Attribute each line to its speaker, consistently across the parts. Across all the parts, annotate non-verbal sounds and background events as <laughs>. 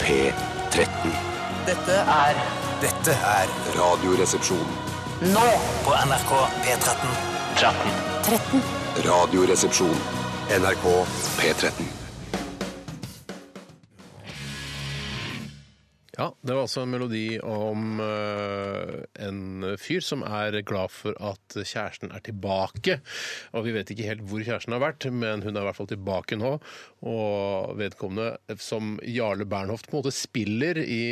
Speaker 1: P13.
Speaker 2: Dette er Dette er
Speaker 1: Radioresepsjon.
Speaker 2: Nå på NRK P13. 13.
Speaker 1: Radioresepsjon. NRK P13.
Speaker 3: Ja, Det var altså en melodi om eh, en fyr som er glad for at kjæresten er tilbake. Og vi vet ikke helt hvor kjæresten har vært, men hun er i hvert fall tilbake nå. Og vedkommende som Jarle Bernhoft på en måte spiller i,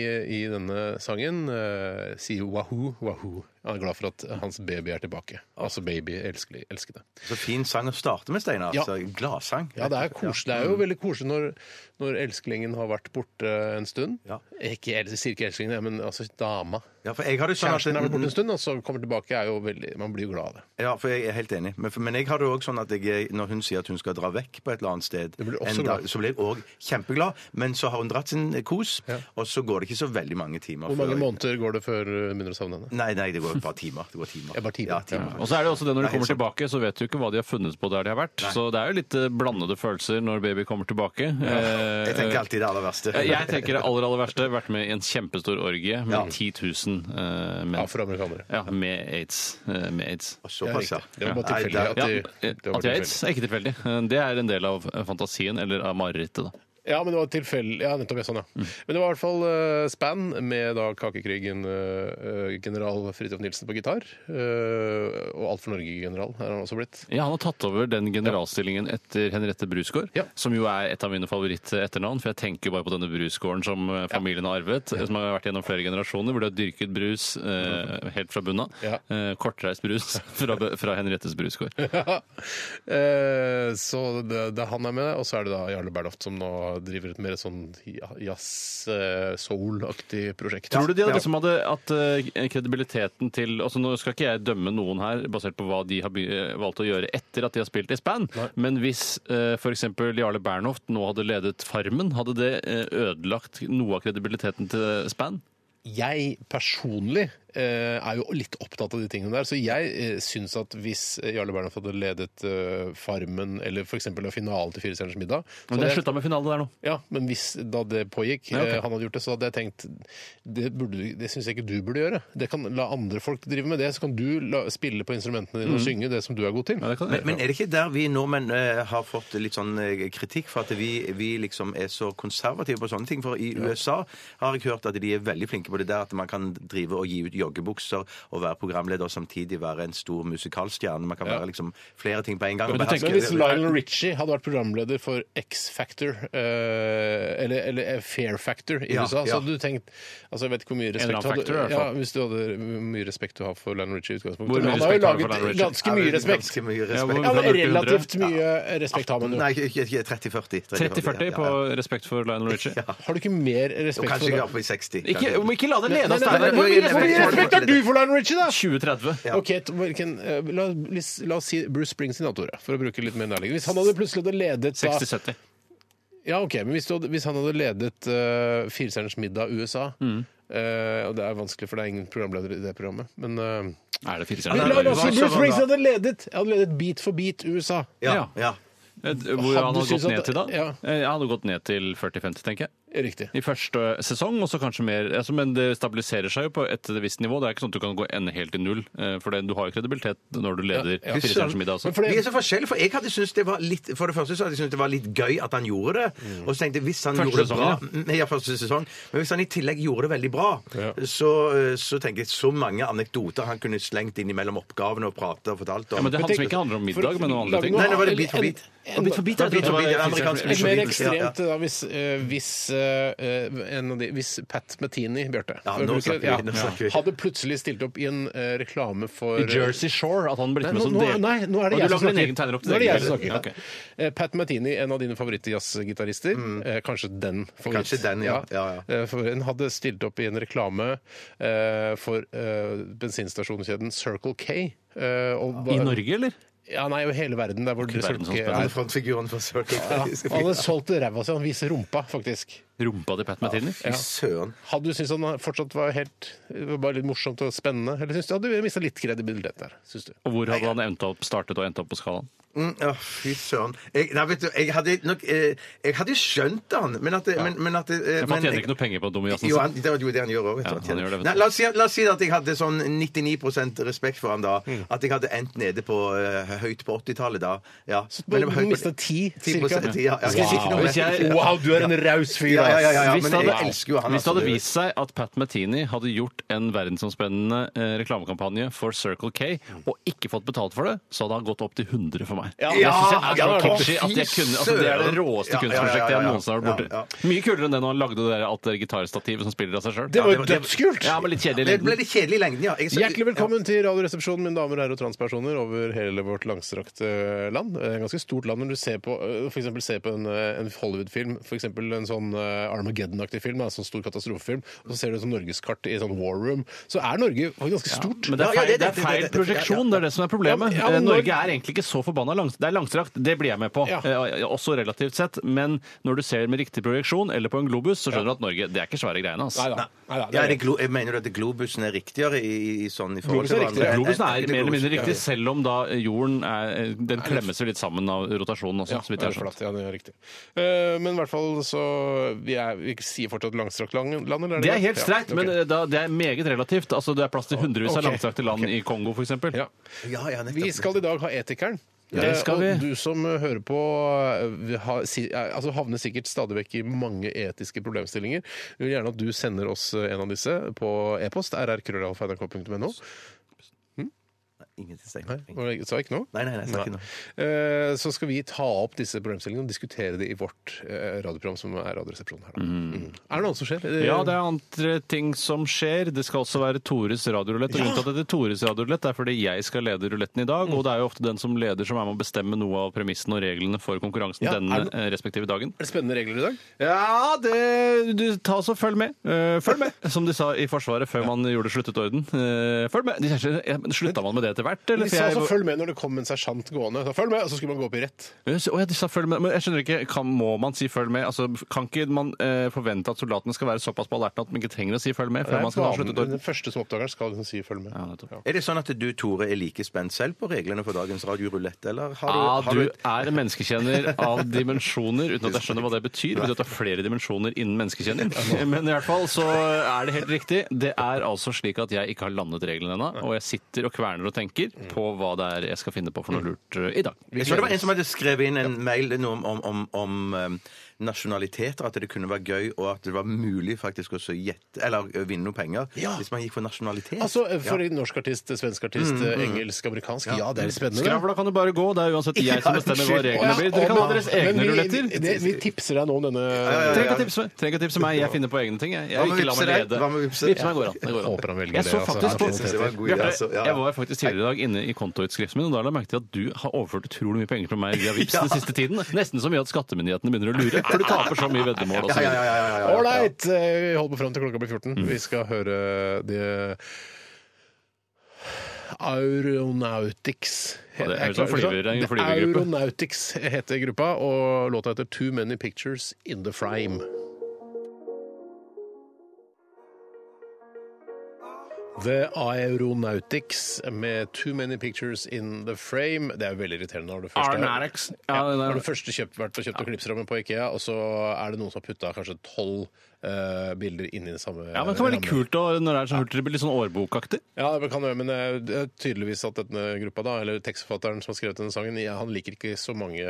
Speaker 3: i denne sangen, eh, sier wahoo, wahoo. Han er glad for at hans baby er tilbake. Altså baby, elskelig, elskede.
Speaker 4: Så fin sang å starte med, Steinar.
Speaker 3: Ja.
Speaker 4: Ja. Gladsang.
Speaker 3: Ja, det er koselig. Det er jo veldig koselig når, når elsklingen har vært borte en stund.
Speaker 4: Ja.
Speaker 3: Ikke, el- jeg sier ikke elsklingen, jeg, men altså dama.
Speaker 4: Ja, for jeg har det sånn
Speaker 3: Kjæresten er vel borte en
Speaker 4: at
Speaker 3: stund, og så kommer tilbake. Er jo veldig, man blir jo glad av det.
Speaker 4: ja, for jeg er helt enig. Men, men jeg har det også sånn at jeg, når hun sier at hun skal dra vekk på et eller annet sted,
Speaker 3: blir du også
Speaker 4: en dag,
Speaker 3: glad.
Speaker 4: så blir jeg òg kjempeglad. Men så har hun dratt sin kos, og så går det ikke så veldig mange timer.
Speaker 3: Hvor mange
Speaker 4: før jeg-
Speaker 3: måneder går det før du begynner å savne henne?
Speaker 4: Nei, nei, det går et par timer. Det går timer.
Speaker 3: Ja, bare timer.
Speaker 4: Ja, timer.
Speaker 5: Og så er det også det Når de
Speaker 4: Nei,
Speaker 5: kommer
Speaker 4: sant.
Speaker 5: tilbake, så vet du ikke hva de har funnet på der de har vært. Så det er jo litt eh, blandede følelser når baby kommer tilbake. Eh,
Speaker 4: Jeg tenker alltid det aller verste.
Speaker 5: eh, jeg tenker det aller aller verste. Vært med i en kjempestor orgie med
Speaker 4: Ja.
Speaker 5: 10 000 eh, menn.
Speaker 3: Ja, for amerikanere.
Speaker 5: Ja, med aids. Eh, med AIDS.
Speaker 4: <laughs> Og Såpass, ja.
Speaker 3: Det var bare
Speaker 4: Nei,
Speaker 3: tilfeldig at
Speaker 5: Ja,
Speaker 3: de-
Speaker 5: eh,
Speaker 3: det
Speaker 5: at
Speaker 3: var
Speaker 5: jeg har aids
Speaker 3: tilfeldig.
Speaker 5: er ikke tilfeldig. Eh, Det er en del av eh, fantasien, eller av marerittet, da.
Speaker 3: Ja, men det var tilfeldig. Ja, nettopp. Ja, sånn, ja. Men det var i hvert fall eh, Span med da Kakekrigen, eh, general Fridtjof Nilsen på gitar. eh, og Alt for Norge-general er han også blitt. <laughs>
Speaker 5: Ja, Han har tatt over den generalstillingen etter Henriette Brusgaard,
Speaker 3: Ja.
Speaker 5: som jo er et av mine favoritt-etternavn. For jeg tenker bare på denne brusgården som eh, familien har arvet, som har vært gjennom flere generasjoner, hvor de har dyrket brus eh, helt fra bunnen av.
Speaker 3: Ja.
Speaker 5: Eh, kortreist brus <laughs> fra, fra Henriettes brusgård.
Speaker 3: Eh, så det, det han er med, og så er det da Jarle Bernhoft som nå driver et mer sånn ja- jazz, eh, soul-aktig prosjekt.
Speaker 5: Tror du de hadde liksom hadde at eh, kredibiliteten til altså Nå skal ikke jeg dømme noen her basert på hva de har by- eh, valgt å gjøre etter at de har spilt i span, men hvis eh, for f.eks. Jarle Bernhoft nå hadde ledet Farmen, hadde det eh, ødelagt noe av kredibiliteten til span?
Speaker 3: Jeg personlig eh, er jo litt opptatt av de tingene der, så jeg eh, syns at hvis eh, Jarle Bernhoft hadde ledet eh, Farmen eller f.eks. finalen til Fire stjerners middag så
Speaker 5: Men det
Speaker 3: hadde
Speaker 5: er
Speaker 3: jeg-
Speaker 5: slutta med finale der nå.
Speaker 3: Ja, men hvis da det pågikk,
Speaker 5: Ja, ok.
Speaker 3: eh, han hadde gjort det, så hadde jeg tenkt det, burde, du- det syns jeg ikke du burde gjøre. Det kan La andre folk drive med det, så kan du la, spille på instrumentene dine og synge det som du er god til.
Speaker 5: Mm. Ja, det kan
Speaker 4: Men, men er det ikke der vi nordmenn eh, har fått litt sånn eh, kritikk for at vi, vi liksom er så konservative på sånne ting? For i USA har jeg hørt at de er veldig flinke på det der at man kan drive og gi ut joggebukser og være programleder og samtidig være en stor musikalstjerne. Man kan være liksom flere ting på en gang.
Speaker 5: Men
Speaker 4: og
Speaker 5: du
Speaker 4: beherske
Speaker 3: Men hvis
Speaker 4: det.
Speaker 3: Lionel Richie hadde vært programleder for X-Factor, eh, eller, eller Fair Factor i
Speaker 4: Ja,
Speaker 3: USA, så
Speaker 4: ja.
Speaker 3: hadde du tenkt altså Jeg vet ikke hvor mye respekt
Speaker 5: eller
Speaker 3: du
Speaker 5: annen
Speaker 3: hadde
Speaker 5: factor, i hvert
Speaker 3: ja,
Speaker 5: fall.
Speaker 3: Hvis du hadde hvor mye respekt du har for Lionel Richie i utgangspunktet.
Speaker 5: Hvor
Speaker 3: Men
Speaker 5: mye
Speaker 3: han har jo
Speaker 5: respekt har du for
Speaker 3: laget
Speaker 5: Lionel Richie?
Speaker 3: ganske mye respekt.
Speaker 4: Ganske mye
Speaker 5: Ja, hvor-
Speaker 4: respekt.
Speaker 3: Ja, men
Speaker 5: 100.
Speaker 3: relativt mye respekt har man jo.
Speaker 4: Nei, ikke, ikke 30-40.
Speaker 5: 30-40 på
Speaker 4: Ja, ja.
Speaker 5: respekt for Lionel Richie.
Speaker 3: Har du ikke mer
Speaker 4: Og
Speaker 3: respekt
Speaker 4: Kanskje
Speaker 3: for
Speaker 4: ikke oppe i 60.
Speaker 5: Ikke,
Speaker 4: kanskje.
Speaker 5: om ikke la det lede
Speaker 3: Nei,
Speaker 5: oss
Speaker 3: nei, nei,
Speaker 5: der!
Speaker 3: Hvor mye hvor mye respekt har du for Lionel Richie, da?
Speaker 5: 2030.
Speaker 4: Ja.
Speaker 3: Ok, t- hvilken, eh, la, la oss si Bruce Springsteen, da, Tore, for å bruke litt mer nærliggende. Hvis han hadde plutselig hadde ledet da
Speaker 5: 60-70.
Speaker 3: Ja, ok, men hvis, du, hadde- hvis han hadde ledet uh, Firestjerners middag USA eh, Og det er vanskelig, for det er ingen programleder i det programmet. Men eh,
Speaker 5: Er det fire
Speaker 3: men
Speaker 4: nei,
Speaker 3: La
Speaker 4: nei,
Speaker 3: oss si
Speaker 4: hva-
Speaker 3: Bruce
Speaker 4: hva-
Speaker 3: Springsteen hadde ledet Jeg hadde ledet Beat for beat USA.
Speaker 4: Ja, ja.
Speaker 5: Hvor han hadde
Speaker 3: synes
Speaker 5: gått
Speaker 3: at-
Speaker 5: ned til da?
Speaker 3: ja.
Speaker 5: Eh, Han hadde gått ned til 40-50, tenker jeg.
Speaker 3: Riktig.
Speaker 5: I første sesong, og så kanskje mer. Altså, men det stabiliserer seg jo på et visst nivå. Det er ikke sånn at du kan gå ende helt til null, eh, for det, du har jo kredibilitet når du leder
Speaker 3: Ja, ja.
Speaker 5: Fire stjerners middag også.
Speaker 3: Men fordi-
Speaker 4: Vi er så forskjellige, for jeg hadde syntes det var litt For det første så hadde jeg syntes det var litt gøy at han gjorde det. Og så tenkte jeg hvis han
Speaker 5: Mm. Første
Speaker 4: gjorde det bra
Speaker 5: sesongen,
Speaker 4: Mm, Ja, første sesong. Men hvis han i tillegg gjorde det veldig bra, så, eh, så tenker jeg så mange anekdoter han kunne slengt innimellom oppgavene og pratet og fortalt om.
Speaker 5: Ja, men det er han som ikke handler om middag, men om andre ting.
Speaker 4: Nei, nå var det bit for bit.
Speaker 3: En-
Speaker 4: Bit for bit, ja, bit for bit, ja, amerikansk
Speaker 3: Et
Speaker 4: bit for
Speaker 3: mer
Speaker 4: bit. Ja, ja.
Speaker 3: ekstremt da, hvis, eh, hvis, eh, eh, en av de, hvis Pat Metini, Bjarte
Speaker 4: Ja,
Speaker 3: for å
Speaker 4: nå
Speaker 3: bruke-
Speaker 4: snakker vi,
Speaker 3: ja,
Speaker 4: nå snakker vi.
Speaker 3: Hadde plutselig stilt opp i en eh, reklame for
Speaker 5: I Jersey Shore, at han ble
Speaker 3: Nei,
Speaker 5: litt med
Speaker 3: Eh, nå,
Speaker 5: som
Speaker 3: nå,
Speaker 5: del.
Speaker 3: nei, nå er det jeg
Speaker 5: Og du
Speaker 3: som
Speaker 5: lager din
Speaker 3: snakker.
Speaker 5: egen tegner opp
Speaker 3: Nå er det jeg som snakker.
Speaker 5: til- Ja, ok.
Speaker 3: Eh, Pat Martini, en av dine favorittjazzgitarister.
Speaker 5: Mm.
Speaker 3: Eh, kanskje den. favoritt.
Speaker 4: Kanskje den, ja. Ja, ja.
Speaker 3: Eh, for hun hadde stilt opp i en reklame eh, for eh, bensinstasjonskjeden Circle K. eh, og
Speaker 5: I
Speaker 3: var-
Speaker 5: Norge, eller?
Speaker 3: Ja, nei, jo hele verden. Der hvor Circle K
Speaker 5: verdensomspennende.
Speaker 4: Han er frontfiguren for Circle K.
Speaker 3: ja, han hadde solgt ræva si, han viser rumpa, faktisk.
Speaker 5: rumpa til Pat Metheny.
Speaker 4: Fy søren.
Speaker 3: Hadde du syntes han fortsatt var helt det var bare litt morsomt og spennende? Eller syns du hadde mista litt kredibilitet der? Synes du?
Speaker 5: Og hvor hadde han endt opp, startet og endt opp på skalaen?
Speaker 4: Mm, ja, fy søren. Jeg, nei, vet du, jeg hadde nok eh, Jeg hadde skjønt han, men at det, men, men at det, eh,
Speaker 5: Men
Speaker 4: men-
Speaker 5: han tjener ikke noe penger på Domiassen.
Speaker 4: Jo, han, det var jo det han gjør òg.
Speaker 5: sånn- Ja, han gjør det, vet du.
Speaker 4: la, oss si, la oss si at jeg hadde sånn 99 respekt for han da.
Speaker 5: Mm.
Speaker 4: At jeg hadde endt nede på eh, høyt på 80-tallet da. Ja.
Speaker 3: Du
Speaker 4: det var høyt på-
Speaker 3: mista ti,
Speaker 4: 10%,
Speaker 3: cirka?
Speaker 4: ja, ja. Jeg skal ikke noe mer.
Speaker 5: Hvis jeg-
Speaker 3: Wow, du er en raus fyr,
Speaker 4: Ja, ja, ja, ja,
Speaker 3: ass!
Speaker 4: ja,
Speaker 5: Hvis
Speaker 4: men
Speaker 5: det hadde-
Speaker 4: jeg elsker jo han.
Speaker 5: Hvis det
Speaker 4: altså,
Speaker 5: hadde
Speaker 4: det-
Speaker 5: vist seg at Pat Metheny hadde gjort en verdensomspennende eh, reklamekampanje for Circle K og ikke fått betalt for det, så hadde han gått opp til 100 for meg.
Speaker 3: Ja,
Speaker 5: det synes jeg
Speaker 3: ja,
Speaker 5: er så
Speaker 3: ja,
Speaker 5: kitschy at jeg
Speaker 4: fy
Speaker 5: kunne, altså, Det er det råeste
Speaker 4: søren. Ja, ja,
Speaker 5: kunstprosjektet
Speaker 4: ja, ja,
Speaker 5: jeg
Speaker 4: ja.
Speaker 5: noensinne har vært
Speaker 4: Ja,
Speaker 5: borti. Mye kulere enn det når han lagde det der, alt det gitarstativet som spiller av seg sjøl.
Speaker 3: Det var
Speaker 4: Ja,
Speaker 3: jo
Speaker 4: det var-
Speaker 3: dødskult!
Speaker 5: Ja, men litt kjedelig i
Speaker 4: Det ble
Speaker 5: lengden.
Speaker 4: litt kjedelig i lengden, ja. Jeg er så-
Speaker 3: Hjertelig velkommen til Radioresepsjonen, mine damer og herrer og transpersoner over hele vårt langstrakte land. Det er et ganske stort land når du ser på, øh, for eksempel ser på en, øh, en Hollywood-film, f.eks. en sånn øh, Armageddon-aktig film, da, en sånn stor katastrofefilm, og så ser du et sånt norgeskart i sånn war room, så er Norge faktisk ganske stort.
Speaker 5: Men det
Speaker 4: Ja,
Speaker 5: er
Speaker 4: ja,
Speaker 5: feil,
Speaker 4: det-
Speaker 5: det er
Speaker 4: det- det-
Speaker 5: feil
Speaker 4: det- det-
Speaker 5: projeksjon, det er det som er problemet.
Speaker 3: Ja, men- ja, men
Speaker 5: Eh, Norge
Speaker 3: når-
Speaker 5: er egentlig ikke så forbanna langstrakt. Det er langstrakt, det blir jeg med på,
Speaker 3: Ja.
Speaker 5: eh, også relativt sett. Men når du ser med riktig projeksjon, eller på en globus, så skjønner du at Norge det er ikke svære greiene. Altså.
Speaker 3: Neida, neida, det
Speaker 4: Ja,
Speaker 3: er-
Speaker 4: er det glo jeg mener du at globusen er riktigere i, i sånn i
Speaker 3: Globusen
Speaker 4: forhold til
Speaker 3: er
Speaker 4: hverandre?
Speaker 3: riktigere.
Speaker 5: Globusen er mer eller mindre
Speaker 4: Globusen,
Speaker 5: riktig, selv om da jorden er, den klemmes jo litt sammen av rotasjonen også.
Speaker 3: Ja,
Speaker 5: så vidt jeg
Speaker 3: det er
Speaker 5: har skjønt.
Speaker 3: flatt, ja, det er riktig. Eh, men i hvert fall så vi, er, vi sier fortsatt langstrakt lang- land, eller?
Speaker 5: Det er helt streit,
Speaker 3: ja, ok.
Speaker 5: men eh, da, det er meget relativt. Altså, Det er plass til hundrevis av
Speaker 3: Ok,
Speaker 5: langstrakte land i Kongo, f.eks.
Speaker 3: Ja.
Speaker 4: Ja, ja, nettopp.
Speaker 3: Vi skal i dag ha Etikeren.
Speaker 5: Ja, det skal
Speaker 3: Eh, Og
Speaker 5: vi.
Speaker 3: du som eh, hører på, eh, vi har, si, eh, altså havner sikkert stadig vekk i mange etiske problemstillinger. Vi vil gjerne at du sender oss eh, en av disse på e-post rrkrøllalfa.nrk.no.
Speaker 4: Ingenting
Speaker 3: Nei,
Speaker 4: stenger.
Speaker 3: var det- Sa jeg ikke noe?
Speaker 4: Nei, nei, nei, snakk ikke nå.
Speaker 3: Eh, Så skal vi ta opp disse problemstillingene og diskutere det i vårt eh, radioprogram, som er Radioresepsjonen her. Da. Mm. Er det noe annet som skjer?
Speaker 5: Ja, det er andre ting som skjer. Det skal også være Tores radiorulett. Og grunnen til at det er Tores radiorulett er fordi jeg skal lede ruletten i dag. Og det er jo ofte den som leder som er med å bestemme noe av premissene og reglene for konkurransen
Speaker 3: Ja, er
Speaker 5: denne
Speaker 3: det-
Speaker 5: eh, respektive dagen.
Speaker 3: Er det spennende regler i dag?
Speaker 5: Ja, det du, Ta så følg med. Eh, følg med, som de sa i Forsvaret før man gjorde sluttet orden. Eh, følg med. De kjente, ja, men Slutta man med det etter hvert? Eller?
Speaker 3: De
Speaker 5: For
Speaker 3: sa
Speaker 5: jeg-
Speaker 3: altså 'følg med' når det kom en sersjant gående. Så, følg med, Og så skulle man gå opp i rett.
Speaker 5: Å ja, de sa følg med. Men jeg skjønner ikke, kan, Må man si følg med? Altså, Kan ikke man eh, forvente at soldatene skal være såpass på alerten at man ikke trenger å si følg med? før man skal ha sluttet
Speaker 3: Den
Speaker 5: orden?
Speaker 3: første som oppdager den, skal liksom si 'følg med'.
Speaker 5: Ja, nettopp.
Speaker 4: Er det sånn at du, Tore, er like spent selv på reglene for dagens radiorulett, eller har du,
Speaker 5: Ja,
Speaker 4: har
Speaker 5: Ah, du
Speaker 4: du
Speaker 5: er en menneskekjenner av dimensjoner, uten at jeg skjønner hva det betyr. Det betyr at det er flere dimensjoner innen menneskekjenning. Men i hvert fall så er det helt riktig. Det er altså slik at jeg ikke har landet reglene ennå, og jeg sitter og kverner og tenker på hva det er jeg skal finne på for noe lurt eh, i dag.
Speaker 4: Jeg så det var en som hadde skrevet inn en mail noe om, om, om, om eh, nasjonaliteter, at det kunne være gøy, og at det var mulig faktisk også å gjette, eller eh, vinne noe penger,
Speaker 3: Ja.
Speaker 4: hvis man gikk for nasjonalitet.
Speaker 3: Altså, for en norsk artist, eh, svensk artist,
Speaker 5: Mm,
Speaker 3: engelsk, amerikansk Ja, det er litt spennende. det.
Speaker 5: Skravla kan det bare gå. Det er uansett jeg som bestemmer hva
Speaker 3: Å, ja,
Speaker 5: reglene blir. Dere kan ha
Speaker 3: men-
Speaker 5: deres
Speaker 3: men
Speaker 5: egne
Speaker 3: vi-
Speaker 5: ruletter.
Speaker 3: det- Vi tipser deg nå om
Speaker 4: ja,
Speaker 3: denne
Speaker 4: ja.
Speaker 5: Trenger ikke å tipse meg. Trenger ikke å tipse meg. Jeg finner på egne ting. Jeg,
Speaker 4: Hva
Speaker 5: jeg
Speaker 4: med
Speaker 5: ikke la meg
Speaker 4: vipser her?
Speaker 5: lede.
Speaker 4: Hva med vipser?
Speaker 5: Vipser meg går an. Det går
Speaker 3: Jeg håper han
Speaker 5: an.
Speaker 3: velger
Speaker 5: Jeg
Speaker 3: det,
Speaker 5: så
Speaker 3: altså.
Speaker 5: faktisk på
Speaker 3: Jeg synes
Speaker 4: det var en god idé,
Speaker 5: Bjarte,
Speaker 4: altså. Ja.
Speaker 5: Jeg var faktisk tidligere i dag inne i kontoutskriften min, og da la jeg merke til at du har overført utrolig mye penger til meg via Vipps den siste tiden. Nesten så mye at skattemyndighetene begynner å lure, for du taper så mye veddemål og
Speaker 4: Ja,
Speaker 5: så
Speaker 4: ja, ja,
Speaker 5: videre.
Speaker 4: ja, ja, ja.
Speaker 3: Ålreit! eh, Vi holder på fram til klokka blir 14.
Speaker 5: Mm.
Speaker 3: Vi skal høre det Aeronautics.
Speaker 5: Ja, det er
Speaker 3: Jeg
Speaker 5: jo sånn
Speaker 3: klarer-
Speaker 5: flyver- en
Speaker 3: Det er
Speaker 5: flyvergruppe.
Speaker 3: Aeronautics heter gruppa, og låta heter Too Many Pictures In The Frame. The Aeronautics med Too Many Pictures In The Frame. Det er jo veldig irriterende når du først har,
Speaker 5: Arnarex. Ja,
Speaker 3: ja,
Speaker 5: det
Speaker 3: når du
Speaker 5: er-
Speaker 3: først har kjøpt, vært og kjøpt ja. klipsrammen på Ikea, og så er det noen som har putta kanskje tolv eh, bilder inni den samme
Speaker 5: ja, men det kan være litt
Speaker 3: rammen.
Speaker 5: kult å, når det er sånn hurtig, det blir litt sånn årbokaktig.
Speaker 3: Ja, det kan det være, men eh, det er tydeligvis at denne gruppa, da, eller tekstforfatteren som har skrevet denne sangen, ja, han liker ikke så mange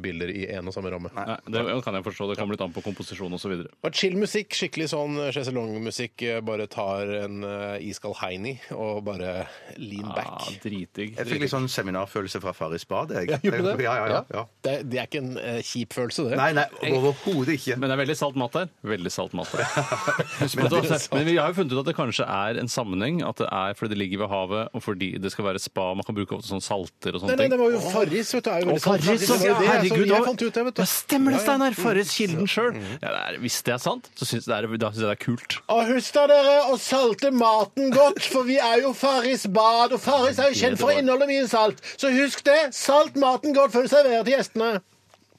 Speaker 3: bilder i en og samme ramme. Det
Speaker 5: Nei, Det kan jeg forstå. Det kommer litt an på komposisjon og så videre.
Speaker 3: var chill musikk, skikkelig sånn sjeselongmusikk. eh, Bare tar en eh, iskald heini og bare lean
Speaker 5: Ja,
Speaker 3: back.
Speaker 5: Dritdigg.
Speaker 4: Jeg fikk litt sånn seminarfølelse fra Farris bad, jeg.
Speaker 3: Gjorde du det?
Speaker 4: Ja, ja, ja. ja.
Speaker 3: Det, det er ikke en eh, kjip følelse, det.
Speaker 4: Nei, nei, overhodet ikke.
Speaker 5: Men det er veldig salt mat der. Veldig salt mat der. Husk på at det også- Men vi har jo funnet ut at det kanskje er en sammenheng. At det er fordi det ligger ved havet, og fordi det skal være spa. Man kan bruke ofte sånn salter og sånne
Speaker 3: Nei, nei,
Speaker 5: ting.
Speaker 3: det var jo Farris, vet du. Er jo veldig sant.
Speaker 5: Farris,
Speaker 3: Det var jo
Speaker 5: ja, sånn
Speaker 3: det, altså,
Speaker 5: herregud,
Speaker 3: jeg
Speaker 5: da-
Speaker 3: fant ut det, vet du.
Speaker 5: Ja, stemmer det,
Speaker 3: Ja, ja.
Speaker 5: Steinar! Farris, kilden sjøl. Ja, det er- hvis det er sant, så syns jeg det er, da synes jeg det er kult.
Speaker 3: Og husk da dere å salte maten <laughs> godt, for vi er jo Farris bad, og Farris er jo kjent for å inneholde mye salt. Så husk det, salt maten godt før du serverer til gjestene.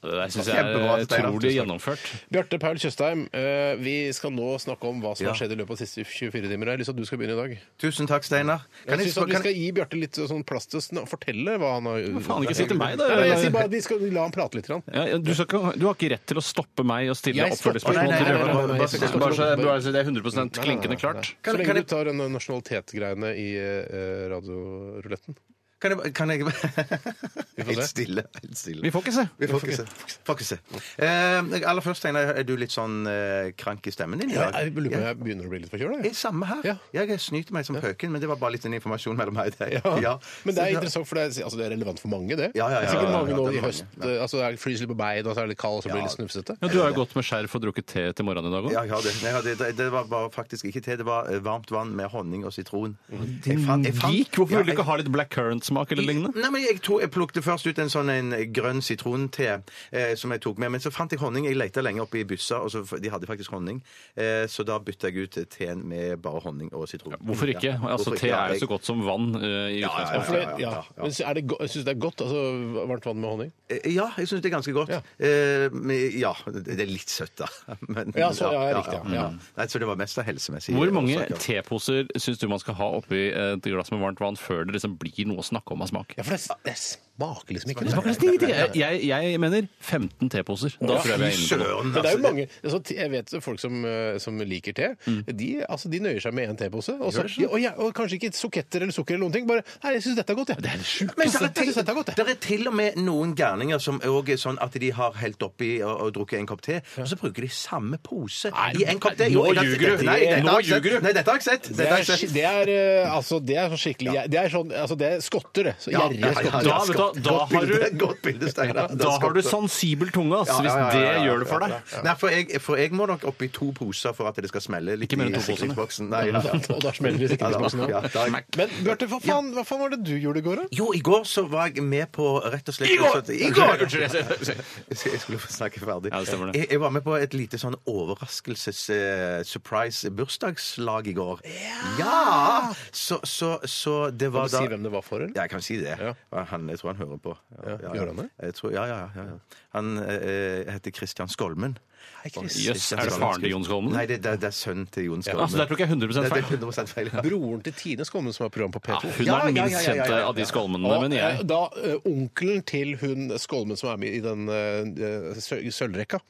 Speaker 5: Det syns jeg
Speaker 4: Kjempebra,
Speaker 5: er
Speaker 4: Steinar. Tusen
Speaker 5: utrolig
Speaker 4: takk.
Speaker 5: gjennomført.
Speaker 3: Bjarte Paul Tjøstheim, eh, vi skal nå snakke om hva som
Speaker 4: Ja.
Speaker 3: har skjedd i løpet av de siste 24 timer. Jeg har lyst til at du skal begynne i dag.
Speaker 4: Tusen takk, Steinar. Kan
Speaker 3: Jeg
Speaker 4: jeg
Speaker 3: syns at
Speaker 4: spørre
Speaker 3: vi
Speaker 4: kan
Speaker 3: skal gi Bjarte litt sånn plass til å sna- fortelle hva han har
Speaker 5: faen, ikke si til meg, da.
Speaker 3: Nei, nei, jeg sier bare at vi skal la han prate litt. Grann.
Speaker 5: Ja, ja, du, skal ikke, du har ikke rett til å stoppe meg og stille
Speaker 3: Jeg stopper-
Speaker 5: oppfølgingsspørsmål.
Speaker 4: Nei, nei,
Speaker 5: til
Speaker 4: nei, nei,
Speaker 5: Bjørnar.
Speaker 4: nei, nei, nei, nei.
Speaker 5: Bare så bare så det er 100 klinkende klart.
Speaker 3: Så
Speaker 4: Kan-
Speaker 3: lenge
Speaker 4: kan
Speaker 3: du
Speaker 4: jeg-
Speaker 3: tar den nasjonalitetgreiene i eh, radioruletten.
Speaker 4: kan jeg, kan jeg
Speaker 3: får se.
Speaker 4: <laughs> Helt stille. Helt stille.
Speaker 5: Vi får ikke se.
Speaker 4: Vi får ikke se. Får ikke se. Eh, aller først, Steinar, er du litt sånn eh, krank i stemmen din i
Speaker 3: Ja,
Speaker 4: dag?
Speaker 3: jeg lurer på om jeg begynner å bli litt forkjøla.
Speaker 4: Det er
Speaker 3: jeg.
Speaker 4: samme her.
Speaker 3: Ja.
Speaker 4: Jeg snyter meg som pøken, men det var bare litt en informasjon mellom meg og deg. <laughs> Ja.
Speaker 3: Men det er
Speaker 4: Så-
Speaker 3: interessant, for det er, altså, det er relevant for mange, det.
Speaker 4: Ja, ja, ja,
Speaker 3: det er sikkert
Speaker 4: ja, ja,
Speaker 3: mange
Speaker 4: ja,
Speaker 3: nå
Speaker 4: det er
Speaker 3: i
Speaker 4: mange,
Speaker 3: høst eh, altså, Det er flys litt på beid, og så er det litt kald, og så blir det litt snufsete.
Speaker 5: Ja, du har jo gått med skjerf og drukket te til morgenen i dag
Speaker 4: Ja,
Speaker 5: òg.
Speaker 4: jeg har det. Nei, jeg har det. Det- Det var bare faktisk ikke te. Det var eh, varmt vann med honning og sitron. Jeg fant- jeg fant-
Speaker 5: Geek! Mm. Hvorfor
Speaker 4: Ja,
Speaker 5: vil du
Speaker 4: jeg-
Speaker 5: ikke ha litt black currant-smak eller lignende?
Speaker 4: Nei, men jeg, tror jeg plukte først ut en sånn en grønn sitronte eh, som jeg tok med. Men så fant jeg honning. Jeg lette lenge oppe i byssa, og så, de hadde faktisk honning. Eh, så da bytta jeg ut teen med bare honning og sitron.
Speaker 5: Hvorfor ikke?
Speaker 4: Ja,
Speaker 5: Altså,
Speaker 4: hvorfor
Speaker 5: Te
Speaker 4: ikke? Ja,
Speaker 5: er jo
Speaker 4: jeg-
Speaker 5: så godt som vann eh, i
Speaker 4: ja,
Speaker 3: Ja,
Speaker 5: utgangspunktet.
Speaker 3: for det, ja,
Speaker 4: ja, ja, ja.
Speaker 3: Men så er det go- jeg syns det er godt. Altså varmt vann med honning.
Speaker 4: Eh, Ja, jeg syns det er ganske godt.
Speaker 3: Ja.
Speaker 4: Eh, men, ja, det er litt søtt, da. <laughs> Men, mm.
Speaker 3: Ja, så- ja, riktig, ja.
Speaker 4: Nei, så det var mest av helsemessig. eh,
Speaker 5: Hvor mange
Speaker 4: årsaker.
Speaker 5: teposer syns du man skal ha oppi et glass med varmt vann før det liksom blir noe å snakke om av smak?
Speaker 3: Ja, for det, det smaker liksom ikke
Speaker 5: Det smaker nesten ingenting. Jeg, jeg, jeg mener 15 teposer. Da tror jeg vi er inne på noe.
Speaker 4: Søren,
Speaker 3: Men det er jo
Speaker 4: altså,
Speaker 3: mange, altså, te- jeg vet folk som, eh, som liker te. De, altså, de nøyer seg med én tepose. Og, så, ja, og, ja, og kanskje ikke suketter eller sukker eller noen ting. Bare 'Nei, jeg syns dette er godt', jeg. Det er
Speaker 4: Men
Speaker 3: jeg
Speaker 4: der er,
Speaker 3: synes dette er godt, jeg.
Speaker 4: der er til og med noen gærninger som òg er sånn at de har helt oppi og, og drukket en kopp te, og så bruker de samme pose i en kopp te.
Speaker 5: nå
Speaker 4: Jo, jeg har-
Speaker 5: ljuger du.
Speaker 4: Nei, dette
Speaker 5: Nå
Speaker 4: har jeg sett.
Speaker 5: ljuger du.
Speaker 4: Nei, dette har jeg sett.
Speaker 3: Det
Speaker 4: Dette har
Speaker 3: er,
Speaker 4: jeg
Speaker 3: sk-
Speaker 4: sett.
Speaker 3: det er, eh, altså, det er sånn skikkelig Det er sånn altså, Det er skotter, det. Så
Speaker 4: Ja,
Speaker 3: Gjerrige
Speaker 4: ja, ja,
Speaker 3: skotter.
Speaker 5: Da, vet du hva, da
Speaker 4: Godt
Speaker 5: har
Speaker 4: bilde,
Speaker 5: du-
Speaker 4: Godt bilde, Steinar.
Speaker 5: Da har du sensibel tunge, ass, hvis det gjør det for deg.
Speaker 4: Nei, for jeg, for jeg må nok oppi to poser for at det skal smelle litt
Speaker 5: Ikke mer enn
Speaker 4: i
Speaker 5: to poser, nei.
Speaker 4: sikringsboksen. Nei, ja, ja.
Speaker 3: Og da smeller det i sikringsboksen
Speaker 4: Ja,
Speaker 3: òg.
Speaker 4: da- ja, da-
Speaker 3: Men Bjarte, hva faen, hva faen var det du gjorde i går, da?
Speaker 4: Jo, i går så var jeg med på rett og slett I går! I
Speaker 5: <laughs>
Speaker 4: går! <laughs> Jeg jeg skulle få snakke ferdig.
Speaker 5: Ja, det stemmer det.
Speaker 4: Jeg, jeg var med på et lite sånn overraskelses-surprise-bursdagslag i går. Ja! Så, så, så det var
Speaker 3: Kan du
Speaker 4: da
Speaker 3: si hvem det var for, eller?
Speaker 4: ja, jeg kan si det.
Speaker 3: Ja.
Speaker 4: Han, jeg tror han hører på. Ja, ja,
Speaker 3: gjør han det?
Speaker 4: Jeg tror, ja, ja, ja, ja. Han eh, heter Christian Skolmen.
Speaker 3: Hei, Chris.
Speaker 5: Jøss, er det faren til Jon Skolmen?
Speaker 4: Nei, det, det, det er sønnen til Jon Skolmen.
Speaker 5: Altså, der tok jeg 100
Speaker 4: Det- det er
Speaker 5: feil.
Speaker 4: 100% feil. ja.
Speaker 3: Broren til Tine Skolmen, som har program på P2.
Speaker 5: Ja, hun er den
Speaker 4: Ja, ja,
Speaker 5: minst
Speaker 4: ja, ja, ja,
Speaker 5: kjente
Speaker 4: ja.
Speaker 5: av de
Speaker 4: Ah,
Speaker 5: skolmene,
Speaker 3: Og,
Speaker 5: mener
Speaker 3: eh,
Speaker 5: jeg.
Speaker 3: Da eh, onkelen til hun Skolmen som er med i den eh, sø- sølvrekka.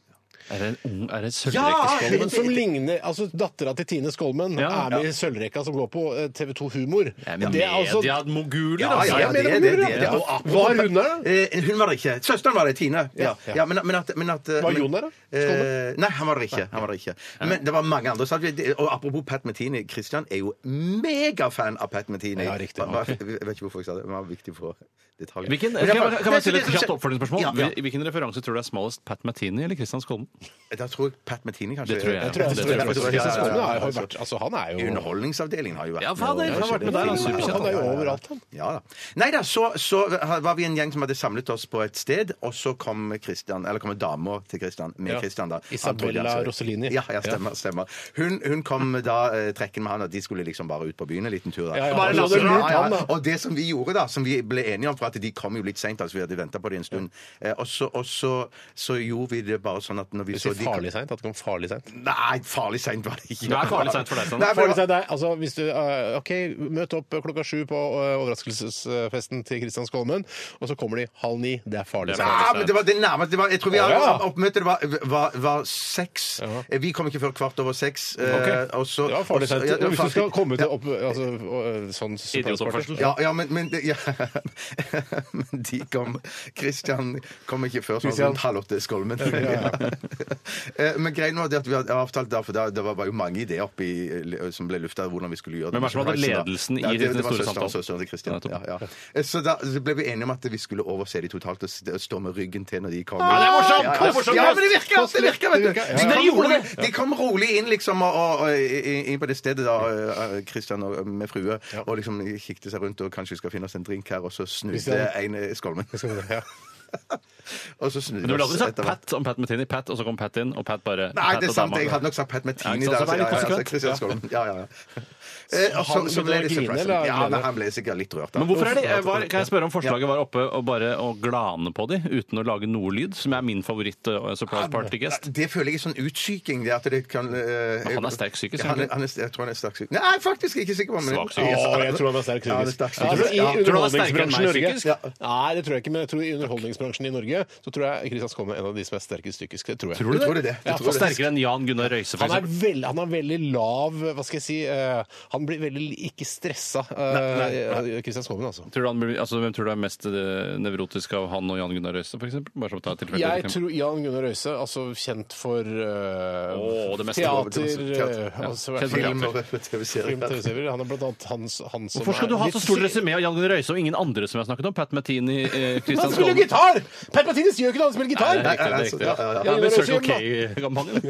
Speaker 5: Er det en ung Er det en
Speaker 4: Ja!
Speaker 5: sølvrekkeskål?
Speaker 3: Skolmen som ligner, altså Dattera til Tine Skolmen
Speaker 5: Ja.
Speaker 3: er med i sølvrekka som går på eh, TV2 Humor. altså-
Speaker 5: Mediamoguler,
Speaker 4: altså- Ja,
Speaker 5: altså.
Speaker 4: ja,
Speaker 3: Jeg
Speaker 4: ja,
Speaker 3: mener
Speaker 4: det, det,
Speaker 3: hun
Speaker 4: det,
Speaker 3: er det.
Speaker 4: det.
Speaker 3: Ja, og var hun der, da?
Speaker 4: Eh, hun var det ikke. Søsteren var det, Tine. Ja,
Speaker 3: ja.
Speaker 4: ja. men, men at, men at
Speaker 3: Var Jon der, da? Skåne?
Speaker 4: Eh, nei, han var det ikke. Han var det ikke. Men det var mange andre. Så at vi- Og apropos Pat Metini. Christian er jo megafan av Pat Metini.
Speaker 3: Ja, riktig.
Speaker 4: Hva- hva- Jeg vet ikke hvorfor jeg sa det, men han var viktig for detaljer.
Speaker 5: Hvilken,
Speaker 4: Men
Speaker 5: kan
Speaker 4: det
Speaker 5: jeg,
Speaker 4: var-
Speaker 5: bare- kan jeg stille et
Speaker 4: det- det-
Speaker 5: kjapt oppfølgingsspørsmål?
Speaker 4: Ja, ja.
Speaker 5: Hvil- Hvilken referanse tror du er smalest? Pat Martini eller Christian Skolmen?
Speaker 4: Da tror jeg Pat Metini kanskje
Speaker 5: Det tror jeg.
Speaker 4: er-
Speaker 5: Jeg tror jeg-
Speaker 3: Det
Speaker 5: det
Speaker 3: tror jeg
Speaker 5: tror
Speaker 3: faktisk.
Speaker 5: jeg.
Speaker 3: Christian Skolmen har jo
Speaker 4: Altså,
Speaker 3: vært Altså, han er jo
Speaker 4: Underholdningsavdelingen har jo vært
Speaker 5: Ja, fader,
Speaker 4: med, og-
Speaker 5: han har vært med der, han
Speaker 4: Ja,
Speaker 5: er
Speaker 4: ja, ja.
Speaker 5: superkjent.
Speaker 3: Han er jo overalt, han.
Speaker 4: Ja da. Nei da, så, så var vi en gjeng som hadde samlet oss på et sted, og så kom Christian, eller kom dama til Christian, med
Speaker 3: Ja.
Speaker 4: Christian da.
Speaker 3: Isabella
Speaker 4: Han trodde han-
Speaker 3: Rossellini.
Speaker 4: Ja, ja, stemmer. stemmer. Hun, hun kom da eh, trekken med han, at de skulle liksom bare ut på byen en liten tur. da.
Speaker 3: Ja, ja,
Speaker 4: Bare
Speaker 3: han
Speaker 4: la
Speaker 3: hadde
Speaker 4: oss-
Speaker 3: lurt han, da.
Speaker 4: Og det som vi gjorde da, som vi ble enige om, for at de kom jo litt sent, altså vi hadde ventet på det en stund, eh, og, så, og så, så gjorde vi det bare sånn at når vi
Speaker 3: Du sier
Speaker 4: så de kom...
Speaker 3: farlig seint? At det kom farlig seint?
Speaker 4: Nei, farlig sent var det ikke.
Speaker 5: Det er farlig sent for deg, sånn. Sand.
Speaker 4: Nei, men-
Speaker 3: Farlig seint er altså hvis du eh, OK, møt opp klokka sju på eh, overraskelsesfesten til Christian Skolmen, og så kommer de halv ni. Det er farlig
Speaker 5: Det er
Speaker 3: seint.
Speaker 4: Ja, men det var det nærmeste det var, Jeg tror vi
Speaker 3: Å,
Speaker 4: hadde
Speaker 3: ja.
Speaker 4: oppmøtet var, var, var seks. Eh, Vi kom ikke før kvart over seks. eh,
Speaker 3: Ok.
Speaker 4: og så-
Speaker 3: Det var farlig
Speaker 4: og så-
Speaker 3: seint.
Speaker 4: ja, det var
Speaker 3: Hvis du skal
Speaker 4: farlig.
Speaker 3: komme til opp, altså, og, sånn
Speaker 5: Idiotoppførsel.
Speaker 4: Ja, ja, men, men det- ja. <laughs> Men de kom Christian kom ikke før sånn
Speaker 3: Christian.
Speaker 4: rundt halv åtte. Skolmen. <laughs> Eh, Men greien var det at vi hadde avtalt da, for da, det var- var jo mange ideer oppi, eh, som ble lufta hvordan vi skulle gjøre det.
Speaker 5: Hvem er det som hadde ledelsen i
Speaker 4: Ja, det-
Speaker 5: den
Speaker 4: det var
Speaker 5: store
Speaker 4: søsteren-
Speaker 5: samtalen?
Speaker 4: søsteren til Christian.
Speaker 5: Ja,
Speaker 4: Ja, ja. Eh, Så da så ble vi enige om at vi skulle overse de totalt og s- og stå med ryggen til når de kom.
Speaker 5: det er morsomt!
Speaker 4: Ja, ja,
Speaker 5: Det er morsomt,
Speaker 4: Ja,
Speaker 5: ass!
Speaker 4: men det virker! Det virker, vet du.
Speaker 3: Det virker, ja. Men
Speaker 4: De
Speaker 5: dere
Speaker 4: kom
Speaker 5: gjorde
Speaker 4: rolig- De kom rolig inn, liksom, og, og, og, inn på det stedet da, eh, Christian og, med frue, og liksom kikket seg rundt og kanskje vi skal finne oss en drink her, og så snudde
Speaker 3: Christian.
Speaker 5: <laughs>
Speaker 4: en eh, Skolmen. <laughs>
Speaker 3: Ja.
Speaker 4: Og så snur
Speaker 5: Men du
Speaker 4: vi
Speaker 5: ville
Speaker 4: oss
Speaker 5: aldri sagt
Speaker 4: etter hvert.
Speaker 5: Pat om Pat Metini. Pat, og så kom Pat inn, og Pat
Speaker 4: Nei,
Speaker 5: bare Pat
Speaker 4: det
Speaker 5: og
Speaker 4: er sant.
Speaker 5: dama.
Speaker 4: Jeg hadde nok sagt Pat
Speaker 5: Ja,
Speaker 4: Metini
Speaker 5: ikke sant,
Speaker 4: der.
Speaker 5: så vær litt konsekvent.
Speaker 4: Kristian Skolm. Ja, ja, ja. Eh, og
Speaker 3: Han
Speaker 4: så, så
Speaker 3: begynte
Speaker 4: ble
Speaker 3: å
Speaker 4: det
Speaker 3: grine,
Speaker 4: surprise.
Speaker 3: eller han
Speaker 4: Ja,
Speaker 3: gleder
Speaker 4: nei, han ble sikkert litt rørt. da.
Speaker 5: Men hvorfor er de, eh, var, Kan jeg spørre om forslaget var oppe og bare å glane på de uten å lage noe lyd, som er min eh, favoritt-surprise party-gest?
Speaker 4: Nei, Det føler jeg er sånn utsyking. Det at det kan, eh,
Speaker 5: Men han er sterk psykisk,
Speaker 4: Ja, han er,
Speaker 5: ikke?
Speaker 4: han er, jeg tror han er sterk psykisk. Nei, faktisk ikke sikker på. Men
Speaker 5: Svak
Speaker 3: Å,
Speaker 5: psykisk.
Speaker 3: jeg tror han er sterk
Speaker 4: Ja, han er
Speaker 3: psykisk.
Speaker 4: sterk
Speaker 3: Ja, altså,
Speaker 4: psykisk.
Speaker 3: I
Speaker 4: Ja.
Speaker 5: Tror du han er sterkere enn
Speaker 3: underholdningsbransjen i
Speaker 5: meg
Speaker 3: Norge
Speaker 5: psykisk?
Speaker 4: Ja.
Speaker 3: Nei, det tror jeg ikke, men jeg tror i underholdningsbransjen i Norge så tror jeg Kristian Skolm er en av de som er sterkest psykisk. Det tror jeg.
Speaker 4: Du tror det? Du
Speaker 3: Ja,
Speaker 4: tror
Speaker 5: Og
Speaker 4: det.
Speaker 5: sterkere enn Jan Gunnar Røise, for
Speaker 3: Han er,
Speaker 5: eksempel.
Speaker 3: veld, han er veldig lav Hva skal jeg si? eh, han blir veldig ikke stressa. Uh, Kristian Skommen, altså.
Speaker 5: Tror du han, blir- altså, hvem tror du er mest eh, nevrotisk av han og Jan Gunnar Røise, for eksempel? Bare som å ta et tilfeldig
Speaker 3: Jeg
Speaker 5: eksempel.
Speaker 3: tror Jan Gunnar Røise, altså kjent for eh,
Speaker 5: Å, det meste.
Speaker 3: teater,
Speaker 4: Teater.
Speaker 3: eh, altså,
Speaker 5: Ja. Kjent for
Speaker 4: Film
Speaker 3: film,
Speaker 4: og TV-serier.
Speaker 3: film, TV-serier. Han er blant annet han, s- han som
Speaker 5: Hvorfor skal
Speaker 3: er
Speaker 5: du ha
Speaker 3: litt
Speaker 5: så
Speaker 3: si-
Speaker 5: stor resymé av Jan Gunnar Røise og ingen andre som jeg har snakket om? Pat Metini,
Speaker 4: <laughs>
Speaker 5: eh,
Speaker 3: Han
Speaker 5: Kristian
Speaker 3: spiller
Speaker 5: Skåne
Speaker 3: jo gitar! Per Matinis gjør ikke det, han spiller
Speaker 5: Nei,
Speaker 3: gitar!
Speaker 4: Nei, nei,
Speaker 5: det er riktig, det er
Speaker 4: altså,
Speaker 5: riktig.
Speaker 4: ja, ja, ja.
Speaker 5: Ja, men
Speaker 3: Jan
Speaker 5: Circle
Speaker 3: Gunnar Røise
Speaker 5: K-kampanjen.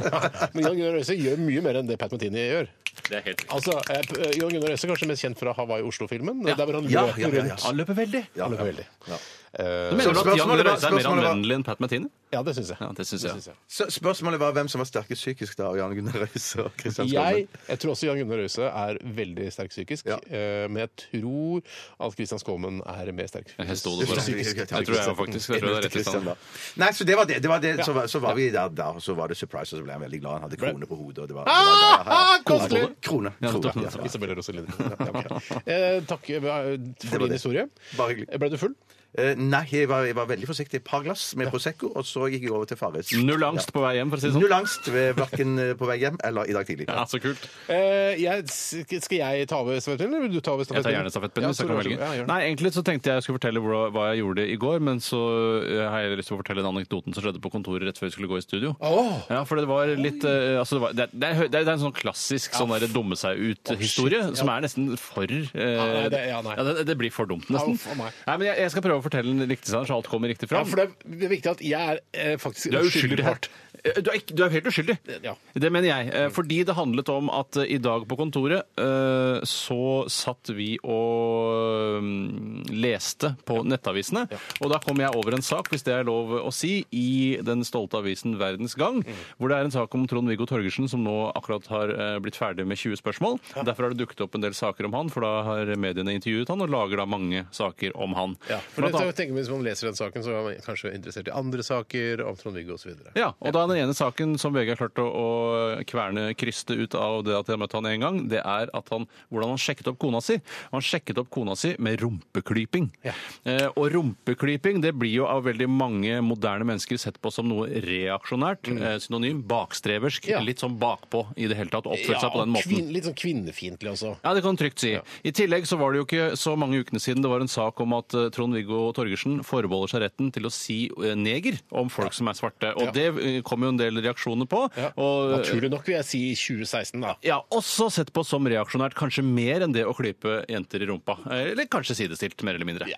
Speaker 3: Men Jan Gunnar Røise gjør mye mer enn det Pat Matini gjør.
Speaker 5: Det er helt riktig.
Speaker 3: Altså, eh, p- eh, Jan Gunnar Røise er kanskje mest kjent fra Hawaii-Oslo-filmen. Der hvor han
Speaker 4: Ja,
Speaker 3: løper
Speaker 4: ja, ja, ja.
Speaker 3: rundt.
Speaker 5: Han løper veldig.
Speaker 3: Han løper veldig. Eh,
Speaker 5: Mener du at Jan
Speaker 4: spørsmålet
Speaker 5: Gunnar
Speaker 4: var-
Speaker 5: Røise er mer
Speaker 4: spørsmålet var-
Speaker 5: anvendelig enn Pat Metini?
Speaker 3: ja, det syns jeg.
Speaker 5: Ja, det syns jeg.
Speaker 4: Så spørsmålet var hvem som var sterkest psykisk da, av Jan Gunnar Røise og Kristian Skolmen.
Speaker 3: Jeg, jeg tror også Jan Gunnar Røise er veldig sterk psykisk,
Speaker 4: Ja.
Speaker 3: eh, men jeg tror at Kristian Skolmen er mer sterk
Speaker 5: Jeg
Speaker 3: fysisk.
Speaker 5: stod det foran.
Speaker 4: Psykisk, ja.
Speaker 5: Jeg tror jeg var faktisk jeg tror det er rett sånn. i
Speaker 4: Kristian,
Speaker 5: stand.
Speaker 4: da. Nei, så det var det. det, var det. Så, var, så var vi der, da, og så var det surprise, og så ble han veldig glad. Han hadde krone på hodet, og det var, det var ja, ja, ja.
Speaker 3: koselig!
Speaker 4: Krone.
Speaker 5: Ja,
Speaker 4: krone,
Speaker 5: nettopp,
Speaker 4: ja,
Speaker 5: nettopp.
Speaker 4: ja.
Speaker 3: Isabella Rosalina. Ja, ok. eh, takk eh, for din historie.
Speaker 4: Bare hyggelig.
Speaker 3: Eh, Ble du full?
Speaker 4: Eh, Nei, jeg var, jeg var veldig forsiktig. Et par glass med Prosecco, og så gikk jeg over til Farris.
Speaker 5: Null angst på vei hjem, for å si det sånn.
Speaker 4: Null angst, eh, hverken eh, på vei hjem eller i dag tidlig.
Speaker 5: Ja, så kult.
Speaker 3: Eh, jeg, skal jeg ta over stafettpinnen, eller vil du ta over
Speaker 5: Jeg tar
Speaker 3: stafettpinnen?
Speaker 5: gjerne stafettpinnen. hvis jeg
Speaker 3: Tore,
Speaker 5: kan
Speaker 3: vær så
Speaker 5: velge.
Speaker 3: god. Ja, gjør det.
Speaker 5: Nei, egentlig så tenkte jeg jeg skulle fortelle hvor- hva jeg gjorde i går, men så eh, har jeg lyst til å fortelle den anekdoten som skjedde på kontoret rett før vi skulle gå i studio.
Speaker 3: Åh!
Speaker 5: Ja, for det var litt eh, altså det, var, det, er- det, er, hø- det er en sånn klassisk sånn der dumme seg ut-historie, som er nesten for eh,
Speaker 3: nei, det- ja, nei.
Speaker 5: det, det blir for dumt,
Speaker 3: Ja,
Speaker 5: nesten.
Speaker 3: uff, å nei.
Speaker 5: Nei, men jeg, jeg skal prøve å fortelle den riktig, sånn, så alt kommer riktig
Speaker 3: Ja,
Speaker 5: fram.
Speaker 3: for det er- det er viktig at jeg er eh, faktisk
Speaker 5: Du er uskyldig her.
Speaker 3: part.
Speaker 5: Eh, Du er, ikke, du er helt uskyldig.
Speaker 3: Ja.
Speaker 5: Det mener jeg. eh, Fordi det handlet om at eh, i dag på kontoret eh, så satt vi og mm, leste på nettavisene. Og da kom jeg over en sak, hvis det er lov å si, i den stolte avisen Verdens Gang.
Speaker 3: Mm.
Speaker 5: Hvor det er en sak om Trond-Viggo Torgersen som nå akkurat har eh, blitt ferdig med 20 spørsmål. Derfor har det dukket opp en del saker om han, for da har mediene intervjuet han og lager da mange saker om han.
Speaker 3: Ja, for
Speaker 5: Blant
Speaker 3: det,
Speaker 5: annet-
Speaker 3: jeg tenker, Hvis man leser den saken, så er man kanskje interessert i andre saker om Trond-Viggo osv.
Speaker 5: Ja, og da den ene saken som VG har klart å, å kverne krystet ut av det at jeg har møtt han en gang, det er at han, hvordan han sjekket opp kona si. Han sjekket opp kona si med rumpeklyping. Eh, og rumpeklyping det blir jo av veldig mange moderne mennesker sett på som noe reaksjonært. Eh, synonym bakstreversk.
Speaker 3: Mm. Ja.
Speaker 5: Litt sånn bakpå i det hele tatt. og Oppført seg på
Speaker 3: og
Speaker 5: den måten.
Speaker 3: kvinn- litt sånn kvinnefiendtlig også.
Speaker 5: Ja, det kan du trygt si. I tillegg så var det jo ikke så mange ukene siden det var en sak om at eh, Trond-Viggo Torgersen forbeholder seg retten til å si eh, neger om folk som er svarte. Og
Speaker 3: Ja.
Speaker 5: det eh, kom jo en del reaksjoner på.
Speaker 3: Ja. eh,
Speaker 5: Og, eh,
Speaker 3: Naturlig nok, vil jeg si, i 2016, da.
Speaker 5: ja, også sett på som reaksjonært, kanskje mer enn det å klype jenter i rumpa. Eh, Eller kanskje sidestilt, mer eller mindre.
Speaker 3: Ja.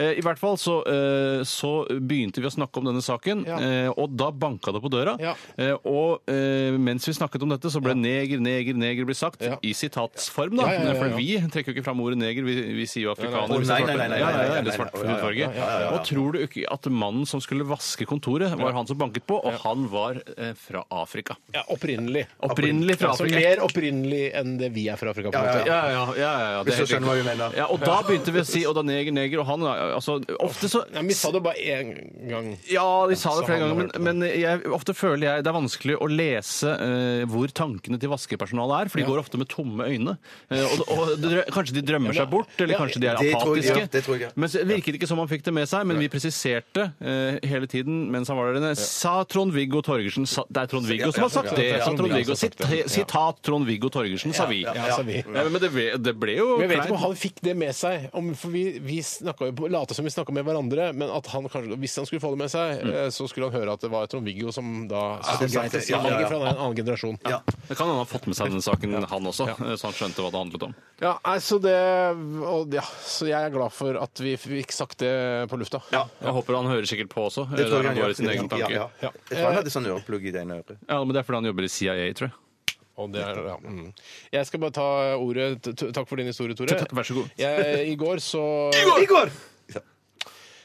Speaker 5: Eh, I hvert fall så, eh, så begynte vi å snakke om denne saken,
Speaker 3: Ja.
Speaker 5: eh, og da banka det på døra.
Speaker 3: Ja.
Speaker 5: Eh, Og eh, mens vi snakket om dette, så ble neger, neger, neger blitt sagt,
Speaker 3: Ja.
Speaker 5: i sitatsform, da.
Speaker 3: Ja, ja, ja, ja.
Speaker 5: For vi trekker jo ikke fram ordet neger, vi, vi sier jo afrikaner.
Speaker 4: Å, nei, nei, nei, nei, nei,
Speaker 5: Ja, ja, ja,
Speaker 4: nei,
Speaker 5: Eller
Speaker 4: nei,
Speaker 5: svart
Speaker 4: nei, nei,
Speaker 5: hudfarge.
Speaker 4: ja, ja, ja, ja.
Speaker 5: Og tror du ikke at mannen som skulle vaske kontoret, var han som banket på, og han var eh, fra Afrika.
Speaker 3: Ja, opprinnelig.
Speaker 5: Opprinnelig fra
Speaker 3: altså,
Speaker 5: Afrika.
Speaker 3: mer opprinnelig enn det vi er fra Afrika. på en
Speaker 4: Ja,
Speaker 3: måte.
Speaker 4: ja,
Speaker 5: Ja, ja, ja, ja, ja. det er
Speaker 4: Hvis du
Speaker 5: helt
Speaker 4: skjønner hva
Speaker 5: riktig.
Speaker 4: vi mener.
Speaker 5: Ja, og da begynte vi å si 'og da neger, neger', og han altså, Ofte så
Speaker 3: Jeg mista det bare én gang.
Speaker 5: ja, de sa
Speaker 3: så
Speaker 5: det flere
Speaker 3: han
Speaker 5: ganger,
Speaker 3: har
Speaker 5: men,
Speaker 3: hørt det.
Speaker 5: men jeg, ofte føler jeg det er vanskelig å lese eh, hvor tankene til vaskepersonalet er, for de går ofte med tomme øyne. Eh, og, og drø kanskje de drømmer seg bort, eller
Speaker 3: Ja,
Speaker 5: kanskje de er
Speaker 4: det tror jeg,
Speaker 5: apatiske.
Speaker 4: ja, det tror jeg, ja.
Speaker 5: Men så virket det ikke som han fikk det med seg, men vi presiserte eh, hele tiden mens han var der inne Sa Trond-Viggo Torgersen sa, Det er Trond-Viggo som har sagt det!
Speaker 3: ja,
Speaker 5: Sa
Speaker 3: Trond-Viggo som
Speaker 5: Trond-Viggo.
Speaker 3: har sagt det.
Speaker 5: Sita- Sitat Trond-Viggo Torgersen, sa vi.
Speaker 3: Ja, sa altså, vi.
Speaker 5: Ja, men det, ble- det ble jo
Speaker 3: Men jeg vet ikke om
Speaker 5: kleint.
Speaker 3: han fikk det med seg. Om, for vi vi snakket jo på- lata som vi snakka med hverandre, men at han kanskje, hvis han skulle få det med seg, eh, så skulle han høre at det var Trond-Viggo som da
Speaker 4: Ja,
Speaker 3: som
Speaker 4: det er
Speaker 3: sa
Speaker 4: greit,
Speaker 3: til
Speaker 4: ja, ja, ja.
Speaker 3: Sivanger, for han er en annen generasjon.
Speaker 4: Ja.
Speaker 5: Det kan han ha fått med seg denne saken, han også, eh, så han skjønte hva det handlet om.
Speaker 3: Ja, nei, så det og, ja, Så jeg er glad for at vi fikk sagt det på lufta.
Speaker 5: Jeg håper han hører sikkert på også.
Speaker 4: Det tror jeg han
Speaker 5: der han
Speaker 4: gjør.
Speaker 5: går i sin egen tanke.
Speaker 4: Ja,
Speaker 5: Ja,
Speaker 4: ja. Jeg tror han hadde sånn øreplugg i det ene øret.
Speaker 5: men Det er fordi han jobber i CIA, tror jeg.
Speaker 3: Og det er, ja. mm. Jeg skal bare ta ordet. T- Takk for din historie, Tore.
Speaker 5: Takk, vær så god.
Speaker 3: Jeg, I går så
Speaker 4: Igor!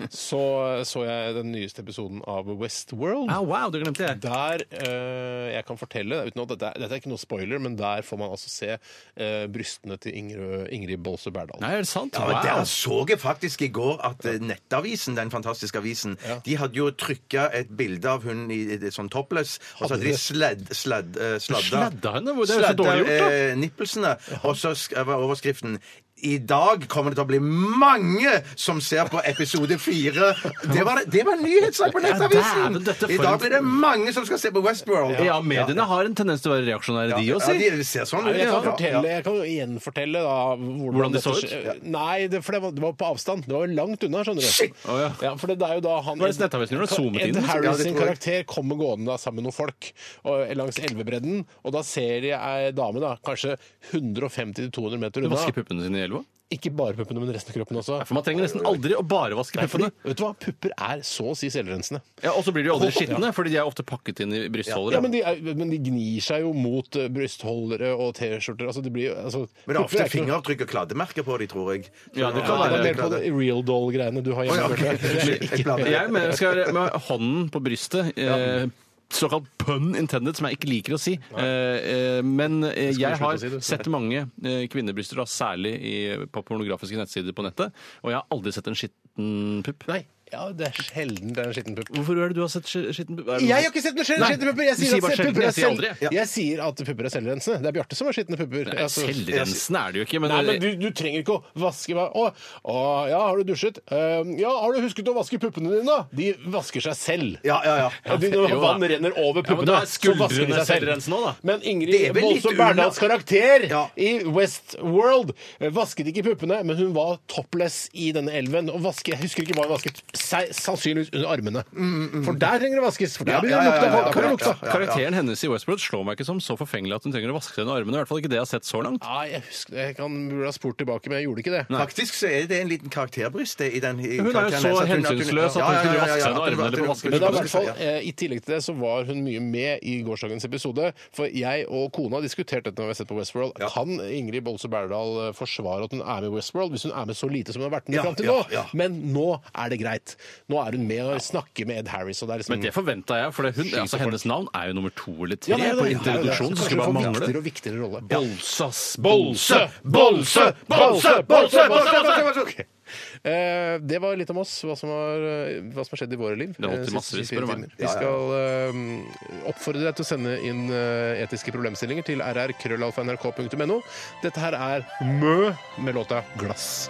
Speaker 3: så så jeg den nyeste episoden av Westworld.
Speaker 5: Ah, wow, det glemte jeg.
Speaker 3: Der eh, jeg kan fortelle, uten at dette, er- dette er ikke noe spoiler, men der får man altså se eh, brystene til Ingrid, Ingrid Bolse Berdal.
Speaker 5: Nei, er det sant?
Speaker 4: Ja, men Der så jeg faktisk i går at eh, Nettavisen, den fantastiske avisen, de hadde jo trykka et bilde av hun i i- sånn topless, og så hadde de sledd, sledd, eh, sladda
Speaker 5: Sladda henne? Hvor- det er jo så dårlig gjort, da.
Speaker 4: eh, nippelsene, og så sk- eh, var overskriften i dag kommer det til å bli mange som ser på episode fire. Det var, det var en nyhetssak på Nettavisen!
Speaker 5: dæven, dette
Speaker 4: I
Speaker 5: for en-
Speaker 4: dag blir det mange som skal se på Westworld.
Speaker 5: Ja, mediene har en tendens til å være reaksjonære, de også.
Speaker 4: Ja, de ser sånn ut.
Speaker 3: Jeg
Speaker 4: ja.
Speaker 3: kan, fortelle, jeg kan jo gjenfortelle da hvordan,
Speaker 5: Hvordan de
Speaker 3: dette
Speaker 5: så ut?
Speaker 3: skje- Nei, det, for det var, det var på avstand. Det var jo langt unna, skjønner du.
Speaker 4: Shit!
Speaker 5: Å, ja.
Speaker 3: for det, det er jo da han
Speaker 5: Hva er det som nettavisen gjør? Zoomet inn,
Speaker 3: Ed
Speaker 5: liksom?
Speaker 4: Ja,
Speaker 3: Harris
Speaker 4: det
Speaker 3: sin
Speaker 4: tror jeg.
Speaker 3: karakter kommer gående da, sammen med noen folk og, langs elvebredden, og da ser de ei dame da, kanskje 150-200 meter
Speaker 5: Du
Speaker 3: unna.
Speaker 5: vasker puppene sine i elva?
Speaker 3: Ikke bare puppene, men resten av kroppen også.
Speaker 5: For man trenger nesten aldri å bare vaske
Speaker 3: Nei, fordi,
Speaker 5: puppene.
Speaker 3: vet du hva? Pupper er så å si selvrensende.
Speaker 5: Ja, og så blir de jo aldri skitne, fordi de er ofte pakket inn i brystholder.
Speaker 3: Ja, men de, er, men de gnir seg jo mot eh, brystholdere og T-skjorter. Altså, det blir jo altså,
Speaker 4: Men det er
Speaker 3: pupper
Speaker 4: ofte
Speaker 3: ikke noe-
Speaker 4: fingeravtrykk og kladdemerker på de, tror jeg.
Speaker 5: Ja,
Speaker 3: Ja, det
Speaker 5: det kan være.
Speaker 3: Sånn er mer på det real doll-greiene du har
Speaker 4: Å,
Speaker 3: hjemme.
Speaker 4: ja, ok.
Speaker 3: Bjarte.
Speaker 4: Jeg blander.
Speaker 5: Jeg mener, jeg skal være med hånden på brystet. Eh, Såkalt pun intended, som jeg ikke liker å si. Eh, eh, men eh,
Speaker 3: skal du
Speaker 5: jeg
Speaker 3: slutte
Speaker 5: har
Speaker 3: å si, du.
Speaker 5: sett mange eh, kvinnebryster, da, særlig i, på pornografiske nettsider på nettet, og jeg har aldri sett en skitten pupp.
Speaker 3: Nei, ja, det er sjelden det er en skitten pupp.
Speaker 5: Hvorfor er det du har sett sk- skitten pupp? Er det noe-
Speaker 3: Jeg har ikke sett noen skjel-
Speaker 5: Nei,
Speaker 3: skitne pupper! Jeg
Speaker 5: du
Speaker 3: sier,
Speaker 5: sier
Speaker 3: at
Speaker 5: bare
Speaker 3: pupper er
Speaker 5: sjelden, jeg sier
Speaker 3: selv-
Speaker 5: aldri.
Speaker 3: jeg sier at pupper er selvrensende. Det er Bjarte som har skitne pupper.
Speaker 5: Nei,
Speaker 3: Altså-
Speaker 5: Selvrensende er det jo ikke, men, eh,
Speaker 3: Nei, men du, du trenger ikke å vaske hva- Å, å, ja, har du dusjet? Ehm, ja, har du husket å vaske puppene dine? da? De vasker seg selv.
Speaker 4: Ja, ja, ja.
Speaker 3: Ja, de, når
Speaker 5: Jo da.
Speaker 3: vann renner over
Speaker 5: Ja, men
Speaker 3: puppene,
Speaker 5: da er
Speaker 3: så vasker de seg
Speaker 5: skuldrene
Speaker 3: selv.
Speaker 5: selvrensende også, da.
Speaker 3: Men
Speaker 4: Det
Speaker 3: Ingrid
Speaker 4: er vel litt
Speaker 3: Bolse Berndals
Speaker 4: unna-
Speaker 3: karakter
Speaker 4: Ja.
Speaker 3: i Westworld eh, vasket ikke puppene, men hun var topless i denne elven. Og vaske, jeg husker ikke hva hun vasket, seg sannsynligvis under armene. For der trenger det vaskes, for
Speaker 4: Ja,
Speaker 3: der blir
Speaker 4: ja,
Speaker 3: det
Speaker 4: ja,
Speaker 3: lukta.
Speaker 4: ja, ja,
Speaker 3: der blir det
Speaker 4: ja,
Speaker 3: lukta.
Speaker 4: ja, ja.
Speaker 5: Karakteren hennes i Westworld slår meg ikke som så forfengelig at hun trenger å vaske seg under armene. I hvert fall ikke det jeg har sett så langt.
Speaker 3: Nei, jeg husker, jeg kan, burde ha spurt tilbake, men jeg gjorde ikke det.
Speaker 4: Faktisk så er det en liten karakterbrist det, i den i
Speaker 5: Hun er jo
Speaker 4: karakteren hennes, at
Speaker 5: så
Speaker 4: hun- at hun- Ja, ja,
Speaker 5: hensynsløs at hun
Speaker 4: ja, ja,
Speaker 5: skulle vaske
Speaker 4: ja, at
Speaker 5: seg under
Speaker 4: hun-
Speaker 5: armene eller på
Speaker 4: at hun-
Speaker 5: vasken.
Speaker 3: Men da, i, hvert
Speaker 4: vasker seg,
Speaker 3: fall,
Speaker 4: ja.
Speaker 3: eh, I tillegg til det så var hun mye med i gårsdagens episode. For jeg og kona har diskutert dette når vi har sett på Westworld. Kan Ingrid Bolse Berdal eh, forsvare at hun er med i Westworld hvis hun er med så lite som hun har vært med
Speaker 4: Ja,
Speaker 3: fram til
Speaker 4: ja,
Speaker 3: nå?
Speaker 4: ja.
Speaker 3: Men nå er det greit. Nå er hun med og snakker med Ed Harris. Og det er liksom,
Speaker 5: Men det forventa jeg, for det- hun, altså, hennes navn er jo nummer to eller
Speaker 3: Ja,
Speaker 5: tre
Speaker 3: det er
Speaker 5: på
Speaker 3: det.
Speaker 5: introduksjonen.
Speaker 3: Ja, det er det.
Speaker 5: så skulle bare
Speaker 3: Kanskje hun får
Speaker 5: mangle.
Speaker 3: Viktigere og viktigere rolle.
Speaker 5: Bolsas
Speaker 3: Bolse, bolse, bolse, bolse, bolse, bolse! Ok. Eh, det var litt om oss, hva som har, eh, hva som har skjedd i våre liv.
Speaker 5: Det holdt i
Speaker 3: eh, siste
Speaker 5: massevis,
Speaker 3: 24
Speaker 5: spør du meg.
Speaker 3: timer. Vi skal eh, oppfordre deg til å sende inn eh, etiske problemstillinger til rrkrøllalfa.nrk.no. Dette her er Mø med låta 'Glass'.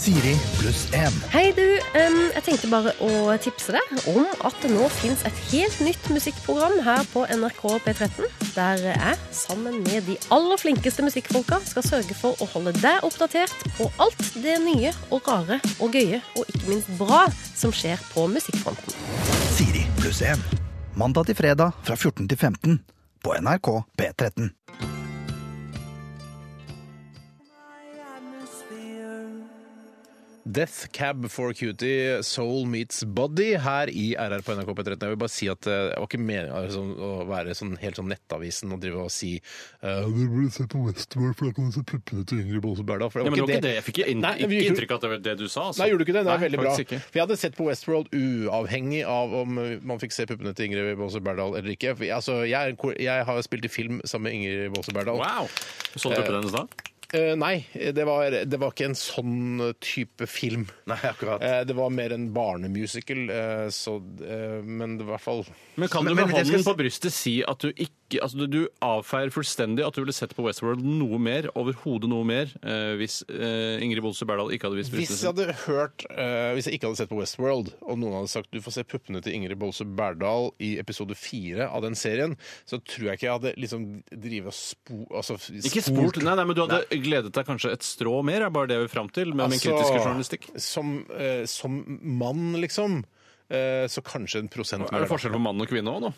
Speaker 6: Siri pluss en.
Speaker 7: Hei du, em, jeg tenkte bare å tipse deg om at det nå finnes et helt nytt musikkprogram her på NRK P13, der jeg, sammen med de aller flinkeste musikkfolka, skal sørge for å holde deg oppdatert på alt det nye og rare og gøye, og ikke minst bra, som skjer på musikkfronten.
Speaker 6: Siri pluss en. Mandag til fredag fra 14 til 15 på NRK P13.
Speaker 3: Death Cab for Cutie, Soul Meets Body her i RR på NRK P13. Jeg vil bare si at eh, det var ikke meningen altså, å være sånn, helt sånn Nettavisen og drive og si uh, Du burde se på Westworld, for da kan du se puppene til Ingrid Bolse Berdal. For
Speaker 5: Ja, men det var ikke det. Jeg fikk ikke, inn,
Speaker 3: Nei, men
Speaker 5: ikke
Speaker 3: gjorde-
Speaker 5: inntrykk av at det var det du sa. Altså.
Speaker 3: Nei, gjorde du ikke det? Det er
Speaker 5: Nei,
Speaker 3: veldig bra.
Speaker 5: faktisk ikke.
Speaker 3: For jeg hadde sett på Westworld uavhengig av om man fikk se puppene til Ingrid Bolse Berdal eller ikke. For, jeg- altså, jeg, er en ko- jeg har spilt i film sammen med Ingrid Bolse Berdal.
Speaker 5: Wow! Så du puppene hennes da?
Speaker 3: Eh, nei, det var, det var ikke en sånn type film.
Speaker 4: Nei, akkurat.
Speaker 3: Eh, Det var mer en barnemusical, eh, så, eh, men det var i hvert fall
Speaker 5: Men kan du
Speaker 4: Men-
Speaker 5: med
Speaker 4: men jeg skal
Speaker 5: hånden
Speaker 4: si-
Speaker 5: på brystet si at du ikke Altså, du, du avfeier fullstendig at du ville sett på Westworld noe mer, overhodet noe mer, eh, hvis eh, Ingrid Bolse Berdal ikke hadde vist
Speaker 3: hvis
Speaker 5: brystene
Speaker 3: jeg
Speaker 5: sine?
Speaker 3: hadde hørt eh, Hvis jeg ikke hadde sett på Westworld, og noen hadde sagt du får se puppene til Ingrid Bolse Berdal i episode fire av den serien, så tror jeg ikke jeg hadde liksom drivet og spo... Altså,
Speaker 5: Ikke spurt, nei, nei, men du hadde gledet deg kanskje et strå mer, er bare det jeg vil fram til, med min
Speaker 3: Altså,
Speaker 5: kritiske journalistikk.
Speaker 3: Som, eh, som mann, liksom, eh, så kanskje en prosent
Speaker 5: Er det
Speaker 3: mer.
Speaker 5: forskjell på mann og kvinne òg, nå?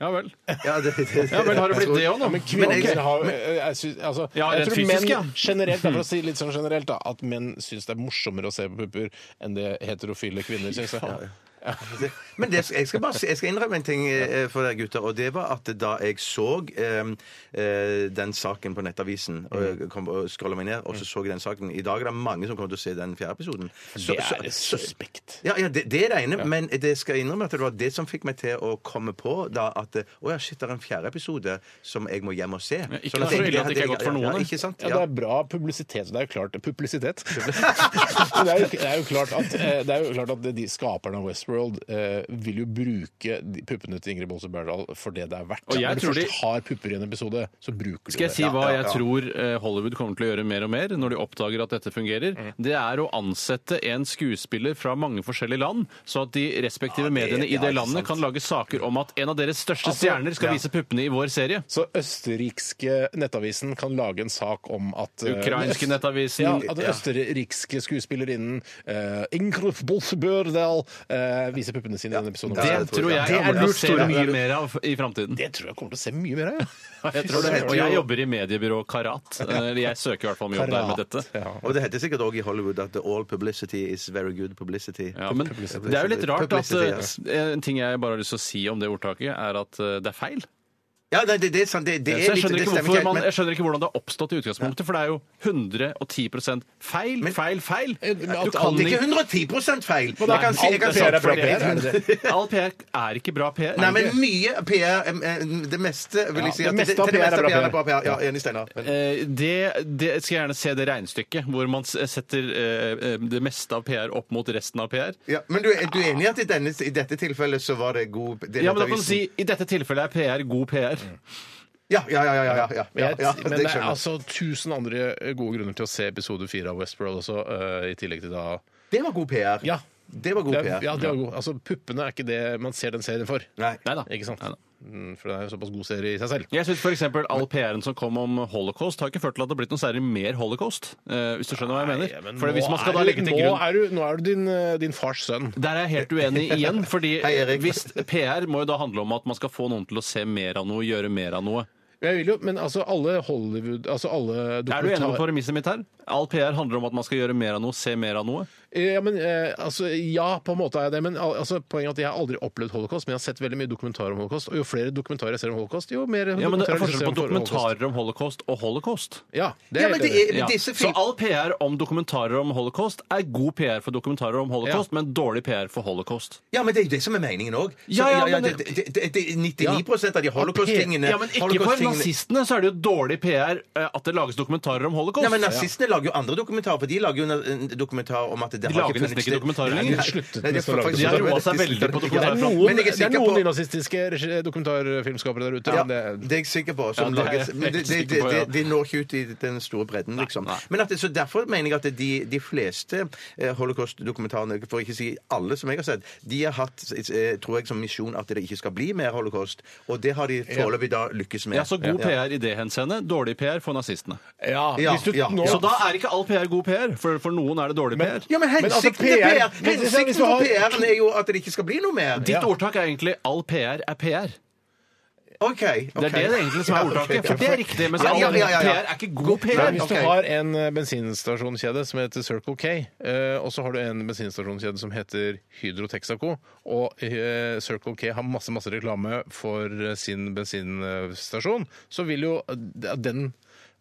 Speaker 5: ja vel.
Speaker 4: Ja, det, det, det.
Speaker 5: Ja vel, har det blitt det òg, nå?
Speaker 3: Men kvinner
Speaker 4: Men jeg-
Speaker 3: har jeg, synes, altså,
Speaker 5: Ja,
Speaker 3: jeg
Speaker 5: rent
Speaker 3: tror
Speaker 5: fysisk,
Speaker 3: menn
Speaker 5: ja.
Speaker 3: generelt,
Speaker 5: <laughs>
Speaker 3: da, for å si litt sånn generelt, da, at menn syns det er morsommere å se på pupper enn det heterofile kvinner syns. Ja,
Speaker 4: Men det, jeg, skal bare, si- jeg skal innrømme en ting eh, for dere gutter, og det var at da jeg så eh, eh, den saken på Nettavisen og
Speaker 5: Mm.
Speaker 4: jeg kom og scrolla meg ned, og så så jeg den saken I dag er det mange som kommer til å se den fjerde episoden. Så-
Speaker 3: Det
Speaker 4: så-
Speaker 3: er
Speaker 4: så-
Speaker 3: suspekt.
Speaker 4: Ja, ja det, det er det ene, men det skal jeg innrømme at det var det som fikk meg til å komme på da at eh, Å ja, shit, det er en fjerde episode som jeg må hjem og se.
Speaker 5: ikke
Speaker 4: Sånn egentlig
Speaker 5: så ille at det ikke er
Speaker 4: hadde-
Speaker 5: godt for
Speaker 4: Ja,
Speaker 5: noen, da.
Speaker 4: ja, ikke sant?
Speaker 3: Ja, det
Speaker 4: Ja.
Speaker 3: er bra publisitet. Det er jo klart
Speaker 5: <laughs>
Speaker 3: Publisitet! Men det, er jo, det, er jo klart at, eh, det er jo klart at de skaperne av Westworld eh, vil jo bruke de puppene til Ingrid Bolse Berdal for det det er verdt.
Speaker 5: Og jeg
Speaker 3: Når du
Speaker 5: tror
Speaker 3: først
Speaker 5: de-
Speaker 3: har pupper i en episode, så bruker du det.
Speaker 5: Skal jeg si hva jeg tror eh, Hollywood kommer til å gjøre mer og mer når de oppdager at dette fungerer? Det er å ansette en skuespiller fra mange forskjellige land, så at de respektive mediene i det landet kan lage saker om at en av deres største stjerner skal vise puppene i vår serie.
Speaker 3: Så østerrikske nettavisen kan lage en sak om at eh,
Speaker 5: Ukrainske Nettavisen.
Speaker 3: Ja, at den østerrikske skuespillerinnen uh, Ingrid Bolse Berdal eh, viser puppene sine i denne episoden.
Speaker 5: Det
Speaker 4: Ja, det tror
Speaker 5: tror
Speaker 4: jeg.
Speaker 5: jeg
Speaker 4: Det er
Speaker 5: kommer til å
Speaker 4: lurt,
Speaker 5: se
Speaker 4: Tore.
Speaker 5: mye mer av i framtiden.
Speaker 3: Det tror jeg kommer til å se mye mer av. ja.
Speaker 5: <laughs> Jeg tror det. Og jeg jobber i mediebyrået Karat. Eller jeg søker i hvert fall om jobb der med dette.
Speaker 3: Ja.
Speaker 4: Og det heter sikkert òg i Hollywood at all publicity is very good publicity.
Speaker 5: Ja, men det er jo litt rart at
Speaker 4: Publicity,
Speaker 5: eh, En ting jeg bare har lyst til å si om det ordtaket, er at eh, det er feil.
Speaker 4: Ja, nei, det, det er sant. Det, det
Speaker 5: Så
Speaker 4: er
Speaker 5: jeg
Speaker 4: litt,
Speaker 5: skjønner,
Speaker 4: det
Speaker 5: ikke
Speaker 4: stemmer
Speaker 5: hvorfor
Speaker 4: helt,
Speaker 5: man,
Speaker 4: men-
Speaker 5: jeg skjønner ikke hvordan det har oppstått i utgangspunktet, for det er jo 110 feil, feil, feil.
Speaker 4: Eh,
Speaker 3: men at alt
Speaker 5: Du kan
Speaker 4: Det er
Speaker 5: ikke
Speaker 4: ikke 110 feil.
Speaker 5: Nei,
Speaker 4: Jeg kan si, jeg kan
Speaker 5: alt
Speaker 4: si
Speaker 5: er
Speaker 3: bra
Speaker 5: sant for
Speaker 3: PR, er det
Speaker 5: det. <laughs> All PR er ikke bra
Speaker 4: <laughs>
Speaker 5: PR.
Speaker 4: Nei, men mye PR em, em, Det meste vil jeg si
Speaker 3: det
Speaker 4: at
Speaker 3: meste av
Speaker 4: til
Speaker 3: PR er
Speaker 4: det meste
Speaker 3: bra
Speaker 4: PR er bra PR. Ja, enig, Steinar. Men-
Speaker 5: Eh, Det, det skal jeg gjerne se det regnestykket hvor man s- setter eh, eh, det meste av PR opp mot resten av PR.
Speaker 4: Ja, men du, er- du er enig i at i, denne, i dette tilfellet så var det god det
Speaker 5: Ja, men da kan du
Speaker 4: nettavisen-
Speaker 5: si i dette tilfellet er PR god PR.
Speaker 4: Mm. Ja, ja, ja. ja, ja, ja,
Speaker 3: Men,
Speaker 4: ja,
Speaker 3: jeg,
Speaker 4: ja
Speaker 3: men det er
Speaker 4: skjønner jeg.
Speaker 3: altså tusen andre gode grunner til å se episode fire av Westworld også, eh, i tillegg til da
Speaker 4: Det var god PR.
Speaker 3: Ja.
Speaker 4: Det var god
Speaker 3: Det
Speaker 4: PR.
Speaker 3: er- Ja, det er god. Altså, puppene er ikke det man ser den serien for.
Speaker 4: Nei.
Speaker 5: Neida.
Speaker 3: Ikke sant?
Speaker 5: Neida.
Speaker 3: Mm, For det er jo såpass god serie i seg selv.
Speaker 5: Jeg syns f.eks. all PR-en som kom om holocaust, har ikke ført til at det har blitt noe særlig mer holocaust. eh, Hvis du skjønner hva jeg
Speaker 3: Nei,
Speaker 5: mener.
Speaker 3: men
Speaker 5: For
Speaker 3: nå
Speaker 5: hvis man skal
Speaker 3: er
Speaker 5: da
Speaker 3: du-
Speaker 5: legge til
Speaker 3: nå
Speaker 5: grunn
Speaker 3: Er du, nå er du din, eh, din fars sønn.
Speaker 5: Der er jeg helt uenig
Speaker 3: <laughs>
Speaker 5: igjen. fordi
Speaker 4: Hei, Erik.
Speaker 5: hvis PR må jo da handle om at man skal få noen til å se mer av noe, gjøre mer av noe.
Speaker 3: Jeg vil jo, men altså alle Hollywood altså alle
Speaker 5: Er du enig med
Speaker 3: dokumentar-
Speaker 5: premisset mitt her? All PR handler om at man skal gjøre mer av noe, se mer av noe.
Speaker 3: Ja, men, eh, altså, ja, på en måte er jeg det. Men al- altså, poenget er at jeg har aldri opplevd holocaust, men jeg har sett veldig mye dokumentarer om holocaust. Og jo flere dokumentarer jeg ser om holocaust, jo mer
Speaker 5: Ja, men Det er
Speaker 3: dokumentarer jeg ser
Speaker 5: forskjell på
Speaker 3: om holocaust.
Speaker 5: dokumentarer om holocaust og holocaust.
Speaker 3: Ja, det er
Speaker 4: Ja,
Speaker 3: jeg
Speaker 4: men
Speaker 3: helt
Speaker 4: det
Speaker 3: enig i.
Speaker 4: er,
Speaker 5: Ja.
Speaker 4: disse
Speaker 5: Så
Speaker 4: film...
Speaker 5: all PR om dokumentarer om holocaust er god PR for dokumentarer om holocaust, men dårlig PR for holocaust.
Speaker 4: Ja, men det er jo det som er meningen òg.
Speaker 5: Ja, ja, men-
Speaker 4: det, det, det, det, 99 av de holocaust-tingene
Speaker 5: Ja, men Ikke for
Speaker 4: holocaust-tingene-
Speaker 5: nazistene så er det jo dårlig PR eh, at det lages dokumentarer om holocaust.
Speaker 4: Nei, men Nazistene lager jo andre dokumentarer, for de lager jo en en dokumentar om at det
Speaker 5: De
Speaker 4: har ikke
Speaker 5: lager nesten
Speaker 4: funnet
Speaker 5: ikke
Speaker 4: sted.
Speaker 5: dokumentarer
Speaker 4: Nei,
Speaker 5: lenger.
Speaker 4: nei,
Speaker 3: Sluttet
Speaker 4: nei, det er
Speaker 3: nesten å lage
Speaker 4: faktisk-
Speaker 5: dokumentarer. De har roet seg veldig på
Speaker 3: Det er
Speaker 5: dokumentarer.
Speaker 3: noen,
Speaker 4: Men jeg er
Speaker 3: det er
Speaker 4: sikker
Speaker 3: noen
Speaker 4: på-
Speaker 3: nynazistiske regi- dokumentarfilmskapere der ute.
Speaker 4: Ja,
Speaker 3: men det,
Speaker 4: det er jeg sikker på.
Speaker 5: Ja,
Speaker 4: Som
Speaker 5: det er jeg
Speaker 4: lages, men det, det, det,
Speaker 5: helt sikker på, ja.
Speaker 4: det, det når ikke ut i den store bredden, liksom.
Speaker 5: nei.
Speaker 4: Men at det, så Derfor mener jeg at de, de fleste eh, holocaust-dokumentarene, for ikke å si alle som jeg har sett, de har hatt, eh, tror jeg, som misjon at det ikke skal bli mer holocaust. Og det har de foreløpig da lykkes med.
Speaker 5: Ja, Så god PR i det henseende, dårlig PR for nazistene.
Speaker 3: ja,
Speaker 4: Ja,
Speaker 3: hvis du
Speaker 4: ja,
Speaker 3: nå
Speaker 4: ja.
Speaker 5: Så da er ikke all PR god PR, for for noen er det dårlig
Speaker 3: Men-
Speaker 5: PR.
Speaker 4: Ja, men
Speaker 3: Men altså,
Speaker 4: hensikten til
Speaker 3: PR
Speaker 4: PR,
Speaker 3: Men hvis- hvis
Speaker 4: hensikten
Speaker 3: du
Speaker 4: til
Speaker 3: har-
Speaker 4: PR-en er jo at det ikke skal bli noe mer.
Speaker 5: liksom Ditt ordtak er egentlig 'all PR er PR'.
Speaker 4: OK.
Speaker 5: Det er det det egentlig som er ordtaket. For det er riktig, mens
Speaker 4: Ja,
Speaker 5: all
Speaker 4: ja, ja, ja, ja.
Speaker 5: PR er ikke god PR.
Speaker 4: Nei,
Speaker 3: Hvis
Speaker 4: Ok.
Speaker 3: du har en eh, bensinstasjonskjede som heter Circle K, eh, og så har du en bensinstasjonskjede som heter Hydro Texaco, og eh, Circle K har masse masse reklame for eh, sin bensinstasjon, så vil jo eh, den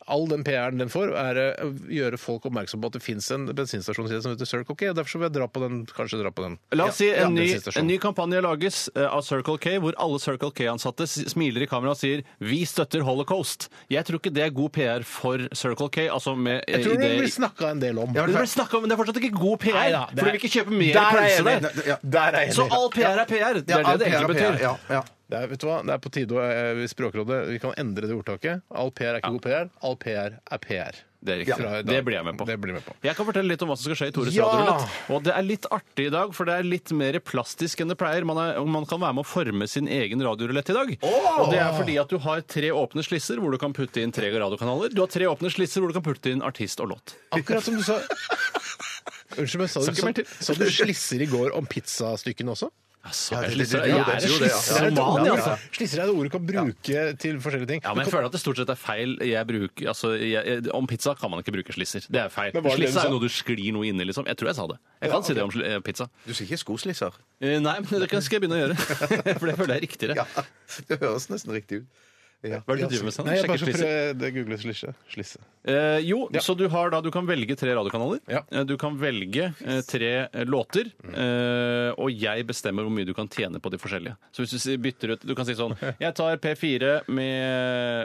Speaker 3: All den PR-en den får, er eh, å gjøre folk oppmerksom på at det fins en bensinstasjonskjede som heter Circle K. og Derfor så vil jeg dra på den, kanskje dra på den.
Speaker 5: La oss si en, ny,
Speaker 3: bensinstasjon.
Speaker 5: en ny kampanje lages eh, av Circle K, hvor alle Circle K-ansatte s- smiler i kamera og sier 'Vi støtter holocaust'. Jeg tror ikke det er god PR for Circle K. altså med eh,
Speaker 3: Jeg tror det
Speaker 5: idé-
Speaker 3: blir snakka en del om.
Speaker 5: Det blir snakket om, men det er fortsatt ikke god PR.
Speaker 3: Neida, det
Speaker 5: for de
Speaker 3: er-
Speaker 5: vil ikke kjøpe mer
Speaker 3: Der er jeg
Speaker 5: pølse
Speaker 3: enig.
Speaker 5: der.
Speaker 4: Ja.
Speaker 3: Der er jeg
Speaker 5: Så
Speaker 3: enig.
Speaker 5: all PR er PR. Det er det det egentlig betyr.
Speaker 4: Ja, ja.
Speaker 3: Det er, vet du hva? Det er på tide å eh, Språkrådet, vi kan endre det ordtaket. All PR er ikke god PR. All PR er PR.
Speaker 5: Det er riktig.
Speaker 3: Fra i dag.
Speaker 5: Det blir jeg med på.
Speaker 3: Det blir
Speaker 5: <laughs>
Speaker 3: jeg med på.
Speaker 5: Jeg kan fortelle litt om hva som skal skje i Tores
Speaker 3: Ja!
Speaker 5: radiorulett. Og det er litt artig i dag, for det er litt mer plastisk enn det pleier. Man, er, og man kan være med å forme sin egen radiorulett i dag. Og det er fordi at du har tre åpne slisser hvor du kan putte inn tre radiokanaler. Du har tre åpne slisser hvor du kan putte inn artist og låt.
Speaker 3: Akkurat som du sa Unnskyld, men sa du,
Speaker 5: Sa ikke mer
Speaker 3: sa,
Speaker 5: til.
Speaker 3: sa du slisser i går om pizzastykkene også?
Speaker 5: Altså,
Speaker 4: det-
Speaker 5: jeg
Speaker 4: det- det-
Speaker 5: sliter-
Speaker 4: jo,
Speaker 5: jeg
Speaker 4: det-
Speaker 5: er
Speaker 4: jo, det, ja.
Speaker 3: Slisser er et ord-
Speaker 5: slisseroman,
Speaker 3: ja,
Speaker 5: altså.
Speaker 3: Slisser er et ord du kan bruke til forskjellige ting.
Speaker 5: Ja, men jeg føler at det stort sett er feil. Jeg bruker, altså, jeg, jeg, om pizza kan man ikke bruke slisser. Det er feil.
Speaker 3: Men hva er det sånn- du
Speaker 5: Slisser
Speaker 3: sa?
Speaker 5: er jo noe du sklir noe inni, liksom. Jeg tror jeg sa det. Jeg kan si det om sli- eh, pizza.
Speaker 4: Du sier ikke skoslisser?
Speaker 5: Eh, Nei, men det kan- skal jeg begynne å gjøre. <laughs> For det føler jeg er riktigere.
Speaker 4: Ja, det høres nesten riktig ut. Ja.
Speaker 5: Hva er det du driver med sånn?
Speaker 3: Nei, jeg
Speaker 5: Sjekker
Speaker 3: bare skal
Speaker 5: slisser?
Speaker 3: prøve det googler slisse. slisse.
Speaker 5: Eh, jo, så du har da Du kan velge tre radiokanaler.
Speaker 3: Ja.
Speaker 5: Eh, Du kan velge eh, tre eh, låter. Eh, og jeg bestemmer hvor mye du kan tjene på de forskjellige. Så hvis du si- bytter ut Du kan si sånn Jeg tar P4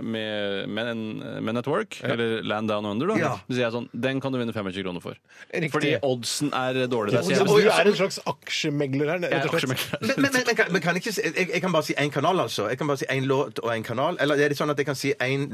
Speaker 5: med, med Men, Men at Work, eller Land Down Under, da.
Speaker 4: Ja.
Speaker 5: Så sier jeg sånn Den kan du vinne 25 kroner for.
Speaker 3: Riktig.
Speaker 5: Fordi oddsen er dårlig der.
Speaker 3: Så
Speaker 5: Så
Speaker 3: du
Speaker 5: jeg, jeg,
Speaker 3: er en slags aksjemegler her?
Speaker 5: er
Speaker 3: rett og slett.
Speaker 5: aksjemegler.
Speaker 4: Men, men, men, men, kan, men kan ikke, si- jeg, jeg kan bare si én kanal, altså. Jeg kan bare si én låt og én kanal. Eller er det sånn at jeg kan si én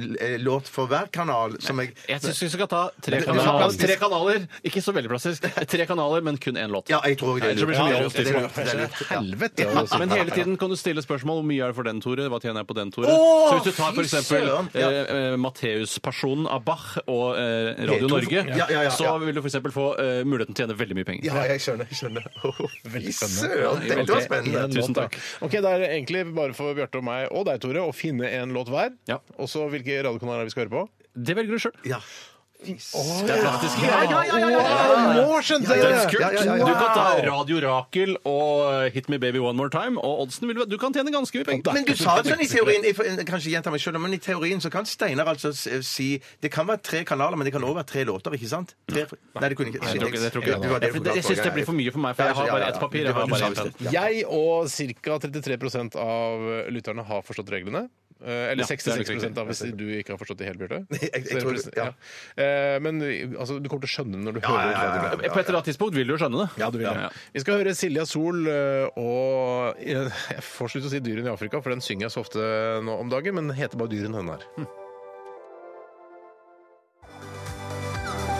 Speaker 4: låt for hver kanal? Som jeg,
Speaker 5: jeg syns vi skal ta tre
Speaker 4: Men-
Speaker 5: kanaler.
Speaker 4: men-
Speaker 5: tre kanaler. Ikke så veldig plastisk. Tre kanaler, men kun én låt.
Speaker 4: ja, jeg tror det.
Speaker 5: Ellers så blir det så mye å
Speaker 4: det er lurt.
Speaker 5: styre på.
Speaker 4: Det er lurt.
Speaker 3: Helvete!
Speaker 5: Ja,
Speaker 3: altså.
Speaker 5: Men hele tiden kan du stille spørsmål hvor mye er det for den, Tore? Hva tjener jeg på den, Tore?
Speaker 4: Åh,
Speaker 5: så hvis du tar for
Speaker 4: fy
Speaker 5: eksempel
Speaker 4: søren!
Speaker 5: eh,
Speaker 4: Ja.
Speaker 5: eh, Matteus-personen av Bach og eh, Radio
Speaker 4: Beethoven.
Speaker 5: Norge,
Speaker 4: Ja, ja, ja,
Speaker 5: så
Speaker 4: ja.
Speaker 5: vil du for eksempel få eh, muligheten til å tjene veldig mye penger.
Speaker 4: Ja, jeg skjønner. jeg skjønner. Åh, Fy
Speaker 3: Veldig spennende.
Speaker 4: søren, dette var
Speaker 5: Ja,
Speaker 4: spennende.
Speaker 5: Tusen takk.
Speaker 3: Ok, Det er egentlig bare for Bjarte og meg og deg, Tore, å finne en låt hver.
Speaker 5: Ja.
Speaker 3: Og så hvilke radiokanaler vi skal høre på.
Speaker 5: Det velger du sjøl.
Speaker 4: Ja.
Speaker 5: Det er praktisk.
Speaker 3: Nå skjønte jeg
Speaker 5: Det er
Speaker 3: det!
Speaker 5: kult.
Speaker 4: Ja, ja, ja, ja.
Speaker 5: Du kan ta Radio Rakel og eh, Hit Me Baby One More Time, og oddsen vil du Du kan tjene ganske mye penger.
Speaker 4: Men du sa det sånn i teorien jeg får- jeg Kanskje gjenta meg selv, men i teorien så kan Steinar altså s- si Det kan være tre kanaler, men det kan også være tre låter, ikke sant? Tre, nei, det kunne ikke
Speaker 5: Nei, jeg tror ikke- jeg tror ikke
Speaker 4: Det var det
Speaker 5: det.
Speaker 4: du
Speaker 5: Jeg- jeg synes det blir for mye for meg, for jeg har bare ett papir,
Speaker 4: Det
Speaker 5: jeg
Speaker 4: var
Speaker 5: har
Speaker 4: det
Speaker 5: bare
Speaker 4: du sa
Speaker 5: en
Speaker 4: i
Speaker 5: penn.
Speaker 4: sted. Ja.
Speaker 3: Jeg og ca. 33 av lytterne har forstått reglene. Eh, Eller
Speaker 5: Ja, det er
Speaker 3: 66
Speaker 5: nok riktig.
Speaker 3: av hvis du ikke har forstått det helt, Bjarte.
Speaker 4: <laughs> jeg-
Speaker 3: Så
Speaker 4: jeg
Speaker 3: det er
Speaker 4: tror-
Speaker 3: presen-
Speaker 4: ja.
Speaker 3: Eh, Men altså, du kommer til å skjønne det når du hører
Speaker 4: ja, ja, ja.
Speaker 3: radioen.
Speaker 5: På et eller annet tidspunkt vil du jo skjønne det.
Speaker 3: Ja, du vil det.
Speaker 5: Ja.
Speaker 3: Vi skal høre Silja Sol eh, og eh, Jeg får slutt å si 'Dyrene i Afrika', for den synger jeg så ofte nå om dagen, men den heter bare 'Dyren høna' her.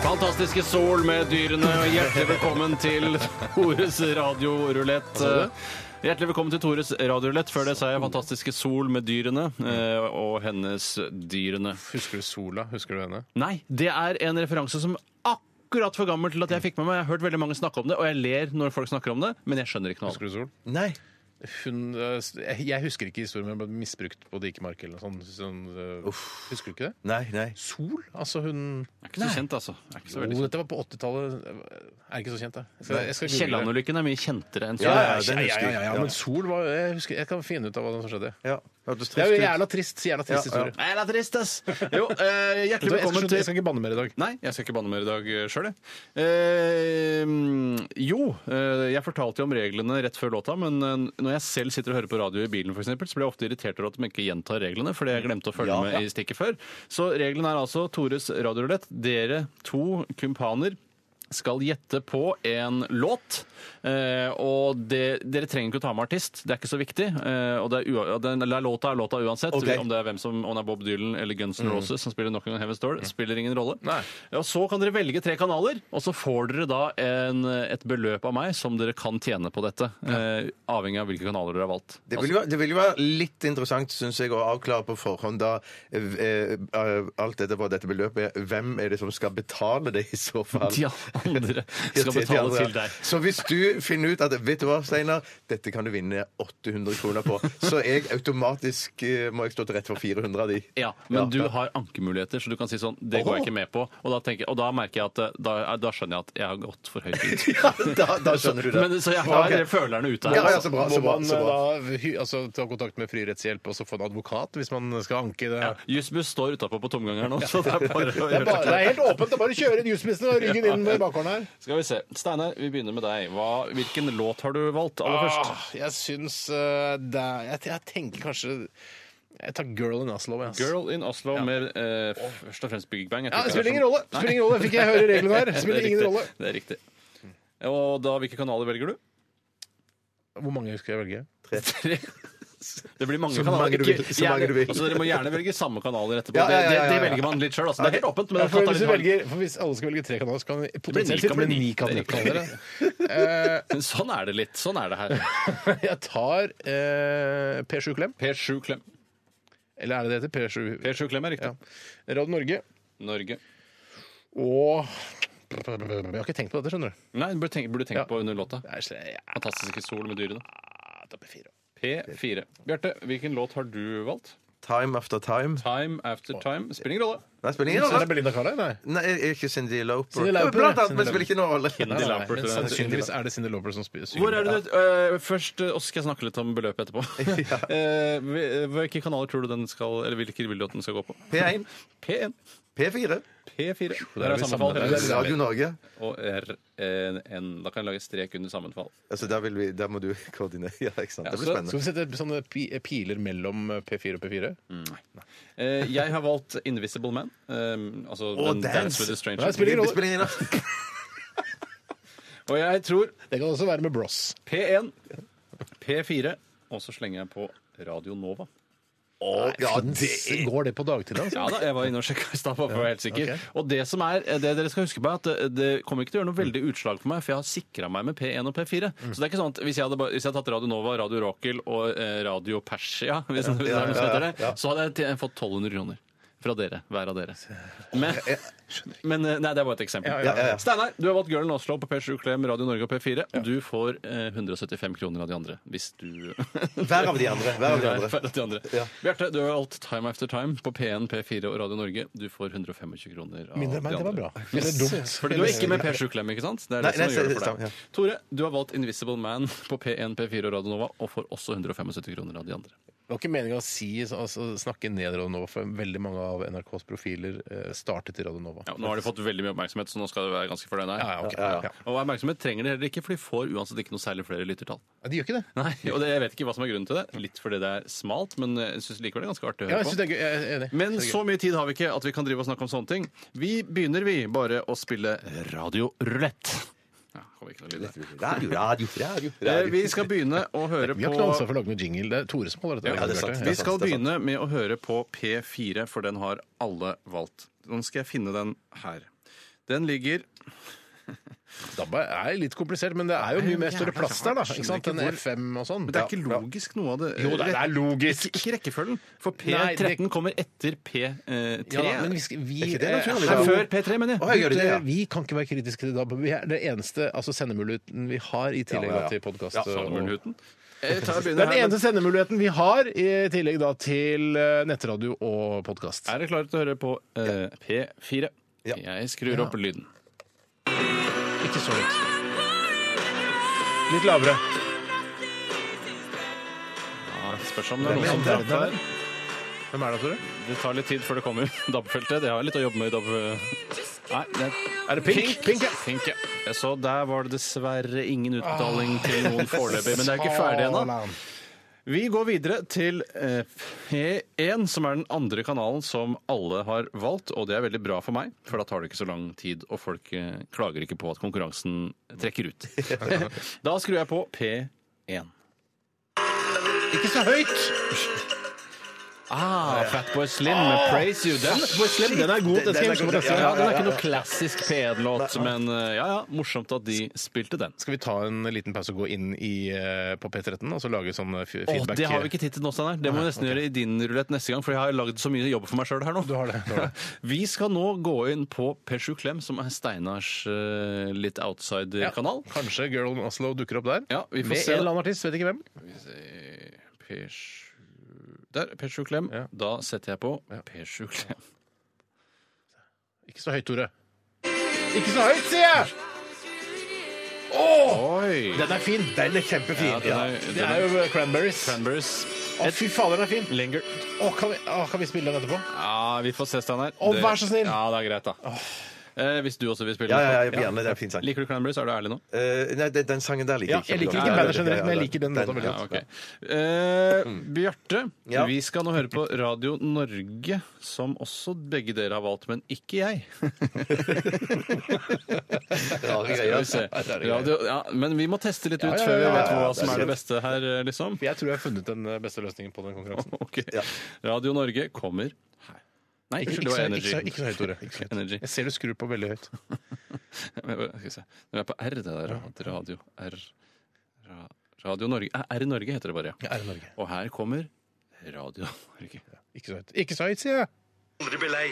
Speaker 5: Fantastiske sol med dyrene, og hjertelig velkommen til Tores radiorulett. Eh, Hjertelig velkommen til Tores radiorulett. Før det sa jeg Fantastiske sol med dyrene eh, og hennes dyrene.
Speaker 3: Husker du Sola? Husker du henne?
Speaker 5: Nei, det er en referanse som akkurat for gammel til at jeg fikk med meg. Jeg har hørt veldig mange snakke om det, og jeg ler når folk snakker om det, men jeg skjønner ikke noe av det.
Speaker 3: Husker du Sol?
Speaker 4: Nei.
Speaker 3: Hun, eh, jeg husker ikke historien, men hun ble misbrukt på Dikemark eller noe sånt. Sånn, eh, husker du ikke det?
Speaker 4: Nei, nei.
Speaker 3: Sol? Altså hun
Speaker 5: Det er ikke så kjent, altså. Det er ikke så
Speaker 3: Jo,
Speaker 5: veldig kjent.
Speaker 3: dette var på 80-tallet. Er ikke så kjent, det. Så jeg skal google det.
Speaker 5: Kielland-ulykken er mye kjentere enn
Speaker 3: Ja,
Speaker 5: Sol.
Speaker 3: ja,
Speaker 4: Ja,
Speaker 3: ja,
Speaker 4: den husker
Speaker 3: ja,
Speaker 4: jeg.
Speaker 3: ja, ja, men Sol var jeg, husker, jeg kan finne ut av hva som skjedde.
Speaker 4: Ja. Hørtes
Speaker 3: Det er jo
Speaker 4: trist ut.
Speaker 3: jævla trist, jævla trist
Speaker 4: Ja, ja.
Speaker 3: historie.
Speaker 5: Nei, det er trist, ass! Jo,
Speaker 3: Vet
Speaker 5: eh,
Speaker 3: du
Speaker 5: hjertelig
Speaker 3: hva, Jeg skal,
Speaker 5: velkommen
Speaker 3: skjønne-
Speaker 5: til
Speaker 3: jeg skal ikke banne mer i dag.
Speaker 5: Nei, jeg skal ikke banne mer i dag sjøl, jeg. Eh, jo, eh, jeg fortalte jo om reglene rett før låta, men eh, når jeg selv sitter og hører på radio i bilen, for eksempel, så blir jeg ofte irritert over at de ikke gjentar reglene, fordi jeg glemte å følge med i stikket før. Så reglene er altså Tores radiorulett. Dere to kumpaner skal gjette på en låt. Eh, og det, dere trenger ikke å ta med artist, det er ikke så viktig. Eh, og det er, ua, ja, den, eller låta er låta uansett.
Speaker 4: Ok. Mm.
Speaker 5: Om det er hvem som, om det er Bob Dylan eller Guns N' Roses som spiller nok en gang Heaven's Door, spiller ingen rolle.
Speaker 3: Nei.
Speaker 5: Ja, og så kan dere velge tre kanaler, og så får dere da en, et beløp av meg som dere kan tjene på dette. Eh, avhengig av hvilke kanaler dere har valgt. Altså,
Speaker 4: Det vil, jo, være- det vil jo være litt interessant, syns jeg, å avklare på forhånd da eh, eh, alt dette på dette beløpet. Hvem er det som skal betale det, i så fall?
Speaker 5: De andre skal
Speaker 4: til de
Speaker 5: betale
Speaker 4: andre, ja.
Speaker 5: til deg.
Speaker 4: Så hvis du finner ut at Vet du hva, Steinar, dette kan du vinne 800 kroner på, så er jeg automatisk eh, må jeg stå til rett for 400 av de.
Speaker 5: Ja, men
Speaker 4: Ja,
Speaker 5: du
Speaker 4: ja.
Speaker 5: har ankemuligheter, så du kan si sånn Det går jeg ikke med på. Og da, tenker, og da merker jeg at eh, da, da skjønner jeg at jeg har gått for høyt ut.
Speaker 4: <laughs> Ja, da, da skjønner du det.
Speaker 5: Men, så jeg har
Speaker 4: Ok.
Speaker 5: følerne ute
Speaker 4: Ja,
Speaker 5: her.
Speaker 4: ja, så bra, så
Speaker 3: Må
Speaker 4: bra,
Speaker 3: man
Speaker 4: så bra.
Speaker 3: da hy- altså, ta kontakt med fri rettshjelp og så få en advokat hvis man skal anke det?
Speaker 5: Ja, Jussbuss står utapå på tomgang her nå, så det er bare å
Speaker 3: Det er, bare, det
Speaker 5: gjøre
Speaker 3: er helt åpent. Det er bare å kjøre inn jusmissen og ryggen inn i bakhånden her.
Speaker 5: Skal vi se. Steinar, vi begynner med deg. Hva, hvilken låt har du valgt aller først?
Speaker 3: Ah, jeg syns eh, det er, jeg, jeg tenker kanskje Jeg tar Girl in Oslo. Jeg, ass.
Speaker 5: Girl in Oslo med eh, først og fremst Big Bang. Jeg
Speaker 3: Ja, det
Speaker 5: tror ikke
Speaker 3: spiller
Speaker 5: det
Speaker 3: ingen
Speaker 5: er
Speaker 3: rolle! Spiller ingen rolle. Fikk jeg høre reglene her?
Speaker 5: sånn-
Speaker 3: Spiller
Speaker 5: <laughs> Det er
Speaker 3: ingen
Speaker 5: riktig.
Speaker 3: rolle.
Speaker 5: Det er riktig. Og da, hvilke kanaler velger du?
Speaker 3: Hvor mange skal jeg velge?
Speaker 5: Tre. <laughs> Det blir mange
Speaker 4: Så
Speaker 5: kanaler.
Speaker 4: mange du
Speaker 5: Ikke-
Speaker 4: vil, så mange du vil.
Speaker 5: Gjerne, altså, dere må gjerne velge samme kanaler etterpå.
Speaker 4: Ja, ja, ja, ja,
Speaker 5: Det, det, det
Speaker 4: ja.
Speaker 5: velger man litt sjøl. Altså. Det er helt åpent. Men
Speaker 3: Ja,
Speaker 5: det er sånn.
Speaker 3: for,
Speaker 5: flott at
Speaker 3: hvis
Speaker 5: vi
Speaker 3: du
Speaker 5: tar-
Speaker 3: velger, for hvis alle skal velge tre kanaler, så kan vi potensielt
Speaker 5: ni
Speaker 3: sett bli
Speaker 5: kanaler.
Speaker 3: ni
Speaker 5: Det er riktig.
Speaker 3: kanaler.
Speaker 5: Men Sånn er det litt. Sånn er det her.
Speaker 3: Eh, <laughs> Jeg tar eh, P7 Klem.
Speaker 5: P7 Klem.
Speaker 3: Eller er det det heter? P7
Speaker 5: P7 Klem er riktig.
Speaker 3: Ja. Radio Norge
Speaker 5: Norge.
Speaker 3: og Jeg har ikke tenkt på dette, skjønner du.
Speaker 5: Nei, burde tenke, burde tenke
Speaker 3: Ja.
Speaker 5: på under låta.
Speaker 3: Det er sl- ja,
Speaker 5: Fantastiske sol med dyrene.
Speaker 3: tar P4.
Speaker 5: P4. Bjarte, hvilken låt har du valgt?
Speaker 4: Time after time.
Speaker 5: Time After Time. Spiller ingen rolle.
Speaker 4: Nei, spiller ingen
Speaker 3: Er det
Speaker 4: rolle.
Speaker 3: Belinda Carlisle? Nei.
Speaker 4: Nei, er ikke Cindy Lauper.
Speaker 3: Cyndi Lauper,
Speaker 4: Blant
Speaker 3: Cyndi
Speaker 4: annet, men spiller
Speaker 3: Lauper.
Speaker 4: ikke noen rolle.
Speaker 5: Cyndi
Speaker 3: Nei,
Speaker 5: Lauper,
Speaker 3: men
Speaker 5: tror jeg.
Speaker 3: Sannsynligvis er det Cindy Lauper som spiller.
Speaker 5: eh, Hvor er det du, øh, først, øh, og så skal jeg snakke litt om beløpet
Speaker 3: <laughs>
Speaker 5: etterpå. <laughs> Eh, hvil- hvilke kanaler tror du den skal, eller hvilke vil du at den skal gå på?
Speaker 4: P1,
Speaker 5: P1,
Speaker 3: er
Speaker 4: P4,
Speaker 5: P4. Der er
Speaker 3: vi
Speaker 5: sammenfall.
Speaker 3: sammen.
Speaker 5: Eller-
Speaker 4: Radio Norge.
Speaker 5: Og RN. Da kan jeg lage strek under sammenfall.
Speaker 4: Altså, der, vil vi, der må du <laughs> koordinere. Ja, ikke sant? Det blir
Speaker 5: så-
Speaker 3: Skal
Speaker 4: spennende.
Speaker 3: vi sette sånne pi- eh, piler mellom P4 og P4?
Speaker 5: Eh, jeg har valgt Invisible Man. Um, altså den
Speaker 4: dance.
Speaker 5: Dance with a Stranger.
Speaker 3: Nei, spiller ingen
Speaker 4: Det
Speaker 3: rolle.
Speaker 4: spiller ingen rolle.
Speaker 5: Og jeg tror
Speaker 3: Det kan også være med Bros.
Speaker 5: P1, P4, og så slenger jeg på Radio Nova.
Speaker 4: Å, Ja, det er
Speaker 3: Går det på dagtid, altså?
Speaker 5: Ja da, jeg var inne og sjekka i stad. bare for å være helt sikker.
Speaker 3: ok.
Speaker 5: Og det som er, det dere skal huske på, er at det, det kommer ikke til å gjøre noe veldig utslag for meg, for jeg har sikra meg med P1 og P4.
Speaker 3: Mm.
Speaker 5: Så det er ikke sånn at hvis jeg hadde, bare- hvis jeg hadde tatt Radio Nova, Radio Rakel og eh, Radio Persia, <laughs> hvis, hvis det er noe som heter det, så hadde jeg t- fått 1200 kroner. Fra dere. Hver av dere. Men, men eh, Nei, det er bare et eksempel.
Speaker 3: Ja, ja,
Speaker 4: ja.
Speaker 5: Steinar, du har valgt Girlen Oslo på P7 Klem, Radio Norge og P4. Du får eh, 175 kroner av de andre, hvis du
Speaker 4: <laughs> hver av de andre. Hver av de
Speaker 5: Nei,
Speaker 4: andre.
Speaker 5: feil at de andre.
Speaker 4: Ja.
Speaker 5: Bjarte, du har valgt Time After Time på P1, P4 og Radio Norge. Du får 125 kroner. av
Speaker 3: Mindre, men
Speaker 5: de
Speaker 3: det var
Speaker 5: andre.
Speaker 3: bra. Eller dumt.
Speaker 5: Fordi du er ikke med Per Sjuklem, ikke sant? Det er
Speaker 4: Nei,
Speaker 5: det som
Speaker 4: nei,
Speaker 5: gjør det
Speaker 4: det
Speaker 5: for deg.
Speaker 4: stemmer, ja.
Speaker 5: Tore, du har valgt Invisible Man <laughs> på P1, P4 og Radio Nova, og får også 175 kroner av de andre.
Speaker 3: Det var ikke meningen å si, altså, snakke ned Radio Nova, for veldig mange av NRKs profiler eh, startet i Radio Nova.
Speaker 5: Ja, nå har de fått veldig mye oppmerksomhet, så nå skal du være ganske fornøyd. her.
Speaker 3: Ja, ja, ok. Ja.
Speaker 5: Og oppmerksomhet trenger de heller ikke, for de får uansett ikke noe særlig flere lyttertall.
Speaker 3: Ja, De gjør ikke det.
Speaker 5: Nei, og det, Jeg vet ikke hva som er grunnen til det. Litt fordi det er smalt, men jeg syns likevel det er ganske artig
Speaker 3: Ja,
Speaker 5: å høre
Speaker 3: jeg
Speaker 5: på.
Speaker 3: synes det er gøy. Jeg er enig.
Speaker 5: Men
Speaker 3: Det er gøy.
Speaker 5: så mye tid har vi ikke at vi kan drive og snakke om sånne ting. Vi begynner, vi, bare å spille radiorulett. Ja, håper ikke noe lyd der.
Speaker 4: Radio, radio, radio.
Speaker 5: Eh,
Speaker 4: radio.
Speaker 5: Vi skal begynne å høre
Speaker 3: Vi har
Speaker 5: på
Speaker 3: ikke noe ansvar for å lage noe jingle. Det er Tore som holder dette.
Speaker 4: Ja, det er sant.
Speaker 3: Bjarte.
Speaker 5: Vi
Speaker 4: sant,
Speaker 5: skal
Speaker 4: det er sant.
Speaker 5: begynne med å høre på P4, for den har alle valgt. Nå skal jeg finne den her. Den ligger
Speaker 3: DAB er litt komplisert, men det er jo mye mer større plass der, da. Ikke sant? Den
Speaker 5: Skjønner ikke
Speaker 3: FM og sånn.
Speaker 5: Men det er ikke logisk, noe av det.
Speaker 3: Jo, det er- det er logisk.
Speaker 5: Ikke, ikke rekkefølgen. For
Speaker 3: Nei,
Speaker 5: P13
Speaker 3: det-
Speaker 5: kommer etter P3.
Speaker 3: Ja, da, men vi, skal- vi
Speaker 4: ikke det naturlig,
Speaker 3: eh,
Speaker 4: da?
Speaker 3: hallo.
Speaker 5: Før P3, mener jeg.
Speaker 4: Å, jeg gjør det, ja.
Speaker 3: Gutter, Vi kan ikke være kritiske til DAB. Vi er det eneste altså, sendemuligheten vi har i tillegg
Speaker 4: Ja, ja, ja.
Speaker 3: da til podkast.
Speaker 5: Ja, Salmulhuten. Jeg tar og
Speaker 3: Det
Speaker 5: begynner
Speaker 3: er
Speaker 5: her,
Speaker 3: den
Speaker 5: men-
Speaker 3: eneste sendemuligheten vi har, i tillegg da til eh, nettradio og podkast.
Speaker 5: Er dere klare til å høre på eh, P4? Jeg skrur opp lyden.
Speaker 3: Ikke så høyt. Litt lavere.
Speaker 5: Ja, spørs om det er
Speaker 3: Hvem
Speaker 5: noe
Speaker 3: i
Speaker 5: som
Speaker 3: all verden
Speaker 5: treffer.
Speaker 3: er det? Hvem er det, Tore?
Speaker 5: Det tar litt tid før det kommer <laughs> DAB-feltet. Det har litt å jobbe med i DAB... Nei, det er
Speaker 3: Er det Pink?
Speaker 5: Pink, ja. Pink, ja. Jeg Så der var det dessverre ingen utbetaling til noen foreløpig, men det <laughs> er ikke ferdig ennå.
Speaker 3: Salan.
Speaker 5: Vi går videre til eh, P1, som er den andre kanalen som alle har valgt, og det er veldig bra for meg, for da tar det ikke så lang tid, og folk eh, klager ikke på at konkurransen trekker ut. da skrur jeg på P1.
Speaker 3: Ikke så høyt!
Speaker 5: Ah, Fatboy Slim med 'Praise You'. Den,
Speaker 3: Slim, den er god. Den skal jeg huske på neste
Speaker 5: ja, den er
Speaker 3: gang.
Speaker 5: ikke noe klassisk P1-låt, men eh, ja, ja, morsomt at de spilte den.
Speaker 3: Skal vi ta en liten pause og gå inn i, eh, på P13 og så lage sånn eh, f-
Speaker 5: Å,
Speaker 3: feedback?
Speaker 5: det har vi ikke tid til nå, Steinar. Det må vi nesten gjøre i din rulett neste gang, for jeg har lagd så mye jobb for meg sjøl her nå.
Speaker 3: Du har det, du har det.
Speaker 5: <laughs> Vi skal nå gå inn på P7 Klem, som er Steinars eh, litt
Speaker 3: Ja,
Speaker 5: outside-kanal.
Speaker 3: Kanskje Girl on Oslo dukker opp der.
Speaker 5: Ja, vi får
Speaker 3: Med
Speaker 5: se
Speaker 3: en
Speaker 5: da.
Speaker 3: eller annen artist, vet ikke hvem.
Speaker 5: P7 Der, P7 Klem.
Speaker 3: Ja.
Speaker 5: Da setter jeg på P7 Klem.
Speaker 3: Ikke så høyt, Tore. Ikke så høyt, sier jeg!
Speaker 5: Oi! <laughs>
Speaker 3: Den er fin. Den er kjempefin.
Speaker 5: Ja, den er-
Speaker 3: Det
Speaker 5: den
Speaker 3: er jo Cranberries.
Speaker 5: Cranberries.
Speaker 3: Å, fy fader, den er fin.
Speaker 5: Lenger.
Speaker 3: Å, kan, vi, å, kan vi spille den etterpå?
Speaker 5: Ja, vi får se, Steinar.
Speaker 3: Å,
Speaker 5: Det-
Speaker 3: vær så snill!
Speaker 5: Ja, det er greit, da. Eh, hvis du også vil spille.
Speaker 4: Ja, ja, ja, gjerne. Det er en fin sang.
Speaker 5: Liker du Cranberries? Er du ærlig nå?
Speaker 4: Eh, nei, det- den sangen der liker
Speaker 3: Ja, jeg liker ikke bandet generelt, men jeg liker den låta veldig
Speaker 5: Ja,
Speaker 3: godt. Mm.
Speaker 5: ok. Eh, Bjarte,
Speaker 4: Ja.
Speaker 5: vi skal nå høre på Radio Norge, som også begge dere har valgt, men ikke jeg.
Speaker 4: Rare
Speaker 5: Skal
Speaker 3: <laughs>
Speaker 5: vi
Speaker 4: greier.
Speaker 5: se. Radio, ja, men vi må teste litt ut
Speaker 3: ja,
Speaker 5: før vi
Speaker 3: ja,
Speaker 5: vet
Speaker 3: ja, ja,
Speaker 5: hva
Speaker 3: det
Speaker 5: som
Speaker 3: er
Speaker 5: er det beste her, eh, liksom.
Speaker 3: Jeg tror jeg har funnet den eh, beste løsningen på den konkurransen.
Speaker 5: Ok. Radio Norge kommer her. Nei,
Speaker 3: Ikke,
Speaker 5: unnskyld, det
Speaker 3: ikke,
Speaker 5: var
Speaker 3: så, ikke, så,
Speaker 5: Energy.
Speaker 3: ikke så høyt, Tore. Ikke så høyt.
Speaker 5: Energy. <laughs>
Speaker 3: Jeg ser du skrur på veldig høyt.
Speaker 5: Skal vi se. Når vi er på R, det der. Radio R. Ra, radio Norge. Eh, R i Norge heter det bare, <laughs> ja.
Speaker 3: Er det Norge?
Speaker 5: Og her kommer Radio Norge.
Speaker 3: Ikke så høyt. Ikke så høyt, sier jeg!
Speaker 8: Aldri bli lei.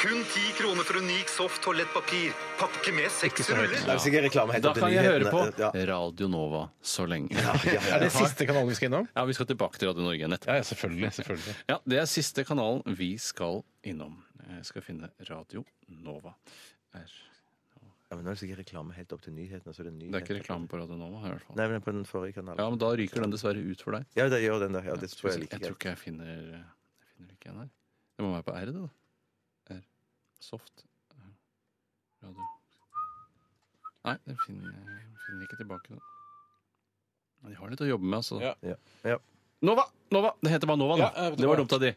Speaker 8: Kun 10 kroner for unik soft toalettpapir. Pakke med seks ruller.
Speaker 4: Det er sikkert reklame helt
Speaker 5: Da
Speaker 4: opp til
Speaker 5: kan jeg høre på
Speaker 4: nyhetene. Ja.
Speaker 5: Radio Nova så lenge.
Speaker 3: Er det siste kanalen vi skal innom?
Speaker 5: Ja, vi skal tilbake til Radio Norge nettopp.
Speaker 3: Ja, ja, selvfølgelig. selvfølgelig.
Speaker 5: Ja, det er siste kanalen vi skal innom. Jeg skal finne Radio Nova. Er,
Speaker 4: Ja, men nå er det sikkert reklame helt opp til nyhetene. Så er det,
Speaker 5: det er ikke
Speaker 4: nyheter.
Speaker 5: reklame på Radio Nova i hvert fall.
Speaker 4: Nei, men på den forrige kanalen.
Speaker 5: Ja, men da ryker den dessverre ut for deg.
Speaker 4: Ja, det gjør den der. Ja, det tror jeg
Speaker 5: jeg
Speaker 4: liker.
Speaker 5: tror ikke jeg finner Jeg finner ikke en her. Det må være på R, det, da. R. Soft. Radio. Nei, den finner jeg finner ikke tilbake. Da. Men De har litt å jobbe med, altså.
Speaker 3: Ja.
Speaker 4: Ja. Ja.
Speaker 5: Nova! Nova! Det heter bare Nova, da.
Speaker 3: Ja, jeg vet
Speaker 5: det var
Speaker 3: hva.
Speaker 5: dumt av de.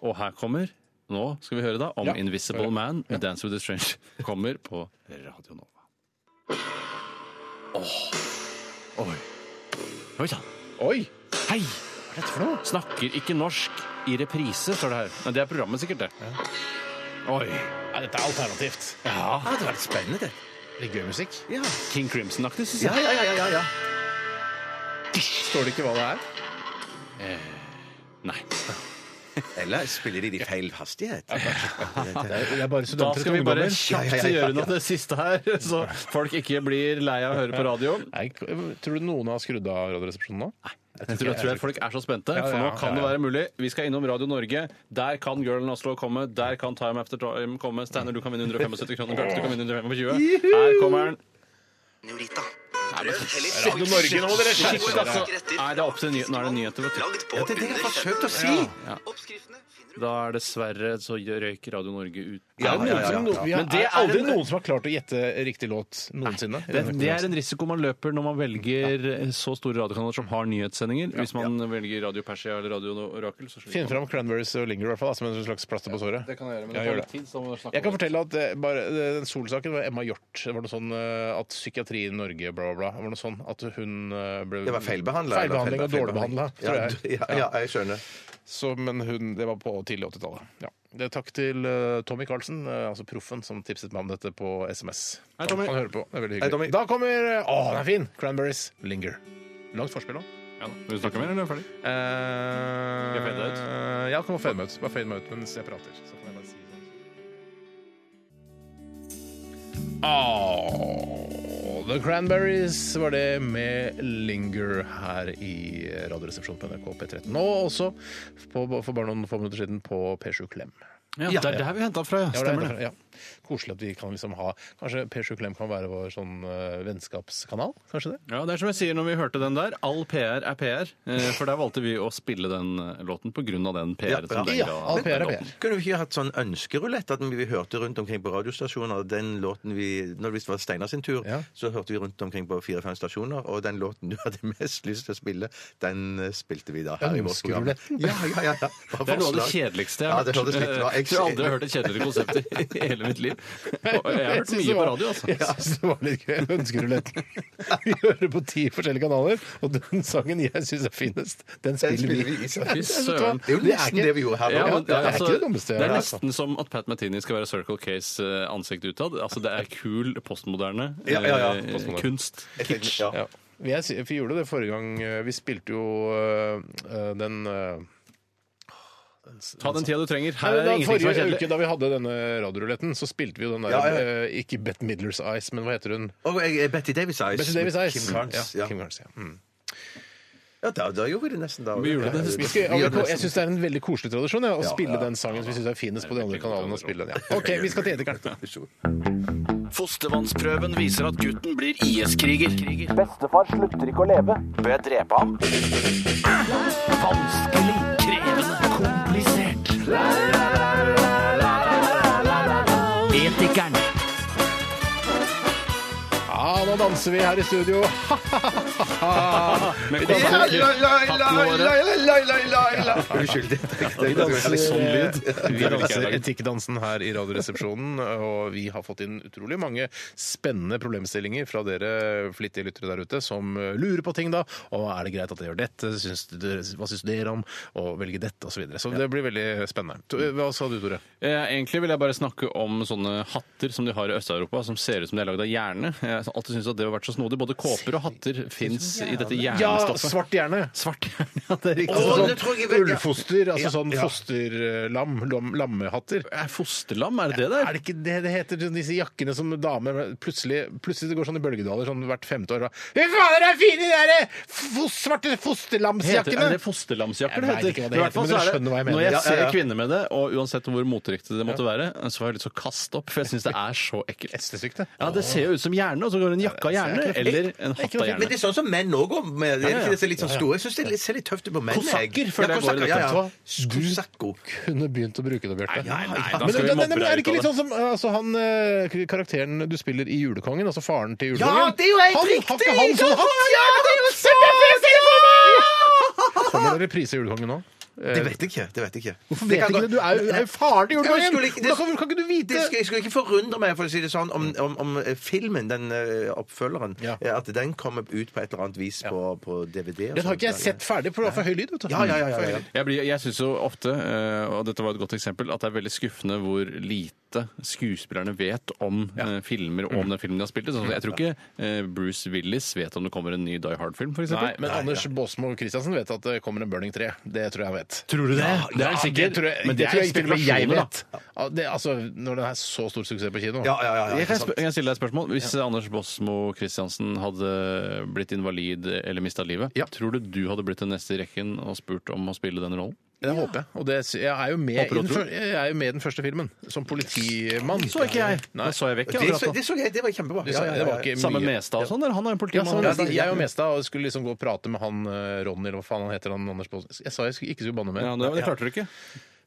Speaker 5: Og her kommer Nå skal vi høre da om
Speaker 3: Ja.
Speaker 5: Invisible Man, Dance with the Strange, <laughs> kommer på Radio Nova. Åh. Oi. Oi sann.
Speaker 3: Oi!
Speaker 5: Hei! Hva er dette for noe? Snakker ikke norsk i reprise, står det her. Men det er programmet sikkert, det. Oi.
Speaker 3: Ja, dette er alternativt. Ah,
Speaker 5: Ja.
Speaker 4: Det var litt spennende, det.
Speaker 3: Det er gøy musikk.
Speaker 4: Ja,
Speaker 5: King Crimson-aktig, syns
Speaker 4: ja,
Speaker 5: jeg.
Speaker 4: ja. ja, ja, ja.
Speaker 3: Står det ikke hva det er?
Speaker 5: Eh, Nei.
Speaker 4: Eller spiller de det i feil hastighet? Ja,
Speaker 3: Det er bare
Speaker 5: Da
Speaker 3: studenter
Speaker 5: skal vi bare
Speaker 4: Ja, ja,
Speaker 5: kjapt
Speaker 4: ja, ja.
Speaker 5: gjøre unna det siste her, <laughs> så folk ikke blir lei av å høre på radio.
Speaker 3: Nei, tror du noen har skrudd av Radioresepsjonen nå? Nei.
Speaker 5: Jeg tror, jeg tror at folk er så spente,
Speaker 3: Ja, ja,
Speaker 5: for nå kan det
Speaker 3: ja, ja.
Speaker 5: være mulig. Vi skal innom Radio Norge. Der kan Girl in Oslo komme. Der kan Time After Time komme. Steiner, du kan vinne 175 kroner. Bjarte, du kan vinne 125. Her kommer den.
Speaker 8: Nolita. Prøv heller
Speaker 3: Radio Norge, nå må dere
Speaker 5: Shit,
Speaker 3: skjerpe
Speaker 5: altså.
Speaker 3: dere.
Speaker 5: Nei, det er opp til nyheter. Nå er det nyheter, vet du.
Speaker 8: Lagd på
Speaker 4: det er det jeg
Speaker 8: under
Speaker 4: forsøkte å si!
Speaker 8: Oppskriftene finner du
Speaker 5: Da er dessverre så røyk Radio Norge ut.
Speaker 4: Ja,
Speaker 3: Er det noen
Speaker 4: ja, ja,
Speaker 3: som-
Speaker 4: ja.
Speaker 3: vi har-
Speaker 5: Men det
Speaker 3: er aldri
Speaker 5: er en-
Speaker 3: noen som har klart å gjette riktig låt noensinne.
Speaker 5: Det, det er en risiko man løper når man velger så store radiokanaler som har nyhetssendinger. Hvis man velger Radio Persia eller Radio Orakel, så
Speaker 3: Finn
Speaker 5: sliter man.
Speaker 3: fram Cranberries og Linger i hvert fall, da, som en slags plaster på såret.
Speaker 5: Det kan jeg gjøre, men
Speaker 3: Ja,
Speaker 5: det
Speaker 3: gjør
Speaker 5: tar
Speaker 3: det.
Speaker 5: litt tid. Så må vi snakke
Speaker 3: Jeg kan
Speaker 5: om det.
Speaker 3: fortelle at eh, bare, eh, den Sol-saken var Emma Hjort. Det var noe sånn eh, at psykiatri i Norge, bla, bla, bla. Det var noe sånn at hun eh, ble
Speaker 4: Det var feilbehandla.
Speaker 3: Feilbehandling og dårligbehandla, tror jeg.
Speaker 4: Ja, ja, ja, jeg skjønner.
Speaker 3: Så, men hun, det var på tidlig 80-tallet. Ja. Det er takk til eh, Tommy Carlsen, eh, altså proffen, som tipset meg om dette på SMS.
Speaker 5: Hei, Tommy.
Speaker 3: Han, han hører på. Det er veldig
Speaker 4: Hei,
Speaker 3: hyggelig.
Speaker 4: Tommy.
Speaker 3: da kommer eh, Å, den er fin! Cranberries Linger. Langt forspill nå.
Speaker 5: Ja, da. Vil du snakke mer, eller er du ferdig?
Speaker 3: Uh,
Speaker 5: jeg fade deg ut?
Speaker 3: ja, kom og fade meg ut. Bare fade meg ut mens jeg prater. Så kan jeg bare si sånn. Åh, Ah, The Cranberries var det med Linger her i Radioresepsjonen på NRK P13. Og også på, for bare noen få minutter siden på P7 Klem.
Speaker 5: Ja, det er der vi henta fra,
Speaker 3: Ja,
Speaker 5: ja.
Speaker 3: det er
Speaker 5: Stemmer det.
Speaker 3: derfor- Ja. Koselig at vi kan liksom ha Kanskje P7 Klem kan være vår sånn eh, vennskapskanal? Kanskje det?
Speaker 5: Ja, det er som jeg sier når vi hørte den der, all PR er PR. eh, For der valgte vi å spille den eh, låten på grunn av den PR-en
Speaker 4: Ja,
Speaker 5: som den
Speaker 3: ja,
Speaker 5: ga.
Speaker 3: all PR er
Speaker 5: låten.
Speaker 3: PR.
Speaker 4: Kunne vi ikke hatt sånn ønskerulett at vi hørte rundt omkring på radiostasjoner den låten vi Når det visst var Steinar sin tur,
Speaker 3: Ja.
Speaker 4: så hørte vi rundt omkring på fire-fem stasjoner, og den låten du hadde mest lyst til å spille, den eh, spilte vi da her i vårt program.
Speaker 3: Ønskeruletten?
Speaker 4: Ja, ja, ja, ja. Bare
Speaker 5: <laughs> Det er noe av det
Speaker 4: forslag.
Speaker 5: kjedeligste jeg
Speaker 4: Ja,
Speaker 5: har
Speaker 4: det hørtes litt bra.
Speaker 5: Jeg tror aldri jeg har hørt et kjedeligere konsept i <laughs> hele mitt liv. Og jeg har hørt
Speaker 3: synes
Speaker 5: mye
Speaker 3: det
Speaker 5: på
Speaker 3: var-
Speaker 5: radio, altså.
Speaker 3: Jeg syns det var litt gøy. Ønskeruletten. Vi hører på ti forskjellige kanaler, og den sangen jeg syns er finest, den
Speaker 4: Den
Speaker 3: spiller,
Speaker 4: spiller
Speaker 3: vi. <laughs>
Speaker 4: vi i
Speaker 5: Fy søren.
Speaker 4: Det er jo nesten det vi gjorde her
Speaker 5: Ja,
Speaker 4: nå.
Speaker 5: men
Speaker 3: det er
Speaker 5: altså,
Speaker 3: ikke det dummeste jeg
Speaker 5: det er
Speaker 3: har hørt,
Speaker 5: nesten som at Pat Metheny skal være Circle Case eh, ansikt utad. Altså, det er kul postmoderne eh,
Speaker 4: Ja, ja, ja.
Speaker 3: Postmoderne.
Speaker 5: kunst.
Speaker 4: Jeg tenkte, ja.
Speaker 3: Ja. Jeg, sy- vi gjorde det forrige gang. eh, Vi spilte jo øh, øh, den øh,
Speaker 5: Ta den tida du trenger.
Speaker 3: Nei,
Speaker 5: Her er
Speaker 3: da,
Speaker 5: ingenting som er
Speaker 3: forrige uke
Speaker 5: kjedelig.
Speaker 3: da vi hadde denne radioruletten, så spilte vi jo den der
Speaker 4: Ja, ja.
Speaker 3: eh, Ikke Bette Midlers Eyes, men hva heter hun?
Speaker 4: Og jeg, jeg, Betty Davis Eyes.
Speaker 3: Bette Davis Eyes.
Speaker 4: Kim Carnes.
Speaker 3: Ja,
Speaker 4: Ja,
Speaker 3: Kim Carnes, ja. Mm.
Speaker 4: ja da, da gjorde vi det nesten da.
Speaker 5: Vi gjorde det.
Speaker 3: Vi skal,
Speaker 4: Vi gjør det
Speaker 3: jeg syns det er en veldig koselig tradisjon ja, å
Speaker 4: Ja,
Speaker 3: spille
Speaker 4: ja.
Speaker 3: den sangen som vi syns er finest på de andre kanalene. å spille den, ja. OK, vi skal til etikeren.
Speaker 2: Fostervannsprøven viser at gutten blir IS-kriger. Bestefar slutter ikke å leve. Bør jeg drepe ham? Vanskelig, krevende, komplisert. Etikeren.
Speaker 3: Ja, nå danser vi her i
Speaker 4: <laughs>
Speaker 3: studio.
Speaker 5: Men konserter-
Speaker 4: Unnskyld. det-
Speaker 5: Vi danser litt sånn lyd.
Speaker 3: Vi danser Etikkdansen her i Radioresepsjonen, og vi har fått inn utrolig mange spennende problemstillinger fra dere flittige lyttere der ute som lurer på ting, da. Og er det greit at jeg gjør dette? Syns dere, hva syns dere om å velge dette? Og så, videre. så det blir veldig spennende. To- Hva sa du, Tore?
Speaker 5: Eh, Egentlig vil jeg bare snakke om sånne hatter som de har i Øst-Europa, som ser ut som de er lagd av hjerne. Jeg har alltid syntes at det var vært så snodig. Både kåper og hatter fins i dette
Speaker 3: Ja,
Speaker 5: hjernestoffet.
Speaker 3: svart hjerne!
Speaker 5: svart hjerne, ja, det er riktig.
Speaker 4: Å,
Speaker 3: Sånn
Speaker 4: det tror jeg vel, ja.
Speaker 3: Ullfoster, altså sånn
Speaker 4: ja.
Speaker 3: fosterlam, lam, lammehatter.
Speaker 5: Er fosterlam, er det det
Speaker 3: Er
Speaker 5: der?
Speaker 3: det ikke det det heter, sånn disse jakkene som damer Plutselig, plutselig det går sånn i bølgedaler sånn hvert femte år. da, Fy fader, det er fine de der fos, svarte
Speaker 5: Heter, er
Speaker 3: fosterlamsjakkene!
Speaker 5: det fosterlamsjakker
Speaker 3: Jeg vet
Speaker 5: det
Speaker 3: ikke hva
Speaker 5: heter?
Speaker 3: det
Speaker 5: I hvert fall
Speaker 3: heter, men
Speaker 5: så er
Speaker 3: dere skjønner hva jeg mener.
Speaker 5: Når jeg
Speaker 3: Ja,
Speaker 5: ser
Speaker 3: ja, ja.
Speaker 5: kvinner med det, og uansett hvor moteriktig det måtte være, så har jeg lyst til å kaste opp, for jeg syns det er så ekkelt.
Speaker 3: Hestesykt, det.
Speaker 5: Ja, det ser jo ut som hjerne, og så går det en jakke av hjerne,
Speaker 3: det er ikke noe
Speaker 5: eller
Speaker 3: fint.
Speaker 5: en hatt av
Speaker 4: Men det
Speaker 5: hjerne.
Speaker 4: er sånn som menn òg går med. Er det ikke det som er litt sånn store? Jeg syns det er litt- ser litt tøft ut på menn. jeg.
Speaker 5: Kosakker, føler jeg går i det.
Speaker 4: Ja, ja.
Speaker 3: Vet
Speaker 4: Kosakko.
Speaker 3: Kunne begynt å bruke det, Bjarte.
Speaker 5: Nei, nei, da
Speaker 3: Men,
Speaker 5: skal vi
Speaker 3: men,
Speaker 5: mobbe
Speaker 3: men er det
Speaker 5: deg
Speaker 3: ikke
Speaker 5: ut
Speaker 3: litt
Speaker 5: av det.
Speaker 3: sånn som altså, han eh, karakteren du spiller i Julekongen, altså faren til Julekongen?
Speaker 4: Ja, det er jo helt
Speaker 3: han,
Speaker 4: riktig!
Speaker 3: Har ikke han sånn hatt?
Speaker 4: Ja, det er jo så
Speaker 3: Kommer det reprise i Julekongen nå?
Speaker 4: Det vet jeg ikke. det vet jeg ikke.
Speaker 3: Hvorfor vet ikke det? Du er jo, er jo faren til
Speaker 4: Jeg
Speaker 3: Julekongen!
Speaker 4: skulle ikke- det-
Speaker 3: Hvordan kan, kan ikke du
Speaker 4: Det
Speaker 3: vite
Speaker 4: skulle, jeg skulle ikke forundre meg for å si det sånn, om, om, om eh, filmen, den eh, oppfølgeren,
Speaker 3: Ja.
Speaker 4: eh, at den kommer ut på et eller annet vis på, på DVD.
Speaker 3: Den
Speaker 4: og
Speaker 3: har
Speaker 4: sånt.
Speaker 3: ikke jeg sett ferdig, for det var for høy lyd. vet du.
Speaker 4: Ja, ja, ja, ja, ja.
Speaker 5: Jeg, blir- jeg syns jo ofte, eh, og dette var et godt eksempel, at det er veldig skuffende hvor lite skuespillerne vet om eh, filmer og
Speaker 3: Mhm.
Speaker 5: om den filmen de har spilt i. Sånn, som jeg tror ikke eh, Bruce Willis vet om det kommer en ny Die Hard-film, f.eks.
Speaker 3: Nei, men Anders Båsmo Christiansen vet at det kommer en Burning 3. Det tror jeg han vet.
Speaker 5: Tror du det? det er
Speaker 3: Ja,
Speaker 5: en sikker,
Speaker 3: det tror jeg,
Speaker 5: men det, tror jeg
Speaker 3: til og med jeg
Speaker 5: spekulasjoner, da.
Speaker 3: vet. Ja, det, altså, når den er så stor suksess på kino.
Speaker 4: Ja, ja, ja, ja,
Speaker 5: Jeg kan,
Speaker 4: ikke
Speaker 5: sp-
Speaker 4: sant.
Speaker 5: jeg kan stille deg et spørsmål. Hvis eh, Anders Båsmo Christiansen hadde blitt invalid eller mista livet,
Speaker 3: Ja.
Speaker 5: tror du du hadde blitt den neste i rekken og spurt om å spille den rollen?
Speaker 3: Det håper jeg. Og det, sy- jeg, er jo med
Speaker 5: Håper og
Speaker 3: i den,
Speaker 5: tror.
Speaker 3: fyr- jeg er jo med i den første filmen, som politimann. Nei.
Speaker 5: Da så jeg vekk
Speaker 4: Det, så, det så jeg, det var kjempebra.
Speaker 3: Du sa- det var ikke
Speaker 5: Samme
Speaker 3: mye.
Speaker 5: Mestad og sånn? eller? Han er en
Speaker 3: Ja, sånn,
Speaker 5: politimann.
Speaker 3: jeg, jeg og Mestad skulle liksom gå og prate med han eh, Ronny, eller hva faen han heter. han Anders Båsmo. Jeg sa jeg skulle, ikke skulle banne mer.
Speaker 5: Ja, det, det klarte du ikke.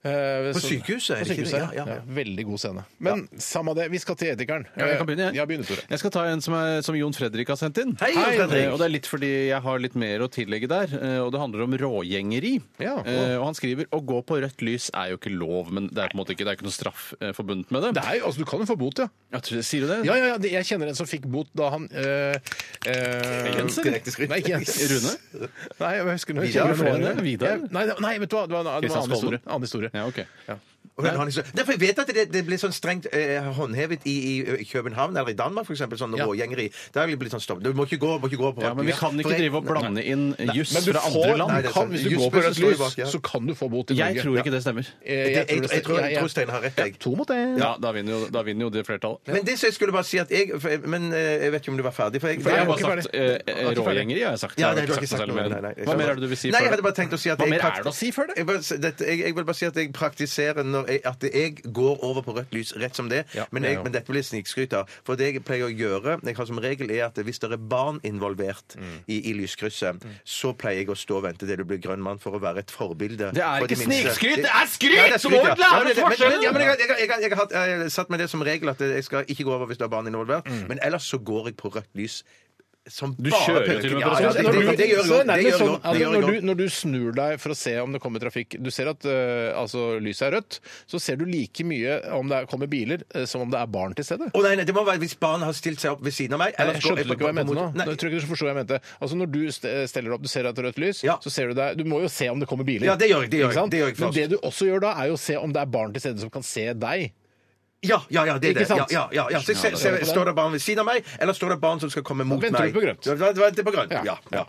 Speaker 3: Eh,
Speaker 4: På
Speaker 3: så-
Speaker 4: sykehuset, er
Speaker 3: På
Speaker 4: det ikke det?
Speaker 3: sykehuset, ja,
Speaker 4: Ja, ja, ja.
Speaker 3: Veldig god scene. Men samme det, vi skal til Etikeren.
Speaker 5: Ja, jeg kan begynne, jeg.
Speaker 3: Ja, begynn, Tore.
Speaker 5: Jeg skal ta en som, er, som Jon Fredrik har sendt inn.
Speaker 4: Hei, Jon Fredrik.
Speaker 5: eh, Og det er litt fordi jeg har litt mer å tillegge der. eh, Og det handler om rågjengeri.
Speaker 3: Ja, å.
Speaker 5: Eh, og han skriver å gå på rødt lys er jo ikke lov, men det er på en måte ikke, det er ikke noe straff eh, forbundet med det.
Speaker 3: Det er jo, altså, du kan jo få bot, ja.
Speaker 5: Jeg tror, sier du det?
Speaker 3: Ja, ja, ja, det- jeg kjenner en som fikk bot da han øh, øh,
Speaker 5: Jens, eller?
Speaker 4: Direkte skritt.
Speaker 3: Nei, ikke Jens.
Speaker 5: Rune?
Speaker 3: Nei, jeg husker noe. Jeg
Speaker 5: Vidar,
Speaker 3: kjenner noen
Speaker 5: Frede,
Speaker 3: andre.
Speaker 5: Vidar?
Speaker 3: Ja, Nei, det- nei, vet du hva, det var en det var en annen
Speaker 5: Kristian Skolmen.
Speaker 3: historie. Annen historie.
Speaker 5: Ja, ok.
Speaker 4: Og den har liksom, derfor jeg vet at det, det ble sånn strengt eh, håndhevet i, i København eller i Danmark, for eksempel, sånn
Speaker 3: Ja.
Speaker 4: rågjengeri. Der har det blitt sånn stopp. Du må ikke gå, må ikke gå på
Speaker 5: Ja, men vi kan
Speaker 4: For
Speaker 5: ikke
Speaker 4: jeg-
Speaker 5: drive og blande inn juss
Speaker 3: Men du
Speaker 5: fra andre
Speaker 3: får,
Speaker 5: land.
Speaker 4: Nei, det er
Speaker 3: kan,
Speaker 4: sant.
Speaker 3: hvis du
Speaker 4: Just
Speaker 3: går på
Speaker 4: bussen
Speaker 3: rødt
Speaker 4: står jo
Speaker 3: lys,
Speaker 4: bak, ja.
Speaker 3: så kan du få bot i Norge.
Speaker 5: Jeg tror ikke det stemmer.
Speaker 3: Eh,
Speaker 4: Det- Jeg, jeg,
Speaker 3: det-
Speaker 4: tror-
Speaker 3: ja,
Speaker 4: jeg tror Stein har rett, jeg.
Speaker 3: To mot én.
Speaker 5: Ja, da vinner jo, da vinner jo det flertallet.
Speaker 4: Men det som jeg skulle bare si at jeg, for, jeg- Men eh, jeg vet ikke om du var ferdig, for jeg, for
Speaker 5: For
Speaker 4: jeg
Speaker 5: jeg har
Speaker 3: ikke
Speaker 5: bare sagt eh, eh,
Speaker 3: ikke ferdig.
Speaker 5: rågjengeri, har jeg sagt.
Speaker 4: Ja,
Speaker 5: Jeg har
Speaker 4: nei, du har
Speaker 5: ikke
Speaker 4: ikke
Speaker 5: sagt
Speaker 4: sagt
Speaker 5: noe
Speaker 4: noe,
Speaker 5: særlig mer.
Speaker 4: nei, nei, jeg
Speaker 5: Hva
Speaker 4: skjønner.
Speaker 5: mer er det du vil si
Speaker 4: Nei,
Speaker 5: før
Speaker 4: jeg hadde bare tenkt å si at
Speaker 5: Hva
Speaker 4: jeg
Speaker 5: mer
Speaker 4: prakt-
Speaker 5: er det å si før det?
Speaker 4: Jeg, bare, dette, jeg, jeg vil bare si at jeg praktiserer når jeg, at jeg går over på rødt lys rett som det,
Speaker 3: Ja,
Speaker 4: men,
Speaker 3: jeg
Speaker 4: jeg,
Speaker 3: også.
Speaker 4: men dette blir snikskryt av. For det jeg pleier å gjøre, jeg har som regel, er at hvis det er barn involvert
Speaker 5: Mm.
Speaker 4: i, i lyskrysset, så pleier jeg å stå og vente til du blir grønn mann for å være et forbilde.
Speaker 5: Det er
Speaker 4: for de
Speaker 5: ikke
Speaker 4: minste.
Speaker 5: snikskryt, det
Speaker 4: Nei,
Speaker 5: er skryt! Så må
Speaker 4: ja.
Speaker 5: du lære
Speaker 4: Ja, men det- men-
Speaker 5: forskjellen!
Speaker 4: men- Ja, men jeg, jeg, jeg, jeg, jeg har hatt, eh, satt meg det som regel at jeg skal ikke gå over hvis det er barn involvert,
Speaker 5: Mm.
Speaker 4: men ellers så går jeg på rødt lys. Som
Speaker 5: Du
Speaker 4: bare
Speaker 5: kjører jo
Speaker 4: pøker.
Speaker 5: til og med
Speaker 4: Ja,
Speaker 5: på
Speaker 4: ja,
Speaker 5: rødt
Speaker 4: det-
Speaker 5: lys.
Speaker 4: det-
Speaker 3: Så det
Speaker 4: Det gjør jeg
Speaker 3: er
Speaker 4: også. Det
Speaker 3: nærmest
Speaker 4: gjør
Speaker 3: sånn,
Speaker 4: jeg også.
Speaker 3: altså,
Speaker 4: Det gjør jeg
Speaker 3: når,
Speaker 4: også.
Speaker 3: du, når du snur deg for å se om det kommer trafikk Du ser at øh, altså, lyset er rødt, så ser du like mye om det er- kommer biler øh, som om det er barn til stede.
Speaker 4: Å nei, nei, det må være hvis barnet har stilt seg opp ved siden av meg.
Speaker 3: Jeg skjønte du ikke hva jeg mente nå.
Speaker 4: Nei,
Speaker 3: Nå tror jeg ikke du forstår hva jeg mente. Altså Når du st- steller opp, du ser at det er rødt lys,
Speaker 4: Ja.
Speaker 3: så ser du deg Du må jo se om det kommer biler.
Speaker 4: Ja, det gjør jeg, det gjør
Speaker 3: Ikke
Speaker 4: jeg,
Speaker 3: sant?
Speaker 4: det gjør jeg
Speaker 3: Men
Speaker 4: først.
Speaker 3: det du også gjør da, er jo å se om det er barn til stede som kan se deg.
Speaker 4: ja, ja, ja, det er
Speaker 3: Ikke
Speaker 4: det. Ja,
Speaker 3: sant?
Speaker 4: ja, ja, ja. Så jeg, ser- ser- står det barn ved siden av meg, eller står det barn som skal komme mot meg?
Speaker 3: venter du på grønt.
Speaker 4: Ja, da- da venter jeg på grønt. Ja. ja.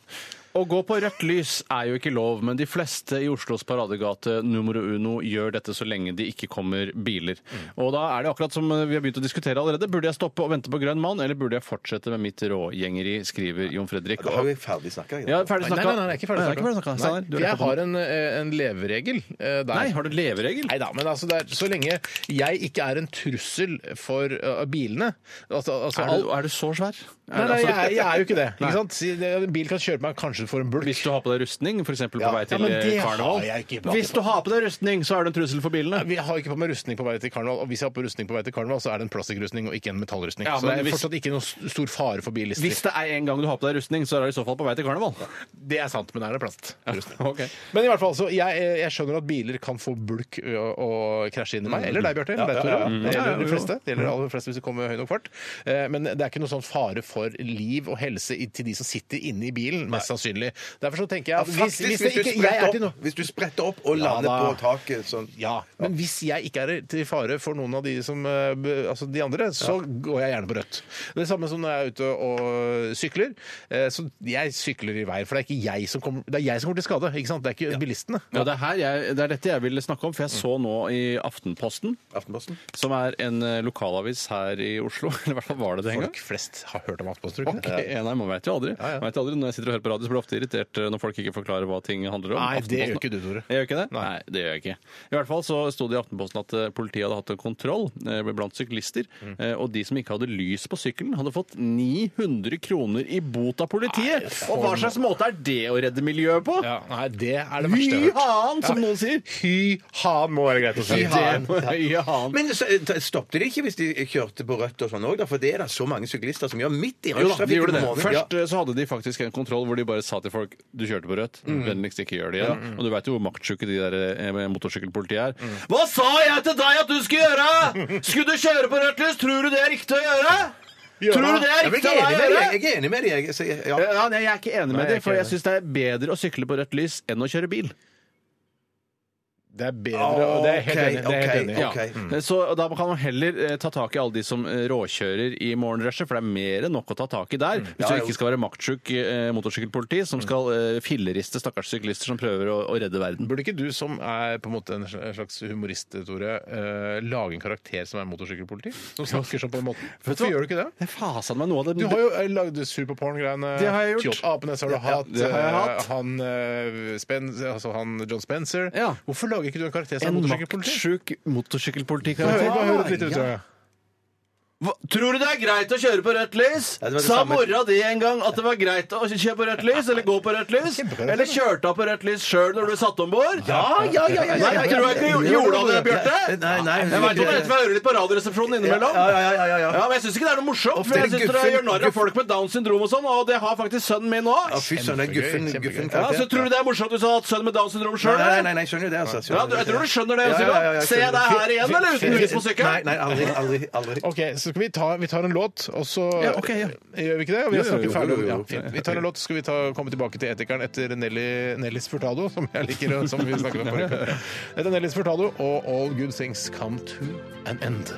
Speaker 5: Å gå på rødt lys er jo ikke lov, men de fleste i Oslos paradegate numero uno gjør dette så lenge de ikke kommer biler. Og da er det akkurat som vi har begynt å diskutere allerede. Burde jeg stoppe og vente på grønn mann, eller burde jeg fortsette med mitt rågjengeri, skriver Jon Fredrik.
Speaker 4: Da har vi ferdig snakka.
Speaker 5: Ja, ferdig
Speaker 3: Nei, nei,
Speaker 5: snakka.
Speaker 3: nei, nei, det er ikke ferdig
Speaker 5: Nei, det er ikke ferdig snakka. Steinar, du
Speaker 3: For
Speaker 5: er
Speaker 3: jeg
Speaker 5: på den.
Speaker 3: har en, øh, en leveregel øh, der.
Speaker 5: Nei, har du leveregel?
Speaker 3: Nei da, men altså det er, så lenge jeg ikke er en trussel for øh, bilene altså, altså,
Speaker 5: Er du,
Speaker 3: alt-
Speaker 5: er du så svær? Altså-
Speaker 3: Nei, nei, jeg, er- jeg er jo ikke det.
Speaker 5: Nei.
Speaker 3: Ikke sant? Si det- En bil kan kjøre på meg, kanskje du får en bulk.
Speaker 5: Hvis du har på deg rustning, f.eks. på vei til
Speaker 3: men det
Speaker 5: eh, karneval.
Speaker 3: har jeg ikke på-
Speaker 5: Hvis du har på deg rustning, så er du en trussel for bilene.
Speaker 3: Vi har ikke på meg rustning på vei til karneval, og hvis jeg har på rustning på vei til karneval, så er det en plastikkrustning og ikke en metallrustning.
Speaker 5: Ja,
Speaker 3: så
Speaker 5: men
Speaker 3: det er
Speaker 5: hvis-
Speaker 3: fortsatt ikke noen s- stor fare for bilister.
Speaker 5: Hvis det er en gang du har på deg rustning, så er du i så fall på vei til karneval.
Speaker 3: Det er sant, men er det plast? Rustning.
Speaker 5: ok.
Speaker 3: Men i hvert fall, så jeg, jeg skjønner at biler kan få bulk ø, og krasje inn i meg. Eller deg, Bjarte. eller deg, Tore. Det gjelder de fleste. Det gjelder aller fleste hvis du kommer med høy nok fart. Eh, Men det er ikke noe sånn fare for for liv og helse i- til de som sitter inne i bilen, mest sannsynlig. Derfor så tenker jeg at hvis,
Speaker 4: Faktisk,
Speaker 3: hvis det ikke
Speaker 4: spretter
Speaker 3: jeg er til
Speaker 4: opp,
Speaker 3: noe
Speaker 4: hvis du spretter opp og
Speaker 3: Ja,
Speaker 4: lander
Speaker 3: da.
Speaker 4: på taket sånn
Speaker 3: ja, men hvis jeg ikke er til fare for noen av de som eh, be- Altså de andre, så går jeg gjerne på rødt. Det er samme som når jeg er ute og sykler. Eh, Så jeg sykler i vei, for det er ikke jeg som kommer, det er jeg som kommer til skade. ikke sant? Det er ikke bilistene.
Speaker 5: Ja, det, er her jeg, det er dette jeg ville snakke om, for jeg så nå i Aftenposten,
Speaker 4: Aftenposten.
Speaker 5: som er en eh, lokalavis her i Oslo <laughs> Eller i hvert fall var det det en gang.
Speaker 3: Folk flest har hørt om Aftenposten, tror
Speaker 5: Ok,
Speaker 3: jeg.
Speaker 5: ja, nei, Man vet jo aldri.
Speaker 3: ja.
Speaker 5: Man vet jo aldri. Når jeg sitter og hører på radio, så blir jeg ofte irritert eh, når folk ikke forklarer hva ting handler om.
Speaker 3: Nei, det
Speaker 5: Aftenposten-
Speaker 3: gjør ikke du, Tore.
Speaker 5: Jeg gjør ikke det? Nei. det gjør jeg ikke. I hvert fall så sto det i Aftenposten at eh, politiet hadde hatt en kontroll eh, blant syklister,
Speaker 3: Mm.
Speaker 5: eh, og de som ikke hadde lys på sykkelen, hadde fått 900 kroner i bot av politiet! og hva slags måte er det å redde miljøet på?
Speaker 3: Ja, nei, det er det
Speaker 5: Fy
Speaker 3: verste jeg har hørt.
Speaker 5: haen, som noen sier!
Speaker 3: Hy-han må være greit å si.
Speaker 5: Det må jeg gi han.
Speaker 4: Men så, eh, stoppte de ikke hvis de kjørte på rødt og sånn òg, for det er det så mange syklister som gjør midt i
Speaker 5: Jo da, de gjorde det.
Speaker 4: rushtrafikken om morgenen.
Speaker 5: Først eh, så hadde de faktisk en kontroll hvor de bare sa til folk du kjørte på rødt, vennligst ikke gjør det igjen. Og du veit jo hvor maktsjuke de der eh, motorsykkelpolitiet er. Hva sa jeg til deg at du skulle gjøre?! Skulle du kjøre på rødt lys?! Tror du det er riktig å gjøre?! Tror du det
Speaker 4: Ja,
Speaker 5: er
Speaker 4: men
Speaker 5: riktig
Speaker 4: jeg,
Speaker 5: av
Speaker 4: er enig
Speaker 5: meg å
Speaker 4: med
Speaker 5: gjøre?!
Speaker 4: deg, jeg er enig med deg. Jeg, så jeg, ja.
Speaker 5: Ja, nei, jeg er ikke enig
Speaker 3: Nei,
Speaker 5: med
Speaker 3: jeg er
Speaker 5: deg, for
Speaker 3: ikke
Speaker 5: jeg
Speaker 3: enig.
Speaker 5: syns det er bedre å sykle på rødt lys enn å kjøre bil.
Speaker 3: Det er bedre og Det er jeg helt enig. i. Det er jeg helt enig. i.
Speaker 4: Ok,
Speaker 5: Ja. Mm.
Speaker 4: ok.
Speaker 5: Eh, Så da kan man heller eh, ta tak i alle de som eh, råkjører i morgenrushet, for det er mer enn nok å ta tak i der. Hvis
Speaker 4: Ja,
Speaker 5: du
Speaker 4: jo.
Speaker 5: ikke skal være maktsjuk eh, motorsykkelpoliti som skal eh, filleriste stakkars syklister som prøver å, å redde verden.
Speaker 3: Burde ikke du, som er på en måte en slags humorist, Tore, eh, lage en karakter som er motorsykkelpoliti? Som snakker sånn på den måten? Hvorfor gjør du ikke det?
Speaker 5: Det faset meg noe av det.
Speaker 3: Du har jo eh, lagd superporn-greiene.
Speaker 5: Det har jeg gjort.
Speaker 3: Tjott Apenes har du hatt.
Speaker 5: det har jeg hatt.
Speaker 3: eh, Han, eh, Spen altså han John Spencer.
Speaker 5: Ja.
Speaker 3: Hvorfor lager ikke du en karakter som er
Speaker 5: en
Speaker 3: motorsykkelpoliti?
Speaker 5: maktsjuk
Speaker 3: Hør,
Speaker 5: motorsykkelpolitikarakter.
Speaker 3: bare hør et lite utdrag.
Speaker 5: Hva- Tror du det er greit å kjøre på rødt lys?
Speaker 4: Ja, det var det
Speaker 5: Sa
Speaker 4: samme.
Speaker 5: mora di en gang at det var greit å kjøre på rødt lys? Eller gå på rødt lys? Eller kjørte av på rødt lys sjøl når du satt om bord?
Speaker 4: Ja, ja, ja, ja, ja,
Speaker 5: Nei,
Speaker 4: ja, ja.
Speaker 5: tror jeg ikke du gjorde det, Bjarte?
Speaker 4: Nei, nei,
Speaker 5: Jeg vet ikke om det heter meg å høre litt på Radioresepsjonen innimellom.
Speaker 4: Ja, ja, ja, ja, ja, ja.
Speaker 5: men jeg syns ikke det er noe morsomt. For
Speaker 4: er det
Speaker 5: jeg syns dere
Speaker 4: guffen-
Speaker 5: gjør narr av folk med Downs syndrom og sånn, og det har faktisk sønnen min òg.
Speaker 4: Ja, Fy søren, det er guffen,
Speaker 3: Kjempegøy,
Speaker 4: guffen
Speaker 5: Ja, så tror du det er morsomt hvis du hadde hatt sønn med Downs syndrom sjøl?
Speaker 4: Nei, nei, nei, nei, skjønner du det, altså.
Speaker 5: Ja,
Speaker 4: Skjønner
Speaker 5: du- jeg tror du skjønner det,
Speaker 4: Ja, ja, ja, ja, jeg
Speaker 5: Silje. Ser jeg deg her igjen, eller uten lys på
Speaker 4: Nei,
Speaker 5: sykkelen?
Speaker 4: nei, aldri, aldri, aldri.
Speaker 3: Ok, så skal vi, ta, vi tar en låt, og så
Speaker 5: Ja, ok, ja.
Speaker 3: Gjør vi ikke det? Vi har
Speaker 5: Jo, jo, jo,
Speaker 3: snakket ferdig om
Speaker 5: jo, jo,
Speaker 3: ja,
Speaker 5: jo.
Speaker 3: fint. Vi tar en låt, så skal vi ta, komme tilbake til Etikeren etter Nelly, Nellis Furtado, som jeg liker, og som vi snakket om forrige uke. Dette er Nellis Furtado og All Good Things Come To An End.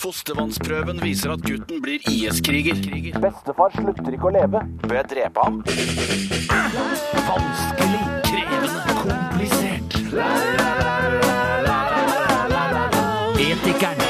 Speaker 2: Fostervannsprøven viser at gutten blir IS-kriger.
Speaker 9: Bestefar slutter ikke å leve. Bør jeg drepe ham?
Speaker 2: Vanskelig, krevende, komplisert. Etikeren.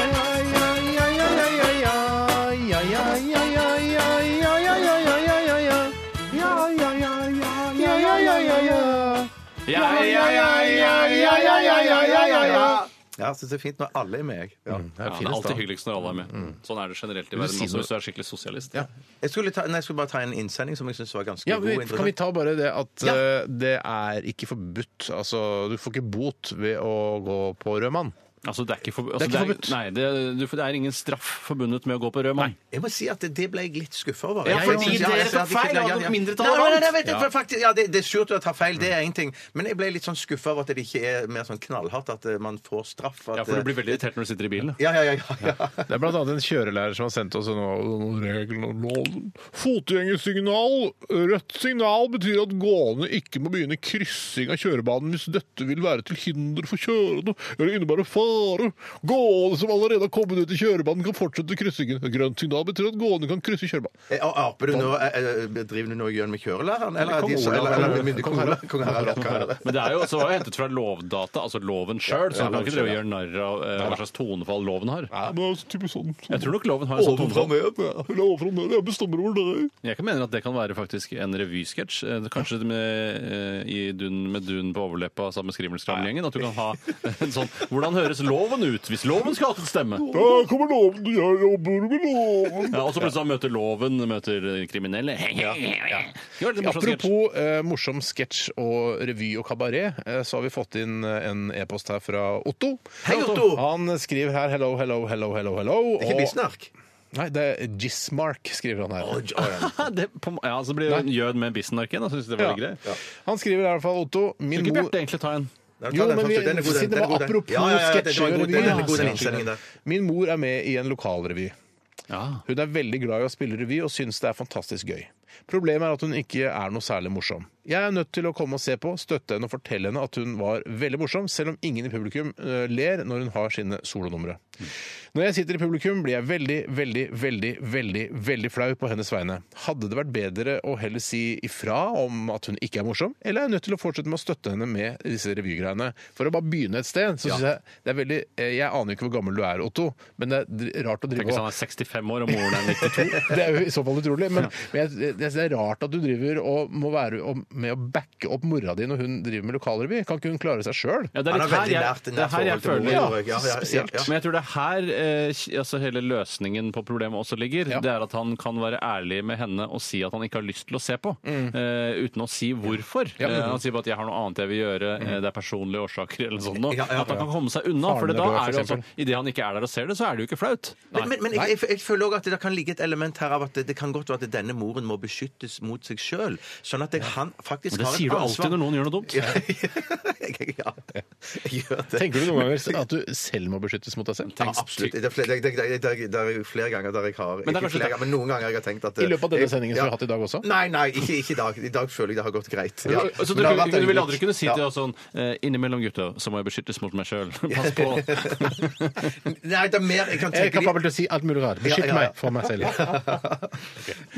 Speaker 4: Ja, så det er fint når alle er med. jeg. Ja.
Speaker 5: Ja, det er alltid hyggeligst når alle er med.
Speaker 4: Mm.
Speaker 5: Sånn er det generelt i
Speaker 3: Vil du
Speaker 5: verden.
Speaker 3: si
Speaker 5: også
Speaker 3: noe?
Speaker 5: Hvis du er skikkelig sosialist.
Speaker 4: Jeg, skulle ta, nei, jeg skulle bare ta en innsending som jeg syns var ganske
Speaker 3: Ja,
Speaker 4: god.
Speaker 3: vi,
Speaker 4: og
Speaker 3: kan vi
Speaker 4: interessant.
Speaker 3: ta bare det at eh, det er ikke forbudt Altså, du får ikke bot ved å gå på rød mann.
Speaker 5: Altså, det er ikke, for, altså,
Speaker 3: Det er ikke forbudt.
Speaker 5: Nei, det, du, det er ingen straff forbundet med å gå på rød mann.
Speaker 4: Jeg må si at det, det ble jeg litt skuffa over.
Speaker 5: Ja,
Speaker 4: Jeg
Speaker 5: fordi
Speaker 4: synes-
Speaker 5: dere
Speaker 4: jeg synes at
Speaker 5: tok
Speaker 4: jeg
Speaker 5: feil,
Speaker 4: fikk-
Speaker 5: og
Speaker 4: ja, ja.
Speaker 5: mindretallet
Speaker 4: Nei, nei, nei,
Speaker 5: vant.
Speaker 4: vet du, for faktisk, ja, det, det er surt å ta feil, det er én ting. Men jeg ble litt sånn skuffa over at det ikke er mer sånn knallhardt at eh, man får straff. At, eh,
Speaker 5: Ja, for du blir veldig irritert når du sitter i bilen. da.
Speaker 4: ja, ja, ja, ja, ja.
Speaker 3: Det er blant annet en kjørelærer som har sendt oss noen regler og loven. Fotgjengersignal. Rødt signal betyr at gående ikke må begynne kryssing av kjørebanen hvis dette vil være til hinder for kjørende eller innebærer fare. Gående som allerede har kommet ut i kjørebanen, kan fortsette kryssingen. Grønt signal betyr at gående kan krysse kjørebanen.
Speaker 4: Eh, Aper du nå, eh, eh, driver du nå og gjør med kjørelæreren? Eller er
Speaker 5: Kong
Speaker 4: de så-
Speaker 5: Olav.
Speaker 4: eller- eller- eller- Kong Harald. Kong Harald,
Speaker 5: <laughs>
Speaker 4: Kong Harald.
Speaker 5: Men det er jo, så var det hentet fra Lovdata, altså loven sjøl, så du kan ikke drive og gjøre narr av eh, hva slags tonefall loven har.
Speaker 3: Ja, men det er altså typisk sånn.
Speaker 5: Jeg tror nok loven har en sånn
Speaker 3: Ovenfra
Speaker 5: tonefall.
Speaker 3: ned. ja. Eller ovenfra ned. Jeg bestemmer over deg.
Speaker 5: Jeg kan mene at det kan være faktisk en revysketsj. eh, Kanskje med, eh, i dun, med dun på overleppa sammen med Skrimmelskrammgjengen. At du kan ha en sånn Hvordan høres loven ut hvis loven skal ha til stemme?
Speaker 3: Der kommer loven. Jeg jobber med loven.
Speaker 5: Ja, og så plutselig møter loven møter kriminelle. Det var litt morsom sketsj.
Speaker 3: Apropos eh, morsom sketsj og revy og kabaret, eh, så har vi fått inn eh, en e-post her fra Otto.
Speaker 4: Hei, Otto!
Speaker 3: Han skriver her 'hello, hello, hello, hello'. hello
Speaker 4: Det er Ikke bisnark.
Speaker 3: Nei, det er Gismark, skriver han her.
Speaker 5: Ja, <laughs> det, på, ja, så blir det en jød med bisnarken. Jeg synes det var litt
Speaker 3: Ja.
Speaker 5: grei.
Speaker 3: Han skriver i hvert fall, Otto min
Speaker 5: Skulle ikke
Speaker 3: mor...
Speaker 5: Bjarte egentlig ta en?
Speaker 4: Nei, ta
Speaker 3: Jo,
Speaker 4: den
Speaker 3: men
Speaker 4: først.
Speaker 3: vi,
Speaker 4: Den er god, den.
Speaker 3: siden det
Speaker 4: Den er
Speaker 3: var
Speaker 4: god, den.
Speaker 3: apropos
Speaker 4: Ja, ja, ja, den- den
Speaker 3: sketsjer
Speaker 4: var
Speaker 3: og
Speaker 4: god, den. Den er
Speaker 3: revy,
Speaker 4: god, den
Speaker 3: ja.
Speaker 4: innsendingen der.
Speaker 3: Min mor er med i en lokalrevy.
Speaker 5: Ja.
Speaker 3: Hun er veldig glad i å spille revy og syns det er fantastisk gøy. Problemet er at hun ikke er noe særlig morsom. Jeg er nødt til å komme og se på, støtte henne og fortelle henne at hun var veldig morsom, selv om ingen i publikum eh, ler når hun har sine solonumre. Når jeg sitter i publikum, blir jeg veldig, veldig, veldig, veldig veldig flau på hennes vegne. Hadde det vært bedre å heller si ifra om at hun ikke er morsom, eller er jeg nødt til å fortsette med å støtte henne med disse revygreiene? For å bare begynne et sted, så synes jeg det er veldig eh, Jeg aner jo ikke hvor gammel du er, Otto, men det er dr- rart å
Speaker 5: Tenk
Speaker 3: drive
Speaker 5: hvis
Speaker 3: og
Speaker 5: han er 65 år og moren
Speaker 4: <laughs>
Speaker 5: er 92.
Speaker 3: det er jo i så fall utrolig, men, men jeg, jeg, synes det er rart at du driver og må være og, med å backe opp mora di når hun driver med lokalrevy. Kan ikke hun klare seg sjøl?
Speaker 5: Ja, det
Speaker 4: Han
Speaker 5: er
Speaker 4: har
Speaker 5: litt her
Speaker 4: veldig
Speaker 5: jeg,
Speaker 4: nært
Speaker 5: det er her jeg
Speaker 4: forhold til
Speaker 5: føler
Speaker 4: moren. Ja, ja, ja, ja,
Speaker 3: spesielt.
Speaker 4: ja.
Speaker 5: Men jeg tror det er her eh, altså hele løsningen på problemet også ligger.
Speaker 3: Ja.
Speaker 5: Det er at han kan være ærlig med henne og si at han ikke har lyst til å se på.
Speaker 4: Mm.
Speaker 5: eh, uten å si hvorfor.
Speaker 3: Ja.
Speaker 5: Eh, han sier bare at 'jeg har noe annet jeg vil gjøre', eh, det er personlige årsaker eller noe sånt. nå.
Speaker 4: Mm. Ja, ja, ja.
Speaker 5: At han kan komme seg unna.
Speaker 3: Faren
Speaker 5: For
Speaker 3: er
Speaker 5: da
Speaker 3: død, for
Speaker 5: er det altså,
Speaker 3: eksempel.
Speaker 5: Idet han ikke er der og ser det, så er det jo ikke flaut.
Speaker 4: Men, men, men jeg, jeg, jeg føler også at det kan ligge et element her av at det, det kan godt være at denne moren må beskyttes mot seg sjøl. Sånn at jeg, han faktisk
Speaker 5: Det
Speaker 4: har
Speaker 5: sier du alltid når noen gjør noe dumt.
Speaker 4: <laughs> Ja, jeg, ja, jeg gjør det.
Speaker 3: Tenker du noen ganger <laughs> at du selv må beskyttes mot deg selv?
Speaker 4: Ja, absolutt. Det er, flere, det, det, det, det, det er flere ganger der jeg har
Speaker 5: Men det er
Speaker 4: Ikke
Speaker 5: kanskje-
Speaker 4: flere ganger, men noen ganger jeg har tenkt at
Speaker 3: I løpet av denne
Speaker 4: jeg-
Speaker 3: sendingen som vi har hatt i dag også?
Speaker 4: Nei, nei, ikke, ikke i dag. I dag føler jeg det har gått greit. Ja.
Speaker 5: Så
Speaker 4: Men
Speaker 5: du,
Speaker 4: det har vært
Speaker 5: du, vil
Speaker 4: øyeblikk.
Speaker 5: aldri kunne si
Speaker 4: Ja.
Speaker 5: til oss sånn eh, 'Innimellom, gutter, så må jeg beskyttes mot meg
Speaker 4: <laughs>
Speaker 5: sjøl'. Pass på.
Speaker 4: Nei, det er mer jeg kan
Speaker 3: Jeg er
Speaker 4: tenke
Speaker 3: kapabel til å si alt mulig rart. Beskytt
Speaker 4: Ja, ja, ja.
Speaker 3: meg for meg selv.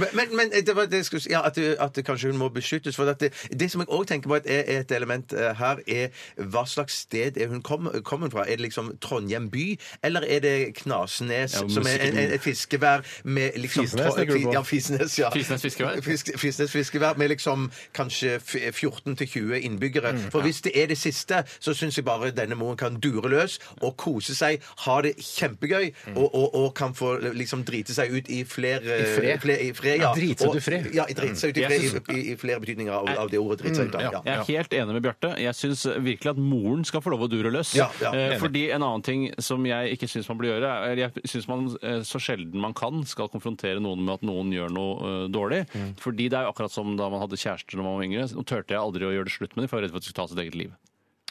Speaker 4: Men, men, men eh, det var det jeg skulle si, ja, at, du- at du kanskje hun må beskyttes. For at det, det som jeg òg tenker på at er, er et element eh, her, er hva slags sted er hun kom, kom hun fra? Er det liksom Trondheim by, eller er det Knasnes,
Speaker 5: Ja, men
Speaker 4: som er en, en, et fiskevær med liksom
Speaker 3: Fisnes,
Speaker 4: Tro-
Speaker 3: tenker du på?
Speaker 4: Ja, Fisnes, ja.
Speaker 5: Fisnes fiskevær?
Speaker 4: Fisk, Fisnes fiskevær med liksom kanskje f- 14 til 20 innbyggere.
Speaker 3: Mm,
Speaker 4: For hvis det er det siste, så syns jeg bare denne moren kan dure løs og kose seg, ha det kjempegøy,
Speaker 3: Mm.
Speaker 4: og, og, og kan få liksom drite seg ut i flere
Speaker 3: I fred.
Speaker 4: Fle- Eh, i fred, ja.
Speaker 3: Ja, drite seg ut i
Speaker 4: Og-
Speaker 3: fred.
Speaker 4: Ja, i drite seg ut i
Speaker 5: Jeg
Speaker 4: fred
Speaker 5: synes-
Speaker 4: i, i, i flere betydninger av, av det ordet drite seg
Speaker 3: Mm,
Speaker 4: ut. av, Ja.
Speaker 5: Jeg er helt enig med Bjarte. Jeg syns virkelig at moren skal få lov å dure løs.
Speaker 4: Ja, ja,
Speaker 5: Eh,
Speaker 4: enig.
Speaker 5: Fordi en annen ting som jeg ikke syns man burde gjøre, er- eller jeg syns man eh, så sjelden man kan skal konfrontere noen med at noen gjør noe eh, dårlig.
Speaker 4: Mm.
Speaker 5: Fordi det er jo akkurat som da man hadde kjærester når man var yngre. Nå turte jeg aldri å gjøre det slutt med dem, for jeg var redd for at de skulle ta sitt eget liv.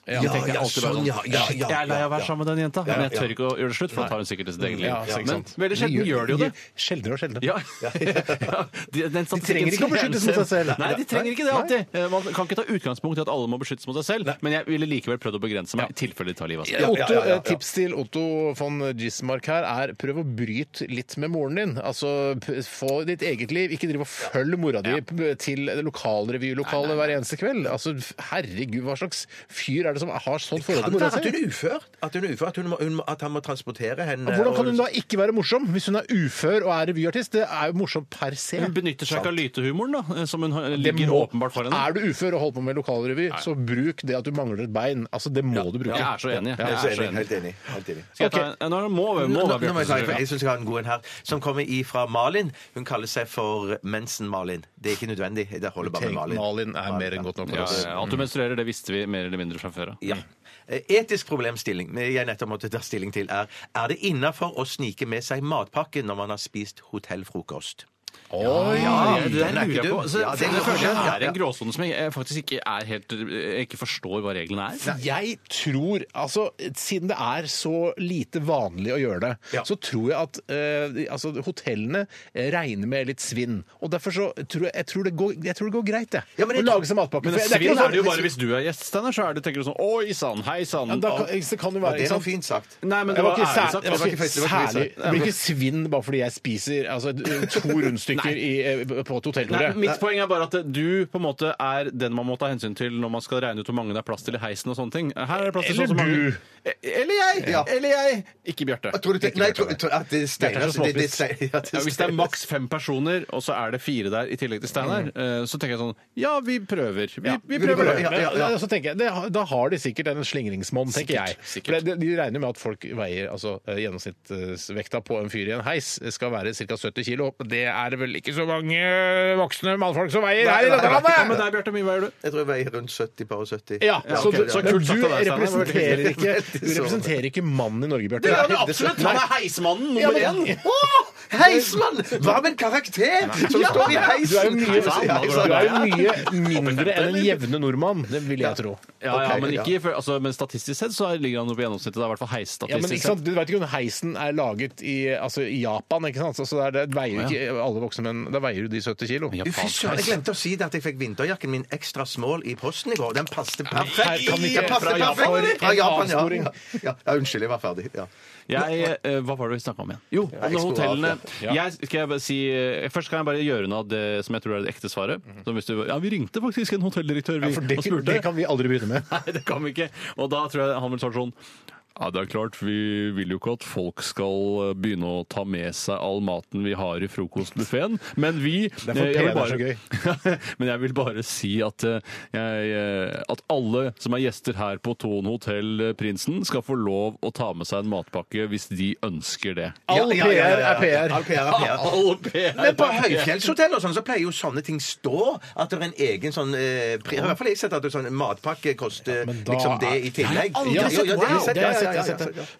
Speaker 4: Ja,
Speaker 5: Jeg tenkte
Speaker 4: ja,
Speaker 5: alltid bare
Speaker 4: sånn, ja, ja,
Speaker 5: shit,
Speaker 4: ja,
Speaker 5: Jeg er lei av å være
Speaker 4: ja.
Speaker 5: sammen med den jenta,
Speaker 4: Ja,
Speaker 5: men jeg
Speaker 4: ja.
Speaker 5: tør ikke å gjøre det slutt, for da tar hun sikkert sitt eget liv.
Speaker 3: Ja, så ikke
Speaker 5: men
Speaker 3: sant.
Speaker 5: veldig sjelden gjør de jo det.
Speaker 3: Sjeldnere og sjeldnere.
Speaker 5: Ja.
Speaker 3: <laughs>
Speaker 5: Ja, de, den
Speaker 3: trenger ikke å beskyttes mot seg selv.
Speaker 5: Nei, de trenger ikke det alltid. Eh, Man kan ikke ta utgangspunkt i at alle må beskyttes mot seg selv, men jeg ville likevel prøvd å begrense meg i tilfelle de tar livet av seg.
Speaker 4: Ja,
Speaker 3: Otto,
Speaker 4: ja, ja, ja.
Speaker 3: et Tips til Otto von Gismark her er prøv å bryte litt med moren din. Altså, p- Få ditt eget liv. Ikke driv og følg mora di p- til det lokalrevylokalet hver eneste kveld. Altså, f- Herregud, hva slags fyr er det som har sånt forhold
Speaker 4: Kan
Speaker 3: til
Speaker 4: det
Speaker 3: mora
Speaker 4: være at hun
Speaker 3: si?
Speaker 4: er ufør? At, hun er ufør, at, hun må, hun må, at han må transportere henne?
Speaker 3: Hvordan kan
Speaker 4: og-
Speaker 3: hun da ikke være morsom hvis hun er ufør og er revyartist? Det er jo morsomt per se.
Speaker 5: eh, Hun benytter seg ikke av lytehumoren, da, eh, som hun har-
Speaker 3: Det
Speaker 5: ligger
Speaker 3: må-
Speaker 5: åpenbart for henne.
Speaker 3: Er du ufør og holder på med lokalrevy, så bruk det at du mangler et bein. Altså, Det må du bruke.
Speaker 5: Jeg er så enig. Jeg
Speaker 4: Jeg er så
Speaker 5: er så
Speaker 4: enig.
Speaker 5: enig.
Speaker 4: Helt enig. Helt enig.
Speaker 5: Skal jeg ta en? Nå må vi, må
Speaker 4: Nå- nå
Speaker 5: vi
Speaker 4: må jeg snakke, for
Speaker 5: Bjarte.
Speaker 4: jeg synes jeg har en god en her, som kommer ifra Malin. Hun kaller seg for Mensen-Malin. Det er ikke nødvendig. Det holder bare med
Speaker 3: Tenk,
Speaker 4: Malin.
Speaker 3: Malin er mer enn godt nok for
Speaker 5: Ja,
Speaker 3: oss.
Speaker 5: ja, ja. At du menstruerer, det visste vi mer eller mindre fra før av.
Speaker 4: Ja. Eh, Etisk problemstilling men jeg nettopp måtte ta stilling til er Er det innafor å snike med seg matpakke når man har spist hotellfrokost?
Speaker 3: Oi!
Speaker 5: Ja,
Speaker 4: den
Speaker 5: den
Speaker 4: er
Speaker 5: er
Speaker 4: ikke
Speaker 5: ikke
Speaker 4: dum.
Speaker 5: dum. Så,
Speaker 4: Ja, den
Speaker 5: det
Speaker 4: er
Speaker 5: første
Speaker 4: dum. Ja,
Speaker 5: er
Speaker 4: ja.
Speaker 5: en gråsone som jeg eh, faktisk ikke er helt jeg ikke forstår hva reglene er.
Speaker 3: Jeg tror, altså Siden det er så lite vanlig å gjøre det,
Speaker 4: Ja.
Speaker 3: så tror jeg at eh, altså, hotellene regner med litt svinn. Og Derfor så tror jeg, jeg, tror det, går, jeg tror det går greit, jeg.
Speaker 4: Ja, men
Speaker 3: å
Speaker 4: jeg-
Speaker 3: lage seg matpakke.
Speaker 5: Men
Speaker 3: For jeg- det er ikke
Speaker 5: svinn
Speaker 3: noe
Speaker 5: er det jo
Speaker 3: sånn-
Speaker 5: bare hvis du er gjest, Steinar. Så er det, tenker du sånn Oi sann, hei sann.
Speaker 3: Ja, da kan, det kan jo
Speaker 4: Ja,
Speaker 3: være
Speaker 4: det
Speaker 3: ikke
Speaker 4: er
Speaker 3: sant?
Speaker 4: noe fint sagt.
Speaker 5: Nei, men
Speaker 3: Det
Speaker 5: det
Speaker 3: var
Speaker 5: var
Speaker 3: ikke
Speaker 5: ærlig
Speaker 3: særlig,
Speaker 5: sagt.
Speaker 3: det var
Speaker 4: ikke
Speaker 3: ikke
Speaker 4: fint- det var ikke
Speaker 3: særlig
Speaker 4: fint sagt.
Speaker 3: Det blir ikke svinn bare fordi jeg spiser altså, to rundstykker i, eh, på et
Speaker 5: Nei,
Speaker 3: hotellbordet.
Speaker 5: mitt poeng er bare at du på en måte er den man må ta hensyn til når man skal regne ut hvor mange det er plass til i heisen og sånne ting. Her er det plass til
Speaker 3: Eller
Speaker 5: sånn som mange.
Speaker 3: du.
Speaker 5: E- Eller jeg!
Speaker 4: Ja.
Speaker 5: Eller jeg! Ikke Bjarte.
Speaker 4: Tror du det, nei, tror, tror, at det
Speaker 3: Hjertet
Speaker 4: steiner
Speaker 3: er så
Speaker 4: det- det
Speaker 3: småspist.
Speaker 4: steiner- ja,
Speaker 5: Ja, hvis det er maks fem personer, og så er det fire der i tillegg til Steinar, eh, så tenker jeg sånn Ja, vi prøver. Vi, vi prøver det.
Speaker 4: Ja, ja, ja.
Speaker 3: Men, så tenker jeg, det, har- da har de sikkert en slingringsmonn, tenker
Speaker 5: Sikkert,
Speaker 3: jeg.
Speaker 5: sikkert.
Speaker 3: For det, de regner med at folk veier altså, eh, gjennomsnittsvekta på en fyr i en heis skal være ca. 70 kilo. Det er er det vel ikke så mange voksne mannfolk som veier her i
Speaker 4: Nei,
Speaker 3: dette
Speaker 4: nei, nei.
Speaker 5: Hva med
Speaker 3: landet!
Speaker 5: deg, Bjarte? Hvor mye veier du?
Speaker 4: Jeg tror jeg veier rundt 70, par og 70.
Speaker 3: Ja,
Speaker 5: Ja,
Speaker 3: så
Speaker 5: ok,
Speaker 3: du,
Speaker 5: det var
Speaker 3: men
Speaker 5: kult
Speaker 3: du
Speaker 5: sagt av deg, Steinar. Det var
Speaker 3: representerer
Speaker 5: veldig
Speaker 3: ikke
Speaker 4: hyggelig.
Speaker 3: Du representerer ikke mannen i Norge,
Speaker 4: Det
Speaker 3: Bjarte.
Speaker 4: gjør han absolutt.
Speaker 5: Han er heismannen
Speaker 3: nummer
Speaker 5: én!
Speaker 4: Åh, Heismann! Hva med en karakter som står i
Speaker 3: Du er jo
Speaker 4: heisen?
Speaker 3: mye,
Speaker 4: Heismann.
Speaker 3: du er jo mye mindre enn en jevne nordmann, det vil jeg tro.
Speaker 5: Ja, ja,
Speaker 4: Ok,
Speaker 5: men,
Speaker 4: ja.
Speaker 5: ikke, for, altså, men statistisk sett så ligger han jo på gjennomsnittet. Det er i hvert fall
Speaker 3: Ja, men
Speaker 5: heisstatistisk
Speaker 3: ikke sant, Du vet ikke om heisen er laget i, altså, i Japan, ikke sant? Så- Så der, der veier jo ikke alle voksne menn Da veier jo de 70 kilo.
Speaker 5: sett.
Speaker 4: Fy
Speaker 5: Japansk
Speaker 4: søren, jeg
Speaker 5: heis.
Speaker 4: glemte å si det at jeg fikk vinterjakken min ekstra small i posten i går. Den passet
Speaker 3: Her
Speaker 4: perfekt.
Speaker 3: kan vi ikke-
Speaker 4: Den passet
Speaker 3: fra Japan.
Speaker 4: perfekt.
Speaker 3: For en
Speaker 4: ja.
Speaker 3: avsporing.
Speaker 4: Ja, ja, unnskyld, jeg var ferdig. Ja.
Speaker 5: Jeg, eh, hva var det vi snakka om igjen? Jo, om
Speaker 4: eksplosiv,
Speaker 5: hotellene.
Speaker 3: ja.
Speaker 5: Jeg, skal jeg bare si, eh, først kan jeg bare gjøre unna det som jeg tror er det ekte svaret. Som hvis du, ja, vi ringte faktisk en hotelldirektør vi,
Speaker 3: Mhm. Ja, for det,
Speaker 5: og spurte.
Speaker 3: det kan vi aldri begynne med.
Speaker 5: Nei, det kan vi ikke. Og da tror jeg han vil svare sånn ja, det er klart, Vi vil jo ikke at folk skal eh, begynne å ta med seg all maten vi har i frokostbuffeen, men vi
Speaker 3: er for
Speaker 5: eh, jeg vil
Speaker 3: Per, det
Speaker 5: <laughs> men jeg vil bare si at, eh, jeg, eh, at alle som er gjester her på Thon hotell eh, Prinsen, skal få lov å ta med seg en matpakke hvis de ønsker det.
Speaker 3: All
Speaker 4: Ja, ja, ja, ja, ja.
Speaker 3: PR er PR.
Speaker 4: All PR er PR.
Speaker 5: Alle PR.
Speaker 4: Men på høyfjellshotell og sånn, så pleier jo sånne ting stå. At det er en egen sånn eh, pri- I hvert fall har jeg sett at det er sånn matpakke koster
Speaker 3: men da
Speaker 4: liksom det
Speaker 3: er-
Speaker 4: i tillegg.
Speaker 3: Ja, det har jeg
Speaker 4: Ja, ja, ja, det har jeg sett, ja,
Speaker 3: sett, jeg
Speaker 4: ja, ja,
Speaker 3: har sett det.
Speaker 4: ja, ja.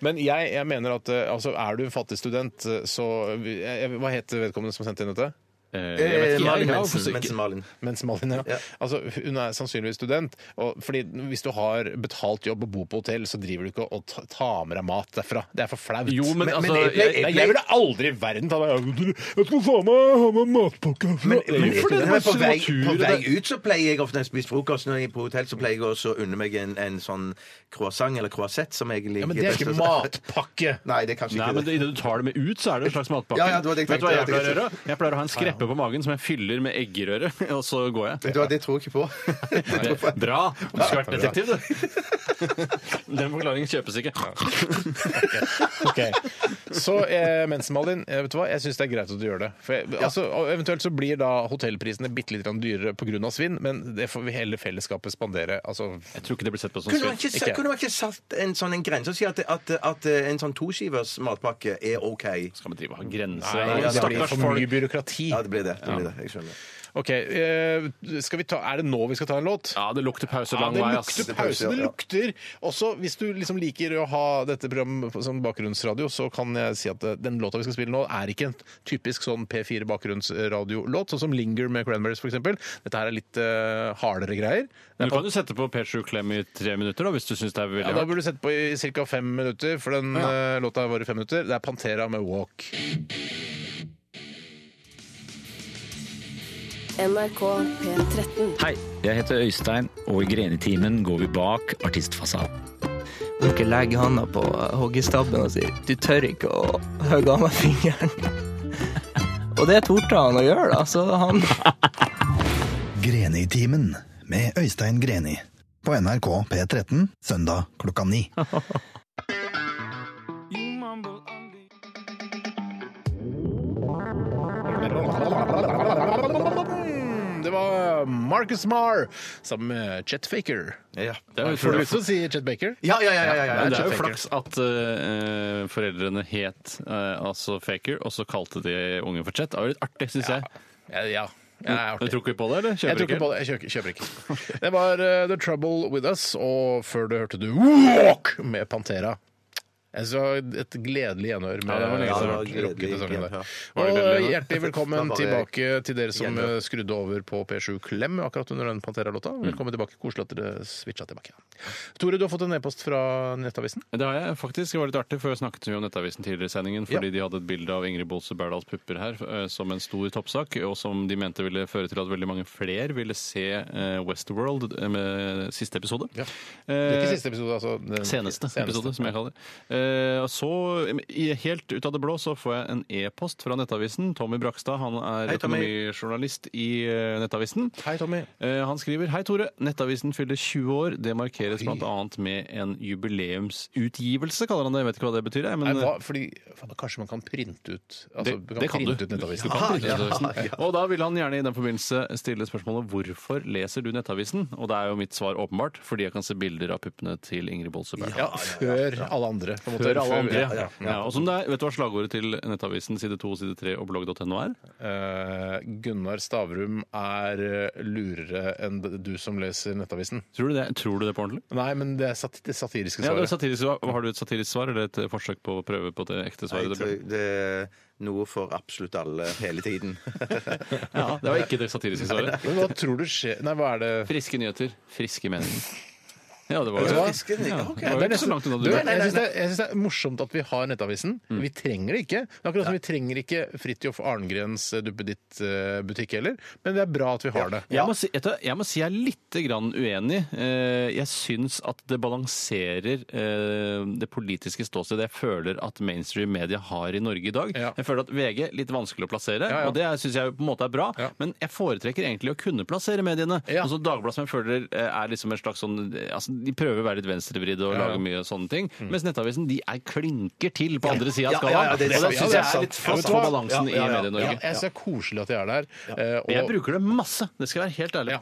Speaker 3: Men jeg, jeg mener at eh, altså, er du fattig student, eh, så eh, Hva het vedkommende som sendte inn dette?
Speaker 5: Eh, jeg vet
Speaker 4: Eh,
Speaker 5: ikke, jeg-
Speaker 4: Malin
Speaker 5: jeg har
Speaker 4: Mensen.
Speaker 5: ikke-
Speaker 4: Mensen Malin.
Speaker 3: Mens Malin, ja.
Speaker 4: Ja.
Speaker 3: Altså, hun er sannsynligvis student. Og fordi hvis du har betalt jobb og bor på hotell, så driver du ikke og ta- tar med deg mat derfra. Det er for flaut.
Speaker 5: Jo, men,
Speaker 4: Men- men
Speaker 5: altså
Speaker 4: jeg-
Speaker 5: jeg-
Speaker 3: Nei, jeg ville aldri i verden ta meg Jeg skal faen meg ha meg matpakke herfra.
Speaker 4: Men, men,
Speaker 5: Hvorfor det? Det er
Speaker 4: men på,
Speaker 5: bare
Speaker 4: vei,
Speaker 5: sur,
Speaker 4: på
Speaker 5: det-
Speaker 4: vei ut så pleier jeg ofte når jeg spiser frokost når jeg er på hotell, så pleier jeg også å unne meg en, en sånn croissant eller croissette som egentlig
Speaker 3: Ja, men det er ikke matpakke.
Speaker 4: <laughs> Nei, det er kanskje
Speaker 5: Nei,
Speaker 4: ikke
Speaker 5: men Idet du tar det med ut, så er det en slags matpakke.
Speaker 4: Ja, ja, det var det jeg
Speaker 5: Vet du hva jeg
Speaker 4: tenkte.
Speaker 5: pleier å gjøre? Jeg pleier å ha en skreppe på magen som jeg fyller med eggerøre, <laughs> og så går jeg.
Speaker 4: Vet du hva, det tror jeg ikke på. <laughs>
Speaker 5: Det, bra! Du skulle vært detektiv, du. <laughs> Den forklaringen kjøpes ikke.
Speaker 3: Ok. Så eh, mensen-Malin, eh, vet du hva? Jeg syns det er greit at du gjør det. For jeg, altså, og eventuelt så blir da hotellprisene bitte litt grann dyrere pga. svinn, men det får vi heller fellesskapet spandere. Altså,
Speaker 5: Jeg tror ikke det blir sett på som
Speaker 4: Kunne man
Speaker 5: svinn.
Speaker 4: ikke, sa-
Speaker 3: Ikke.
Speaker 4: kunne man ikke satt en sånn en grense og si at, at, at en sånn toskivers matpakke er OK?
Speaker 5: Skal man drive og ha grenser?
Speaker 3: nei, det blir
Speaker 5: Stakkars
Speaker 3: for mye
Speaker 5: folk.
Speaker 3: byråkrati.
Speaker 4: Ja, det blir det. det, blir det. Jeg skjønner.
Speaker 3: Ok, eh, skal vi ta, Er det nå vi skal ta en låt?
Speaker 5: Ja, det lukter pause
Speaker 3: Ja,
Speaker 5: lang
Speaker 3: det
Speaker 5: vei, ass.
Speaker 3: lukter pause. Det
Speaker 4: ja.
Speaker 3: lukter Også hvis du liksom liker å ha dette programmet som bakgrunnsradio, så kan jeg si at eh, den låta vi skal spille nå, er ikke en typisk sånn P4 bakgrunnsradiolåt, sånn som Linger med Cranberries, f.eks. Dette her er litt eh, hardere greier.
Speaker 5: Du kan jo sette på P7 Klem i tre minutter, da, hvis du syns det
Speaker 3: Ja,
Speaker 5: er veldig
Speaker 3: da
Speaker 5: hardt.
Speaker 3: burde du sette på i ca. fem minutter, for den eh, låta varer fem minutter. Det er Pantera med Walk.
Speaker 7: NRK P13.
Speaker 10: Hei, jeg heter Øystein, og i Grenetimen går vi bak artistfasaden. Du ikke legge handa på hoggestabben og si 'du tør ikke å hogge av meg fingeren'. <laughs> Og det torde han å gjøre, da, så
Speaker 6: <laughs>
Speaker 10: han
Speaker 6: Greni-timen med Øystein Greni på NRK P13 søndag klokka ni.
Speaker 3: Det var Marcus Marr sammen med Chet Faker.
Speaker 4: Ja.
Speaker 5: Det er jo
Speaker 3: Får du
Speaker 5: utrolig.
Speaker 3: lyst til å si Chet Baker?
Speaker 4: Ja, ja, ja, ja, ja, ja.
Speaker 5: Men det er jo
Speaker 3: Faker.
Speaker 5: flaks at eh, foreldrene het eh, altså Faker, og så kalte de ungen for Chet. Det var litt artig, syns jeg.
Speaker 3: Ja. ja. Jeg er
Speaker 5: Du
Speaker 3: artig.
Speaker 5: tror ikke på det, eller?
Speaker 3: Jeg tror
Speaker 5: Kjøper ikke?
Speaker 3: ikke på det. Jeg kjøper, kjøper
Speaker 5: <laughs>
Speaker 3: ikke. Det var eh, The Trouble With Us, og før det hørte du Walk med Pantera. Jeg så et gledelig gjenhør med liksom
Speaker 5: Ja, det var lenge
Speaker 4: siden
Speaker 3: rock-
Speaker 4: det var gledelig
Speaker 3: rockesesongen der.
Speaker 4: gjenhør.
Speaker 5: Var <laughs> det gledelig
Speaker 3: Og eh,
Speaker 5: gjenhør?
Speaker 3: hjertelig velkommen
Speaker 4: Det var bare
Speaker 3: tilbake til dere som
Speaker 4: gjenhør.
Speaker 3: eh, skrudde over på P7 Klem akkurat under den Pantera-låta.
Speaker 5: Mm.
Speaker 3: Velkommen tilbake. Koselig at dere switcha tilbake. Tore, du har fått en e-post fra Nettavisen.
Speaker 5: Det har jeg faktisk. Det var litt artig, for jeg snakket jo om Nettavisen tidligere i sendingen, fordi de hadde et bilde av Ingrid Bolse Berdals pupper her eh, som en stor toppsak, og som de mente ville føre til at veldig mange flere ville se eh, Westworld eh, med siste episode. Eh,
Speaker 3: Ja. Det er ikke siste episode, altså. Den-
Speaker 5: Seneste, episode, som jeg kaller det. Eh, og så, i- helt ut av det blå, så får jeg en e-post fra Nettavisen. Tommy Brakstad, han er
Speaker 4: Hei, Tommy.
Speaker 5: økonomijournalist i eh, Nettavisen.
Speaker 3: Hei, Tommy.
Speaker 5: Eh, Han skriver Hei Tore, Nettavisen fyller 20 år. Det markeres bl.a. med en jubileumsutgivelse, kaller han det. Jeg vet ikke hva det betyr. Jeg,
Speaker 3: Nei,
Speaker 5: men
Speaker 3: hva? Fordi, faen, kanskje man kan printe ut altså,
Speaker 5: eh, Det-
Speaker 3: man kan
Speaker 5: det kan
Speaker 3: printe
Speaker 5: du.
Speaker 3: ut Nettavisen. Ah,
Speaker 5: Du kan printe ut
Speaker 3: <laughs>
Speaker 5: Nettavisen. Og da vil han gjerne i den forbindelse stille spørsmålet hvorfor leser du Nettavisen? Og da er jo mitt svar åpenbart, fordi jeg kan se bilder av puppene til Ingrid Bolse Berg.
Speaker 3: Ja, før alle andre. på en Før-
Speaker 5: promotere alle
Speaker 3: før-
Speaker 5: andre.
Speaker 3: ja, ja, ja.
Speaker 5: og som det er, Vet du hva slagordet til Nettavisen side 2, side 3 og blogg.no er?
Speaker 3: Eh, Gunnar Stavrum er eh, lurere enn du som leser Nettavisen.
Speaker 5: Tror du det, tror du det på ordentlig?
Speaker 3: Nei, men det er sat det satiriske
Speaker 5: Ja, det er
Speaker 3: svaret.
Speaker 5: satirisk, svar. har du et satirisk svar, eller et forsøk på å prøve på det ekte
Speaker 4: Nei,
Speaker 5: svaret?
Speaker 4: jeg tror det er noe for absolutt alle hele tiden.
Speaker 5: Ja, det var ikke det satiriske svaret.
Speaker 3: men hva tror du skjer Nei, hva er det
Speaker 5: Friske nyheter, friske meninger. Ja, det var
Speaker 3: Vet du hva?
Speaker 4: Friske nyheter,
Speaker 5: Ja,
Speaker 4: ok.
Speaker 5: det var jo ikke så langt unna
Speaker 3: Du,
Speaker 5: du. Mm.
Speaker 3: jeg syns det, er- jeg synes det er morsomt at vi har Nettavisen. Vi trenger det ikke. Det er akkurat som vi trenger ikke Fridtjof Arngrens eh, duppeditt-butikk heller, men det er bra at vi har det.
Speaker 5: Jeg må, si, vet du, jeg må si jeg er litt grann uenig. Eh, Jeg syns at det balanserer eh, det politiske ståstedet jeg føler at mainstream media har i Norge i dag.
Speaker 3: Ja.
Speaker 5: Jeg føler at VG er litt vanskelig å plassere,
Speaker 3: Ja, ja.
Speaker 5: og det syns jeg på en måte er bra.
Speaker 3: Ja.
Speaker 5: Men jeg foretrekker egentlig å kunne plassere mediene.
Speaker 3: Ja.
Speaker 5: Og så Dagbladet, som jeg føler eh, er liksom en slags sånn eh, altså, De prøver å være litt venstrevridde og
Speaker 3: Ja, ja.
Speaker 5: lage mye sånne ting. Mens Nettavisen de er klinker til på andre sida av
Speaker 4: Ja,
Speaker 5: skalaen.
Speaker 4: ja, ja, det er
Speaker 5: og
Speaker 4: sant, ja, det
Speaker 5: det syns
Speaker 4: er sant.
Speaker 5: jeg er litt
Speaker 3: Ja, vet
Speaker 5: fast
Speaker 3: du
Speaker 5: på
Speaker 3: hva?
Speaker 4: Ja,
Speaker 5: balansen
Speaker 4: ja, ja,
Speaker 5: i Medie-Norge.
Speaker 3: Ja, jeg ser koselig at de er der. eh, og-
Speaker 5: Men Jeg bruker det masse, det skal jeg være helt ærlig.
Speaker 3: ja.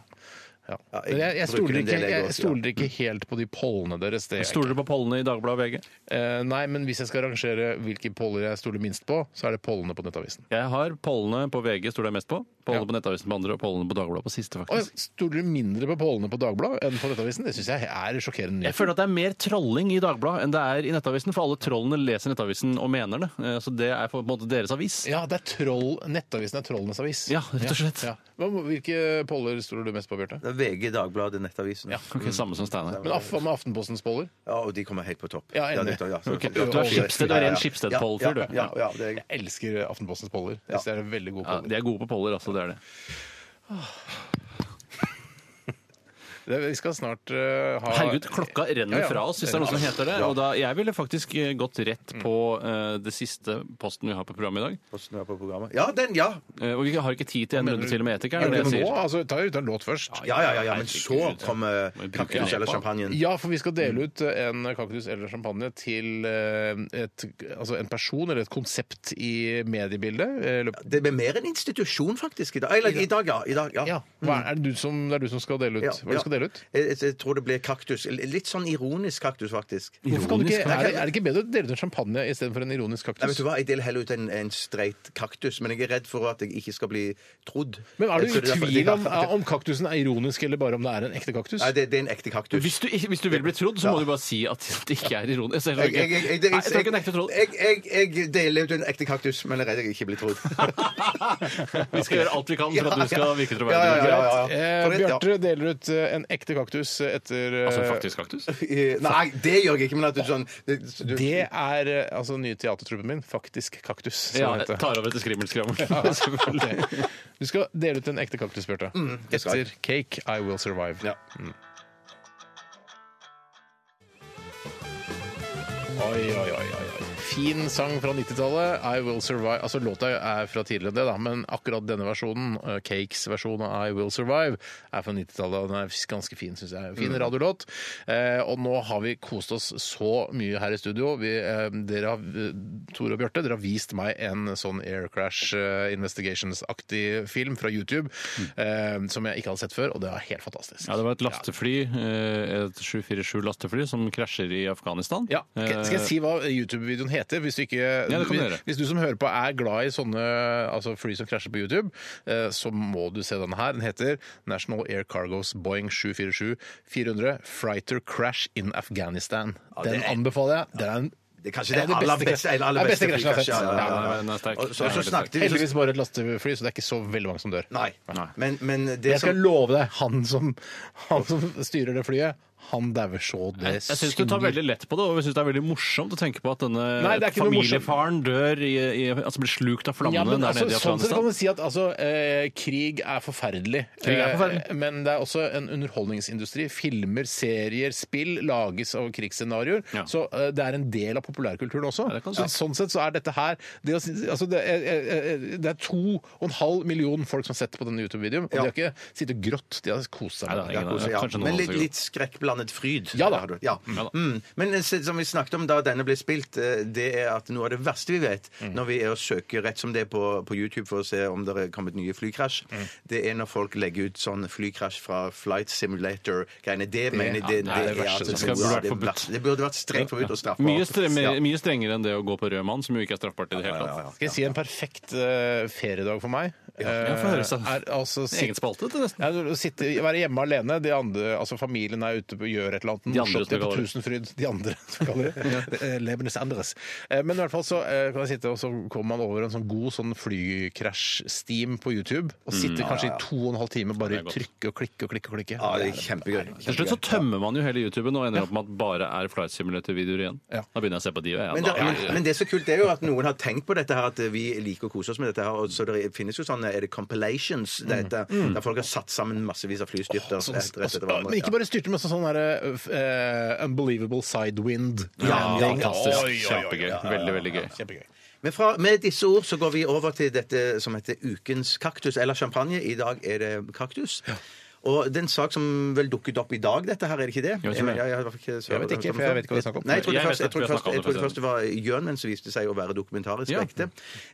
Speaker 3: Ja.
Speaker 4: Ja, jeg
Speaker 3: Men jeg, jeg,
Speaker 4: bruker
Speaker 3: stoler
Speaker 4: en del,
Speaker 3: ikke,
Speaker 4: jeg
Speaker 3: jeg
Speaker 4: også,
Speaker 3: stoler ikke helt på de pollene deres. Det gjør jeg ikke.
Speaker 5: Stoler du på pollene i Dagbladet og VG?
Speaker 3: Eh, nei, men hvis jeg skal rangere hvilke poller jeg stoler minst på, så er det pollene på Nettavisen.
Speaker 5: Jeg har pollene på VG stoler jeg mest på. Pollene
Speaker 3: Ja.
Speaker 5: på Nettavisen på andre og pollene på Dagbladet på siste,
Speaker 3: Og jeg
Speaker 5: faktisk.
Speaker 3: stoler mindre på pollene på Dagbladet enn på Nettavisen. Det syns jeg er sjokkerende.
Speaker 5: Jeg føler at det er mer trolling i Dagbladet enn det er i Nettavisen, for alle trollene leser Nettavisen og mener det. Eh, Så det er på en måte deres avis.
Speaker 3: Ja, det er troll. Nettavisen er trollenes avis.
Speaker 5: Ja, rett og slett.
Speaker 3: Ja. Hva- Hvilke poller stoler du mest på, Bjarte?
Speaker 4: Det er VG, Dagbladet, Nettavisen. Ja.
Speaker 5: Ok, Mm. samme som Steinar.
Speaker 3: Men Af med Aftenpostens poller?
Speaker 4: og de kommer helt på topp.
Speaker 3: Ja, enig.
Speaker 4: det- så-
Speaker 5: Ok,
Speaker 4: så-
Speaker 5: du er
Speaker 4: så-
Speaker 5: Schibsted, du er
Speaker 4: Ja, ja.
Speaker 5: en Schibsted-poll-fyr, du.
Speaker 4: Ja, ja, ja, det er,
Speaker 3: Jeg elsker Aftenpostens poller. Jeg synes Det er en veldig god
Speaker 5: Ja,
Speaker 3: poller.
Speaker 5: de er gode på poller, altså. Det er det.
Speaker 3: Det- Vi skal snart eh, ha
Speaker 5: Herregud, klokka renner
Speaker 3: Ja, ja.
Speaker 5: fra oss, hvis det er noe som heter det. Og da, jeg ville faktisk eh, gått rett på eh, det siste posten vi har på programmet i dag.
Speaker 4: Posten er på programmet. Ja, den, ja!
Speaker 5: Eh, og vi har ikke tid til en runde til med
Speaker 3: Ja,
Speaker 5: etikeren, det
Speaker 3: men
Speaker 5: er det jeg
Speaker 3: nå,
Speaker 5: sier.
Speaker 3: altså, ta ut en låt først.
Speaker 4: Ja, ja, ja, ja, men så kommer
Speaker 5: bruker
Speaker 4: kaktus eller
Speaker 5: leppa.
Speaker 4: champagnen.
Speaker 3: Ja, for vi skal dele ut eh, en kaktus eller champagne til eh, et, altså en person eller et konsept i mediebildet. eh, løp-
Speaker 4: Det blir mer en institusjon, faktisk, i dag. Eller i dag, ja. I dag, ja. Mm.
Speaker 3: Ja. Hva er, er det, du som, det er du som skal dele ut.
Speaker 4: Ja,
Speaker 3: Hva er det du skal
Speaker 4: ja.
Speaker 3: dele ut?
Speaker 4: Jeg, jeg- jeg tror det blir kaktus. Litt sånn ironisk kaktus, faktisk.
Speaker 3: Hvorfor kan du ikke,
Speaker 4: kaktus?
Speaker 3: er, det, er det ikke bedre å dele ut en champagne istedenfor en ironisk
Speaker 4: Nei, vet
Speaker 3: kaktus?
Speaker 4: du hva? Jeg deler heller ut en, en streit kaktus, men jeg er redd for at jeg ikke skal bli trodd.
Speaker 3: Men er du
Speaker 4: Så
Speaker 3: i
Speaker 4: det derfor-
Speaker 3: tvil om,
Speaker 4: det er derfor-
Speaker 3: om kaktusen er ironisk eller bare om det er en ekte kaktus?
Speaker 4: Nei, det, det er en ekte kaktus.
Speaker 5: Hvis du, ikke- hvis du vil bli trodd, så må du bare si at det ikke er ironisk. Jeg,
Speaker 4: jeg, jeg, jeg, jeg, jeg,
Speaker 5: Nei, jeg tror ikke det er ekte troll.
Speaker 4: jeg- jeg- jeg deler ut en ekte kaktus, men jeg er redd jeg ikke blir
Speaker 3: <laughs>
Speaker 4: trodd. <laughs>
Speaker 5: Vi skal gjøre alt vi kan for Sånn at du skal virke troverdig.
Speaker 4: Ja, ja, ja, ja, ja.
Speaker 3: Eh,
Speaker 4: For det- ja.
Speaker 3: Bjarte deler ut eh, en ekte kaktus etter eh,
Speaker 5: Altså en faktisk kaktus?
Speaker 4: Eh, Nei, det gjør jeg ikke, men at du sånn det- du-
Speaker 3: Det er eh, altså den nye teatertruppen min, Faktisk kaktus. som
Speaker 5: Ja,
Speaker 3: den heter.
Speaker 5: jeg tar over etter skrimmelskrammel. <laughs> Selvfølgelig.
Speaker 3: <laughs> Du skal dele ut en ekte kaktus, Bjarte.
Speaker 4: jeg skal.
Speaker 3: Etter Cake I Will Survive.
Speaker 4: Ja.
Speaker 3: Oi, oi, oi, oi, oi. Fin sang fra 90-tallet. I Will Survive. Altså, låta er fra tidligere enn det, da, men akkurat denne versjonen, eh, Cakes versjon av I Will Survive, er fra 90-tallet. og Den er ganske fin, syns jeg.
Speaker 5: Mm.
Speaker 3: Fin radiolåt. Eh, og nå har vi kost oss så mye her i studio. Vi, eh, dere har, eh, Tore og Bjarte, dere har vist meg en sånn Air Crash eh, Investigations-aktig film fra YouTube eh, som jeg ikke hadde sett før, og det var helt fantastisk.
Speaker 5: Mm. Ja, det var et lastefly, eh, et 747-lastefly, som krasjer i Afghanistan.
Speaker 3: Ja, ok. Skal jeg si hva YouTube-videoen heter? Hvis du, ikke,
Speaker 5: Eh, det kan du gjøre.
Speaker 3: hvis du som hører på er glad i sånne altså fly som krasjer på YouTube, eh, så må du se denne her. Den heter National Air Cargos Boeing 747-400 Frighter Crash in Afghanistan.
Speaker 4: det
Speaker 3: Den
Speaker 4: er-
Speaker 3: anbefaler jeg. Den er en
Speaker 4: Det er kanskje
Speaker 3: Det er
Speaker 4: det,
Speaker 3: det
Speaker 4: aller
Speaker 3: beste-
Speaker 4: beste, en aller
Speaker 3: det er beste
Speaker 4: beste
Speaker 3: krasjen jeg har
Speaker 4: flykrasj, ja,
Speaker 3: sett.
Speaker 4: ja, ja,
Speaker 5: Ja,
Speaker 4: ja.
Speaker 5: den er sterk.
Speaker 4: Og så,
Speaker 5: Den er
Speaker 4: så snakket vi så,
Speaker 3: Heldigvis bare et lastefly, så det er ikke så veldig mange som dør.
Speaker 4: Nei.
Speaker 5: Nei.
Speaker 4: Men, men det
Speaker 3: Jeg
Speaker 4: som
Speaker 3: skal love deg, han som, han som styrer det flyet, han dauer så det
Speaker 5: Jeg syns du tar veldig lett på det, og jeg synes det er veldig morsomt å tenke på at denne
Speaker 3: Nei, det er ikke noe morsomt.
Speaker 5: familiefaren dør i, i, altså blir slukt av flammene
Speaker 3: Ja, men
Speaker 5: der
Speaker 3: altså,
Speaker 5: nede i
Speaker 3: sånn sett kan
Speaker 5: Afghanistan.
Speaker 3: man si at altså, eh, krig er forferdelig.
Speaker 5: Krig er forferdelig.
Speaker 3: Eh, men det er også en underholdningsindustri. Filmer, serier, spill lages av krigsscenarioer.
Speaker 5: Ja.
Speaker 3: Så eh, det er en del av populærkulturen også.
Speaker 5: Ja, det kan du
Speaker 3: så,
Speaker 5: si.
Speaker 3: sånn sett så er dette her Det, å si- altså, det, er, eh, eh, det er to og en halv million folk som har sett på denne YouTube-videoen, og de
Speaker 4: Ja.
Speaker 3: har ikke sittet og grått, de har kost seg.
Speaker 5: Nei,
Speaker 3: med
Speaker 5: det
Speaker 3: det.
Speaker 5: er ingen-
Speaker 4: ja,
Speaker 5: kanskje noen
Speaker 4: Men
Speaker 5: av oss
Speaker 4: litt,
Speaker 5: er
Speaker 4: litt landet fryd.
Speaker 3: Ja da.
Speaker 4: Har du- Ja. Mm. Men eh, som vi snakket om da denne ble spilt, eh, det er at noe av det verste vi vet når vi er og søker rett som det er på, på YouTube for å se om det er kommet nye flykrasj, det er når folk legger ut sånn flykrasj fra Flight Simulator-greiene. Det, mener
Speaker 3: ja,
Speaker 4: jeg det,
Speaker 3: det er det verste
Speaker 4: at
Speaker 3: som
Speaker 4: det,
Speaker 5: skal-
Speaker 4: burde
Speaker 5: burde
Speaker 4: vært
Speaker 5: vært
Speaker 4: det,
Speaker 5: forbudt.
Speaker 4: verste. det burde vært strengt forbudt og straffbart.
Speaker 5: Mye, strengere,
Speaker 4: Ja.
Speaker 5: mye strengere enn det å gå på rød mann, som jo ikke er straffbart i det hele tatt.
Speaker 3: Skal jeg si en perfekt eh, feriedag for meg?
Speaker 5: Ja, få høre, sånn. så.
Speaker 3: Eh, er altså
Speaker 5: Egen spalte til nesten.
Speaker 3: Ja, å sitte, være hjemme alene. De andre, altså Familien er ute og gjør et eller annet.
Speaker 5: De andre,
Speaker 3: morsomt,
Speaker 5: som
Speaker 3: er på
Speaker 5: kaller det.
Speaker 3: Tusenfryd. De andre, <laughs> som kaller det. Eh, Lebenes andres. Eh, Men i hvert fall så eh, kan jeg sitte, og så kommer man over en sånn god sånn flykrasj-steam på YouTube. Og
Speaker 5: Mm,
Speaker 3: sitter kanskje i to og en halv time bare
Speaker 5: Det er godt.
Speaker 3: trykke og klikke og klikke. og klikke.
Speaker 4: Ja, det er kjempegøy.
Speaker 5: Til slutt så tømmer man jo hele YouTuben og ender opp med at bare er flight simulator-videoer igjen.
Speaker 3: Ja.
Speaker 5: Da begynner jeg å se på de. og jeg-
Speaker 4: Men det,
Speaker 5: da-
Speaker 4: men, men det er så kult det er jo at noen har tenkt på dette her, at vi liker å kose oss med dette her. Og så det finnes jo sånne er det compilations dette, der folk har satt sammen massevis av flystyrter.
Speaker 3: Mm. Sånn,
Speaker 4: rett- rett etter
Speaker 3: og-
Speaker 4: hverandre.
Speaker 3: men ikke bare styrte, men også sånn derre eh, Unbelievable sidewind.
Speaker 5: Ja,
Speaker 3: Landing.
Speaker 5: fantastisk.
Speaker 3: Oi, oi, oi.
Speaker 5: Kjempegøy. Veldig, veldig gøy.
Speaker 3: Kjempegøy.
Speaker 4: Ja. Men fra, med disse ord så går vi over til dette som heter ukens kaktus, eller champagne. I dag er det kaktus. Og det er en sak som vel dukket opp i dag, dette her, er det ikke det?
Speaker 5: Jeg tror
Speaker 4: jeg,
Speaker 5: det.
Speaker 4: har i hvert fall ikke,
Speaker 3: Jeg vet ikke, for jeg vet ikke hva det er snakk om.
Speaker 4: Nei, jeg trodde
Speaker 5: Jeg
Speaker 4: først, jeg
Speaker 5: vet at vi
Speaker 4: trodde
Speaker 5: har
Speaker 4: først,
Speaker 5: snakket om
Speaker 4: jeg
Speaker 5: det
Speaker 4: trodde
Speaker 5: før.
Speaker 4: først det var Jørn, men så viste det seg å være dokumentarisk
Speaker 5: Ja.
Speaker 4: ekte.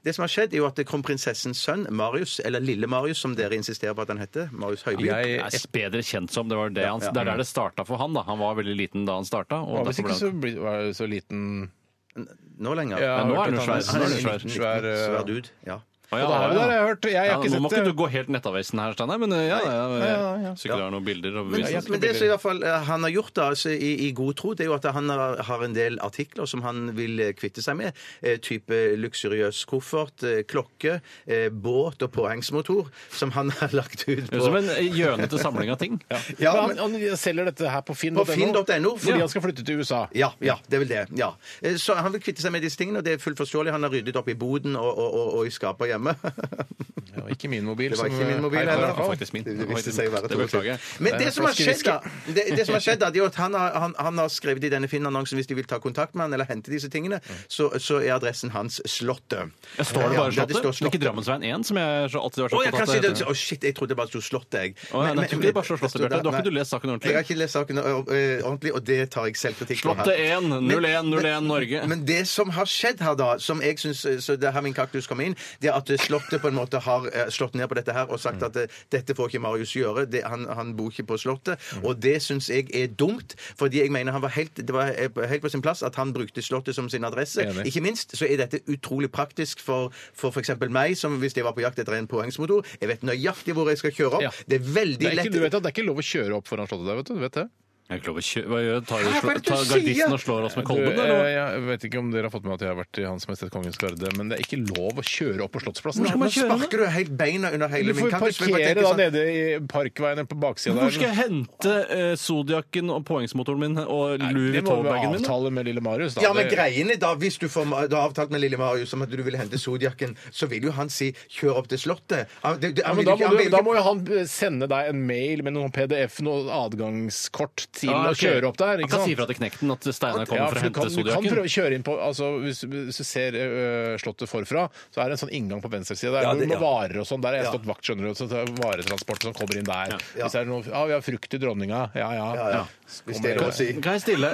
Speaker 4: Det som har skjedd, er jo at kronprinsessens sønn, Marius, eller lille Marius, som dere insisterer på at han heter, Marius Høiby
Speaker 5: Jeg er bedre kjent som. Det var det, han,
Speaker 4: ja.
Speaker 5: det er der det starta for han. da. Han var veldig liten da han starta.
Speaker 3: Og Hvis ikke så blir- var jeg så liten
Speaker 4: Nå lenger.
Speaker 3: Ja, jeg
Speaker 5: nå er han
Speaker 3: har hørt at
Speaker 5: svær. Nå er han
Speaker 3: er
Speaker 4: en
Speaker 3: en svær,
Speaker 4: liten,
Speaker 3: eh,
Speaker 4: svær dude. Ja.
Speaker 5: Å,
Speaker 3: Ja, da har vi det, jeg har hørt. Jeg har
Speaker 5: Ja,
Speaker 3: ikke
Speaker 5: nå må
Speaker 3: sett
Speaker 5: ikke
Speaker 3: det.
Speaker 5: du gå helt nettavesen her, Steinar, men eh, ja, ja,
Speaker 3: ja, ja.
Speaker 5: ja. Så ikke du har noen bilder og
Speaker 4: Men,
Speaker 5: bevis.
Speaker 4: men det som i hvert fall eh, han har gjort da, altså, i, i god tro, det er jo at han har, har en del artikler som han vil eh, kvitte seg med. Eh, type luksuriøs koffert, eh, klokke, eh, båt og påhengsmotor, som han <laughs> har lagt ut
Speaker 5: Det
Speaker 4: på.
Speaker 5: er Som en gjønete samling av ting.
Speaker 4: Ja,
Speaker 3: Men
Speaker 4: men-
Speaker 3: han, han selger dette her på Finn.no
Speaker 4: På Finn.no,
Speaker 3: fordi
Speaker 4: ja.
Speaker 3: han skal flytte til USA.
Speaker 4: Ja, ja, det er vel det. ja. Eh, Så Han vil kvitte seg med disse tingene, og det er fullt forståelig. Han har ryddet opp i boden og, og, og, og i skapet hjemme. <laughs>
Speaker 3: Det var ikke min mobil.
Speaker 4: Det var
Speaker 3: som-
Speaker 4: ikke
Speaker 5: eh,
Speaker 4: min mobil
Speaker 3: Nei,
Speaker 4: heller.
Speaker 3: i hvert fall.
Speaker 5: faktisk min.
Speaker 4: Det viste seg å være
Speaker 5: Det beklager jeg. Eh,
Speaker 4: Tore. Men det som har skjedd, da, det, det som har skjedd da, det er jo at han har, han, han har skrevet i denne Finn-annonsen hvis de vil ta kontakt med han eller hente disse tingene, så, så er adressen hans Slottet.
Speaker 5: Jeg står det
Speaker 4: Ja,
Speaker 5: bare
Speaker 4: ja, det
Speaker 5: Slottet?
Speaker 4: står
Speaker 5: Men ikke Drammensveien 1, som jeg så alltid har
Speaker 4: Å,
Speaker 5: vært
Speaker 4: jeg
Speaker 5: så
Speaker 4: kan si
Speaker 5: opptatt
Speaker 4: det.
Speaker 5: av.
Speaker 4: Å, shit, jeg trodde det bare sto Slottet, jeg.
Speaker 5: Å, ja, nei, jeg trodde det bare sto Slottet, Bjarte. Du har
Speaker 4: Nei.
Speaker 5: ikke du lest saken ordentlig?
Speaker 4: Jeg har ikke lest saken ø, ø, ordentlig, og det tar jeg selvkritikk på. her.
Speaker 5: Slottet 1,
Speaker 4: Men-
Speaker 5: 01,
Speaker 4: men-
Speaker 5: 01 Norge.
Speaker 4: Men det som har skjedd her, da, som jeg syns Så det er her min kaktus kom inn, det er at eh, Slottet på en måte har eh, slått ned på dette her og
Speaker 3: Mm.
Speaker 4: sagt at eh, dette får ikke Marius gjøre, det, han, han bor ikke på Slottet.
Speaker 3: Mm.
Speaker 4: Og det syns jeg er dumt, fordi jeg mener han var helt, det var eh, helt på sin plass at han brukte Slottet som sin adresse.
Speaker 3: Enig.
Speaker 4: Ikke minst så er dette utrolig praktisk for for f.eks. meg, som hvis jeg var på jakt etter en påhengsmotor. Jeg vet nøyaktig hvor jeg skal kjøre opp.
Speaker 3: Ja.
Speaker 4: Det er veldig
Speaker 3: Det er, ikke,
Speaker 4: lett
Speaker 3: du vet at det er ikke lov å kjøre opp foran slottet der, vet du. du vet det?
Speaker 5: Jeg har ikke lov å kjøre Hva gjør Tar,
Speaker 4: Hæ, hva er det du
Speaker 5: tar
Speaker 4: sier?
Speaker 5: gardisten og slår oss med kolben,
Speaker 3: Du,
Speaker 5: eller?
Speaker 3: eh, jeg vet ikke om dere har fått med at jeg har vært i Hans Majestet Kongens Garde, men det er ikke lov å kjøre opp på Slottsplassen.
Speaker 5: Hvor skal man
Speaker 4: Nå
Speaker 5: kjøre
Speaker 4: sparker du helt beina under hele
Speaker 3: Du
Speaker 4: min
Speaker 3: får
Speaker 4: kaktus. men jeg
Speaker 3: parkere
Speaker 4: bare
Speaker 3: da
Speaker 4: tenker sånn-
Speaker 3: nede i parkveien på baksida
Speaker 5: Hvor skal jeg hente eh, Zodiacen og påhengsmotoren min eh, og Louis
Speaker 3: Det må vi
Speaker 5: Vuitton-bagen min? da?
Speaker 3: avtale med lille Marius, da.
Speaker 4: Ja, men
Speaker 3: Det-
Speaker 4: greiene da, Hvis du får du har avtalt med Lille Marius om at du ville hente Zodiacen, så vil jo han si 'kjør opp til Slottet'. Han, det, det,
Speaker 3: Ja,
Speaker 4: han
Speaker 3: men
Speaker 4: vil
Speaker 3: da,
Speaker 4: jo ikke-
Speaker 3: må
Speaker 4: han
Speaker 3: du,
Speaker 4: vil
Speaker 3: da
Speaker 4: ikke-
Speaker 3: må jo han sende deg en mail med noen PDF, noe adgangskort til
Speaker 5: Ah,
Speaker 3: å
Speaker 5: ok.
Speaker 3: kjøre opp der.
Speaker 5: Han
Speaker 3: Ikke
Speaker 5: kan si
Speaker 3: sant?
Speaker 5: fra til knekten at Steinar kommer
Speaker 3: Ja,
Speaker 5: for
Speaker 3: for
Speaker 5: å
Speaker 3: du kan,
Speaker 5: hente
Speaker 3: du kan prøve
Speaker 5: Zodiacen.
Speaker 3: å kjøre inn på altså, hvis, hvis du ser ø, Slottet forfra, så er det en sånn inngang på venstre side der
Speaker 4: Ja,
Speaker 3: hvor
Speaker 4: det-
Speaker 3: med
Speaker 4: ja.
Speaker 3: varer og sånn. Der har jeg
Speaker 4: Ja.
Speaker 3: stått vakt, skjønner du, og så det er varetransport som kommer inn der.
Speaker 4: Ja.
Speaker 3: Hvis det er noe Ja, vi har frukt til dronninga. Ja, ja.
Speaker 4: Ja, ja. Hvis det er lov å si.
Speaker 5: Kan jeg stille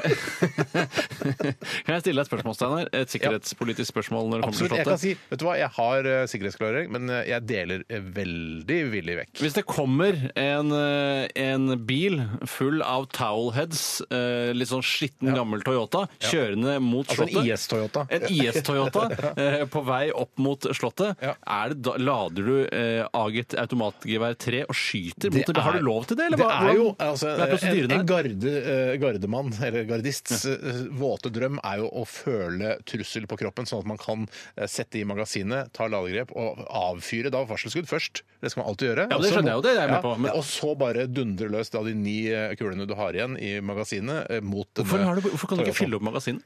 Speaker 5: <laughs> Kan jeg stille deg et spørsmål, Steinar? Et sikkerhetspolitisk spørsmål når det kommer
Speaker 3: Absolutt. Jeg
Speaker 5: til
Speaker 3: kan
Speaker 5: Slottet?
Speaker 3: si Vet du hva, jeg har ø, sikkerhetsklarering, men ø, jeg deler ø, veldig villig vekk.
Speaker 5: Hvis det kommer en, eh, en bil full av towelheads, eh, litt sånn skitten gammel Toyota, kjørende mot
Speaker 3: Altså en
Speaker 5: Slottet
Speaker 3: IS-Toyota.
Speaker 5: En
Speaker 3: <laughs>
Speaker 5: IS-Toyota eh, på vei opp mot Slottet.
Speaker 3: Ja.
Speaker 5: Er det da, lader du eh, AG-et automatgevær 3 og skyter
Speaker 3: Det
Speaker 5: mot det? Har
Speaker 3: er-
Speaker 5: du lov til det? Eller
Speaker 3: Det
Speaker 5: hva-
Speaker 3: er jo
Speaker 5: hvordan-
Speaker 3: altså,
Speaker 5: hva er
Speaker 3: En,
Speaker 5: prosedyrene
Speaker 3: en
Speaker 5: her?
Speaker 3: garde, eh, gardemann, eller gardists, eh, våte drøm er jo å føle trussel på kroppen, sånn at man kan eh, sette i magasinet, ta ladegrep og avfyre da varselskudd først. Det skal man alltid gjøre.
Speaker 5: Ja, det
Speaker 3: Og så
Speaker 5: skjønner
Speaker 3: må-
Speaker 5: jeg jo, det er jeg med på, men-
Speaker 3: Og så bare dundre løs da de ni eh, kulene du har igjen i magasinet eh, mot Eh,
Speaker 5: Hvorfor, har du, hvorfor kan du ikke fylle opp magasinet?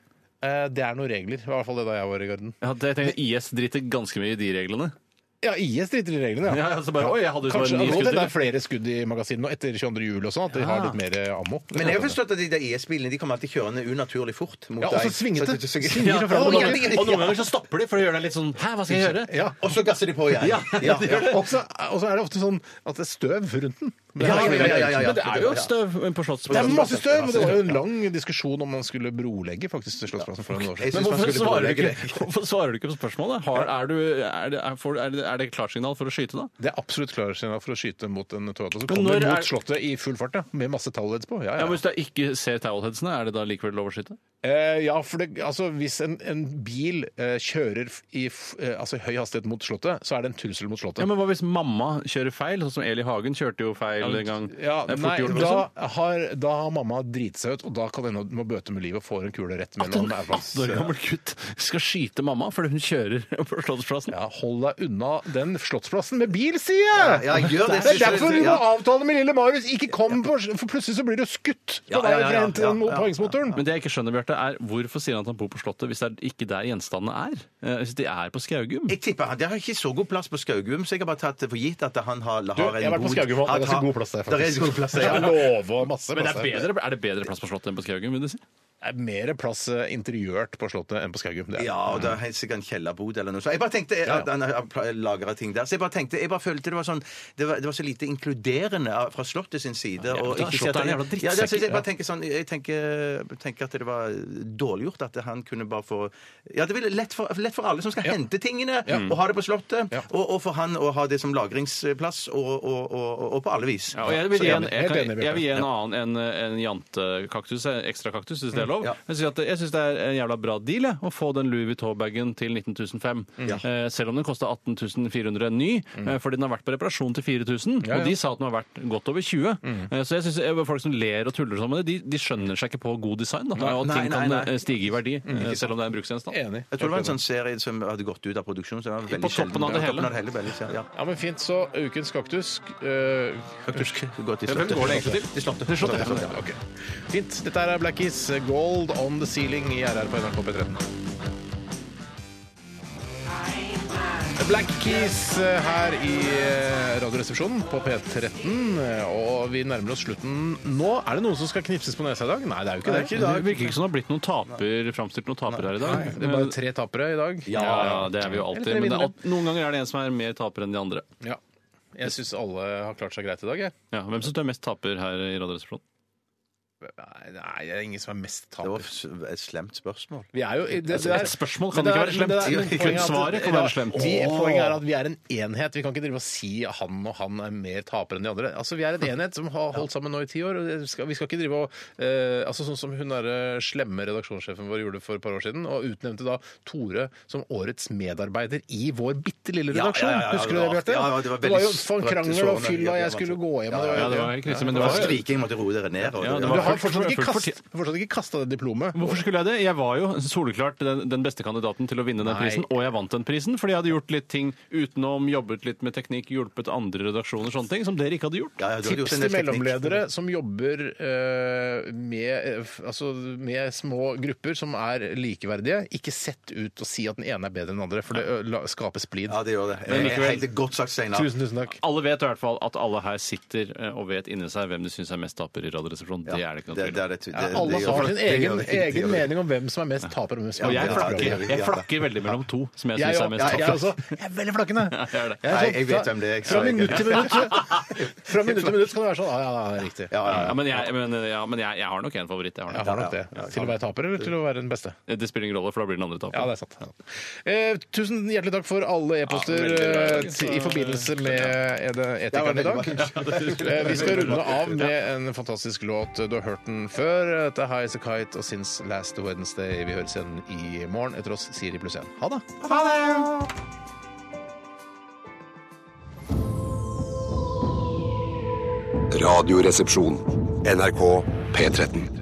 Speaker 3: Det er noen regler. Det var i hvert fall det da jeg var i garden.
Speaker 5: Ja, det, jeg tenker, IS driter ganske mye i de reglene. <laughs>
Speaker 3: Ja, IS driter i reglene, ja.
Speaker 5: Ja, altså bare, Oi, jeg hadde jo bare
Speaker 3: Kanskje
Speaker 5: ni
Speaker 3: nå det er
Speaker 5: skuddere.
Speaker 3: flere skudd i magasinet nå etter 22. juli og sånn, at de har
Speaker 5: Ja.
Speaker 3: litt mer eh, ammo.
Speaker 4: Men jeg har forstått at de der IS-bilene de kommer alltid kjørende unaturlig fort mot
Speaker 3: Ja, og så
Speaker 4: deg.
Speaker 3: svingete.
Speaker 4: Så- så- så-
Speaker 3: Svinger
Speaker 5: Ja,
Speaker 3: og
Speaker 5: og,
Speaker 3: fram og
Speaker 5: noen,
Speaker 3: tilbake.
Speaker 5: og noen ganger så stopper de for å gjøre deg litt sånn Hæ, hva skal jeg gjøre?
Speaker 3: <laughs> Ja.
Speaker 4: Og så gasser de på igjen.
Speaker 5: Ja,
Speaker 4: Ja, ja.
Speaker 3: Og så og så er det ofte sånn at det er støv rundt den. Ja, ja, ja, ja, ja.
Speaker 5: Men det er jo støv på
Speaker 3: Det er
Speaker 5: Slottsplassen.
Speaker 3: masse støv! og Det var jo en lang diskusjon om man skulle brolegge faktisk til Slottsplassen for noen år
Speaker 4: Jeg
Speaker 3: siden.
Speaker 4: synes man
Speaker 5: Men hvorfor
Speaker 4: skulle
Speaker 5: svarer, du
Speaker 4: pålegge
Speaker 5: ikke, <laughs> hvorfor svarer du ikke på spørsmålet? Har, er, du, er, det, er, får- er, det, er det klarsignal for å skyte, da?
Speaker 3: Det er absolutt klarsignal for å skyte mot en Toyota som
Speaker 5: Men
Speaker 3: kommer
Speaker 5: når
Speaker 3: mot
Speaker 5: er-
Speaker 3: Slottet i full fart, ja. Med masse tallheads på. Ja,
Speaker 5: Ja,
Speaker 3: ja.
Speaker 5: men Hvis du ikke ser towelheadsene, er det da likevel lov å skyte?
Speaker 3: Eh, ja for det, altså, hvis en, en bil eh, kjører f- i f- eh, altså, høy hastighet mot Slottet, så er det en trussel mot Slottet.
Speaker 5: Ja, men Hva hvis mamma kjører feil, sånn som Eli Hagen kjørte jo feil en gang?
Speaker 3: Ja,
Speaker 5: Det er fort
Speaker 3: nei,
Speaker 5: gjort, liksom. også.
Speaker 3: da har, da har mamma driti seg ut, og da kan det hende hun må bøte med livet og får en kule rett mellom nerveplass.
Speaker 5: 18 år gammel gutt skal skyte mamma fordi hun kjører <laughs> på Slottsplassen.
Speaker 3: Ja, hold deg unna den Slottsplassen med bil, sier jeg!
Speaker 4: Ja, ja, gjør det.
Speaker 3: det er derfor du må
Speaker 4: Ja.
Speaker 3: avtale med lille Marius! Ikke kom på For plutselig så blir du skutt på
Speaker 4: Ja, ja,
Speaker 3: vei
Speaker 4: ja, ja,
Speaker 3: frem til
Speaker 4: ja,
Speaker 3: den mot
Speaker 4: ja, ja.
Speaker 3: poengsmotoren.
Speaker 5: Men det jeg ikke skjønner, Bjarte, er hvorfor sier han at han bor på Slottet hvis det er ikke der gjenstandene er? Eh, Hvis de er på Skaugum?
Speaker 4: Jeg tipper han, Det har ikke så god plass på Skaugum, så jeg har bare tatt det for gitt at han har, har
Speaker 3: Du, jeg har vært på Skaugum òg. Det er ganske god plass der,
Speaker 4: Det er
Speaker 3: faktisk.
Speaker 4: god plass der,
Speaker 3: <laughs> Jeg
Speaker 4: ja.
Speaker 3: lover masse
Speaker 5: Men det
Speaker 3: plass
Speaker 5: er,
Speaker 3: der.
Speaker 5: bedre, er det bedre plass på Slottet enn på Skaugum? vil du si?
Speaker 3: Det er mer plass eh, interiørt på Slottet enn på Skaugum. Det er.
Speaker 4: Ja, og det
Speaker 5: mm.
Speaker 4: er helt sikkert en kjellerbod eller noe sånt. Jeg bare tenkte at han har lagret ting der. Så jeg bare tenkte, jeg bare følte det var sånn Det var, det var så lite inkluderende av- fra Slottet sin side.
Speaker 5: men
Speaker 4: og
Speaker 5: da er
Speaker 4: ikke si
Speaker 5: Slottet
Speaker 4: at-
Speaker 5: en jævla drittsekk.
Speaker 4: Ja, det synes jeg bare tenker sånn Jeg tenker, tenker at det var dårlig gjort at han kunne bare få Ja, det ville lett for, lett for alle som skal hente tingene, og ha det på Slottet. Og, og for han å ha det som lagringsplass, og, og, og, og på alle vis.
Speaker 5: Ja, og jeg vil gi en, jeg
Speaker 3: Helt
Speaker 5: kan,
Speaker 3: enig, Bjarte.
Speaker 5: jeg vil gi en annen enn eh, en jantekaktus, en ekstrakaktus, hvis det
Speaker 3: Mm.
Speaker 5: er lov.
Speaker 4: Ja.
Speaker 5: Jeg synes, at, jeg synes det er en jævla bra deal jeg, å få den Louis Vuitton-bagen til 19.005.
Speaker 3: Mm.
Speaker 5: Eh, selv om den kosta 18.400 ny, eh, fordi den har vært på reparasjon til 4000.
Speaker 3: Ja, Mm. ja.
Speaker 5: Og de sa at den var verdt godt over 20. Eh, så jeg synes eh, folk som ler og tuller sammen med det, de, de skjønner seg ikke på god design. Da, og at
Speaker 4: Nei,
Speaker 5: ting
Speaker 4: nei,
Speaker 5: kan
Speaker 4: nei.
Speaker 5: eh, stige i verdi,
Speaker 3: Mm.
Speaker 5: eh, selv om det er en bruksgjenstand.
Speaker 3: Enig.
Speaker 4: Jeg tror det var en sånn serie som hadde gått ut av produksjon. Så det var veldig
Speaker 5: På toppen
Speaker 4: sjelden.
Speaker 5: av det
Speaker 4: Ja,
Speaker 5: hele.
Speaker 4: Toppen av det hele veldig, sjelden, ja.
Speaker 3: Ja, men fint, så ukens kaktus eh,
Speaker 4: Gå til
Speaker 5: Ja, Hvem
Speaker 4: Slottet.
Speaker 5: går det egentlig til? Til Slottet. ja.
Speaker 3: ok. Fint. Dette er Blackies Gold on the Ceiling i RR på NRK P13. Black Keys eh, her i eh, Radioresepsjonen på P13. eh, Og vi nærmer oss slutten nå. Er det noen som skal knipses på nesa i dag? Nei, det er jo ikke det.
Speaker 5: Det virker ikke som det har blitt noen taper, framstilt noen taper her i dag.
Speaker 3: Det er bare tre tapere i dag.
Speaker 5: Ja, det er vi jo alltid.
Speaker 3: Eller
Speaker 5: Men det er
Speaker 3: vinnere.
Speaker 5: alt, noen ganger er det en som er mer taper enn de andre.
Speaker 3: Ja. Jeg syns alle har klart seg greit i dag. Jeg.
Speaker 5: Ja, hvem syns du er mest taper her i Radioresepsjonen?
Speaker 3: Nei, nei, det er ingen som er mest
Speaker 4: Det
Speaker 3: taper.
Speaker 4: var s- et slemt spørsmål.
Speaker 3: Vi er jo, det, det er,
Speaker 5: Et spørsmål
Speaker 3: Men
Speaker 5: kan ikke
Speaker 3: det
Speaker 5: være
Speaker 3: er- men
Speaker 5: slemt.
Speaker 3: det er- men
Speaker 5: Kun
Speaker 3: poenget er at-
Speaker 5: svaret kan
Speaker 3: ja,
Speaker 5: være slemt.
Speaker 3: Vi, poenget er at vi er en enhet. Vi kan ikke drive og si at han og han er mer taper enn de andre. Altså, Vi er en enhet som har holdt sammen nå i ti år. og det skal, Vi skal ikke drive og eh, altså Sånn som hun derre slemme redaksjonssjefen vår gjorde for et par år siden, og utnevnte da Tore som årets medarbeider i vår bitte lille
Speaker 4: Ja, ja,
Speaker 3: redaksjon.
Speaker 4: ja, ja,
Speaker 3: Husker du det,
Speaker 4: det var-
Speaker 3: Bjarte?
Speaker 4: ja, ja, det var
Speaker 3: det var jo
Speaker 4: veldig
Speaker 3: faen krangel og
Speaker 4: sårende.
Speaker 3: fyll,
Speaker 4: Ja,
Speaker 3: og
Speaker 4: det
Speaker 3: jeg
Speaker 4: var
Speaker 3: skulle
Speaker 4: sånn.
Speaker 3: gå hjem og det var-
Speaker 5: Ja, det var helt krise,
Speaker 4: Det
Speaker 5: men det
Speaker 4: var
Speaker 5: var jo
Speaker 4: skriking, måtte roe dere ned. Og,
Speaker 5: Ja, det
Speaker 3: Du
Speaker 5: var-
Speaker 3: har fortsatt ikke
Speaker 5: Fullt-
Speaker 3: kast- fortsatt ikke kasta det diplomet.
Speaker 5: Hvorfor skulle jeg det? Jeg var jo soleklart den, den beste kandidaten til å vinne den
Speaker 3: Nei.
Speaker 5: prisen, og jeg vant den prisen fordi jeg hadde gjort litt ting utenom, jobbet litt med teknikk, hjulpet andre redaksjoner og sånne ting, som dere ikke hadde gjort.
Speaker 4: Ja, ja, du hadde gjort
Speaker 3: Tips
Speaker 4: en
Speaker 3: til
Speaker 4: del teknikk.
Speaker 3: mellomledere som jobber eh, med, eh, f- altså, med små grupper som er likeverdige. Ikke sett ut og si at den ene er bedre enn den andre, for det ø, la- skaper splid.
Speaker 4: Ja, det gjør det.
Speaker 5: Men likevel-
Speaker 4: Helt godt sagt, Steinar.
Speaker 3: Tusen, tusen takk.
Speaker 5: Alle vet i hvert fall at alle her sitter eh, og vet inni seg hvem de syns er mest taper i Radioresepsjonen. Det er det ikke noe
Speaker 4: Det-
Speaker 5: tvil
Speaker 4: det
Speaker 5: om.
Speaker 4: er det- det-
Speaker 3: Ja,
Speaker 4: det-
Speaker 3: alle
Speaker 4: det gjør
Speaker 3: har
Speaker 4: det.
Speaker 3: sin
Speaker 4: Det gjør
Speaker 3: egen,
Speaker 4: det. Det gjør
Speaker 3: egen
Speaker 4: det.
Speaker 3: mening om hvem som er mest taper og hvem som er
Speaker 5: Og jeg
Speaker 4: Ja, det er
Speaker 5: flakker,
Speaker 4: det.
Speaker 5: jeg flakker veldig mellom to som jeg
Speaker 3: Jeg òg.
Speaker 5: syns er
Speaker 3: Ja,
Speaker 5: mest
Speaker 3: jeg,
Speaker 5: taper.
Speaker 3: også. jeg er veldig flakkende.
Speaker 4: <laughs>
Speaker 5: Jeg er det.
Speaker 3: er
Speaker 4: Nei,
Speaker 3: sånn-
Speaker 4: jeg vet hvem det er, ikke
Speaker 3: Fra
Speaker 4: så jeg-
Speaker 3: minutt til minutt Fra minutt til minutt kan det være sånn. Ja, ja, ja, det er riktig.
Speaker 4: Ja, ja,
Speaker 5: Ja,
Speaker 4: ja.
Speaker 5: men jeg, men, ja, men jeg, jeg har nok en favoritt. Jeg har nok.
Speaker 3: Jeg har nok det. Til å være taper eller til å være den beste?
Speaker 5: Det spiller ingen rolle, for da blir den andre
Speaker 3: Ja,
Speaker 5: taper.
Speaker 3: det er sant. Eh, tusen hjertelig takk for alle e-poster
Speaker 5: veldig bra.
Speaker 3: eh, til- i forbindelse med eh, det- Etikeren i
Speaker 4: Ja,
Speaker 3: dag. Eh, Vi skal runde av med en fantastisk låt. Du har hørt den før. Dette er High As A Kite og Since Last Wednesday. Vi høres igjen i morgen. Etter oss Siri pluss 1. Ha det!
Speaker 1: Radioresepsjon. NRK P13.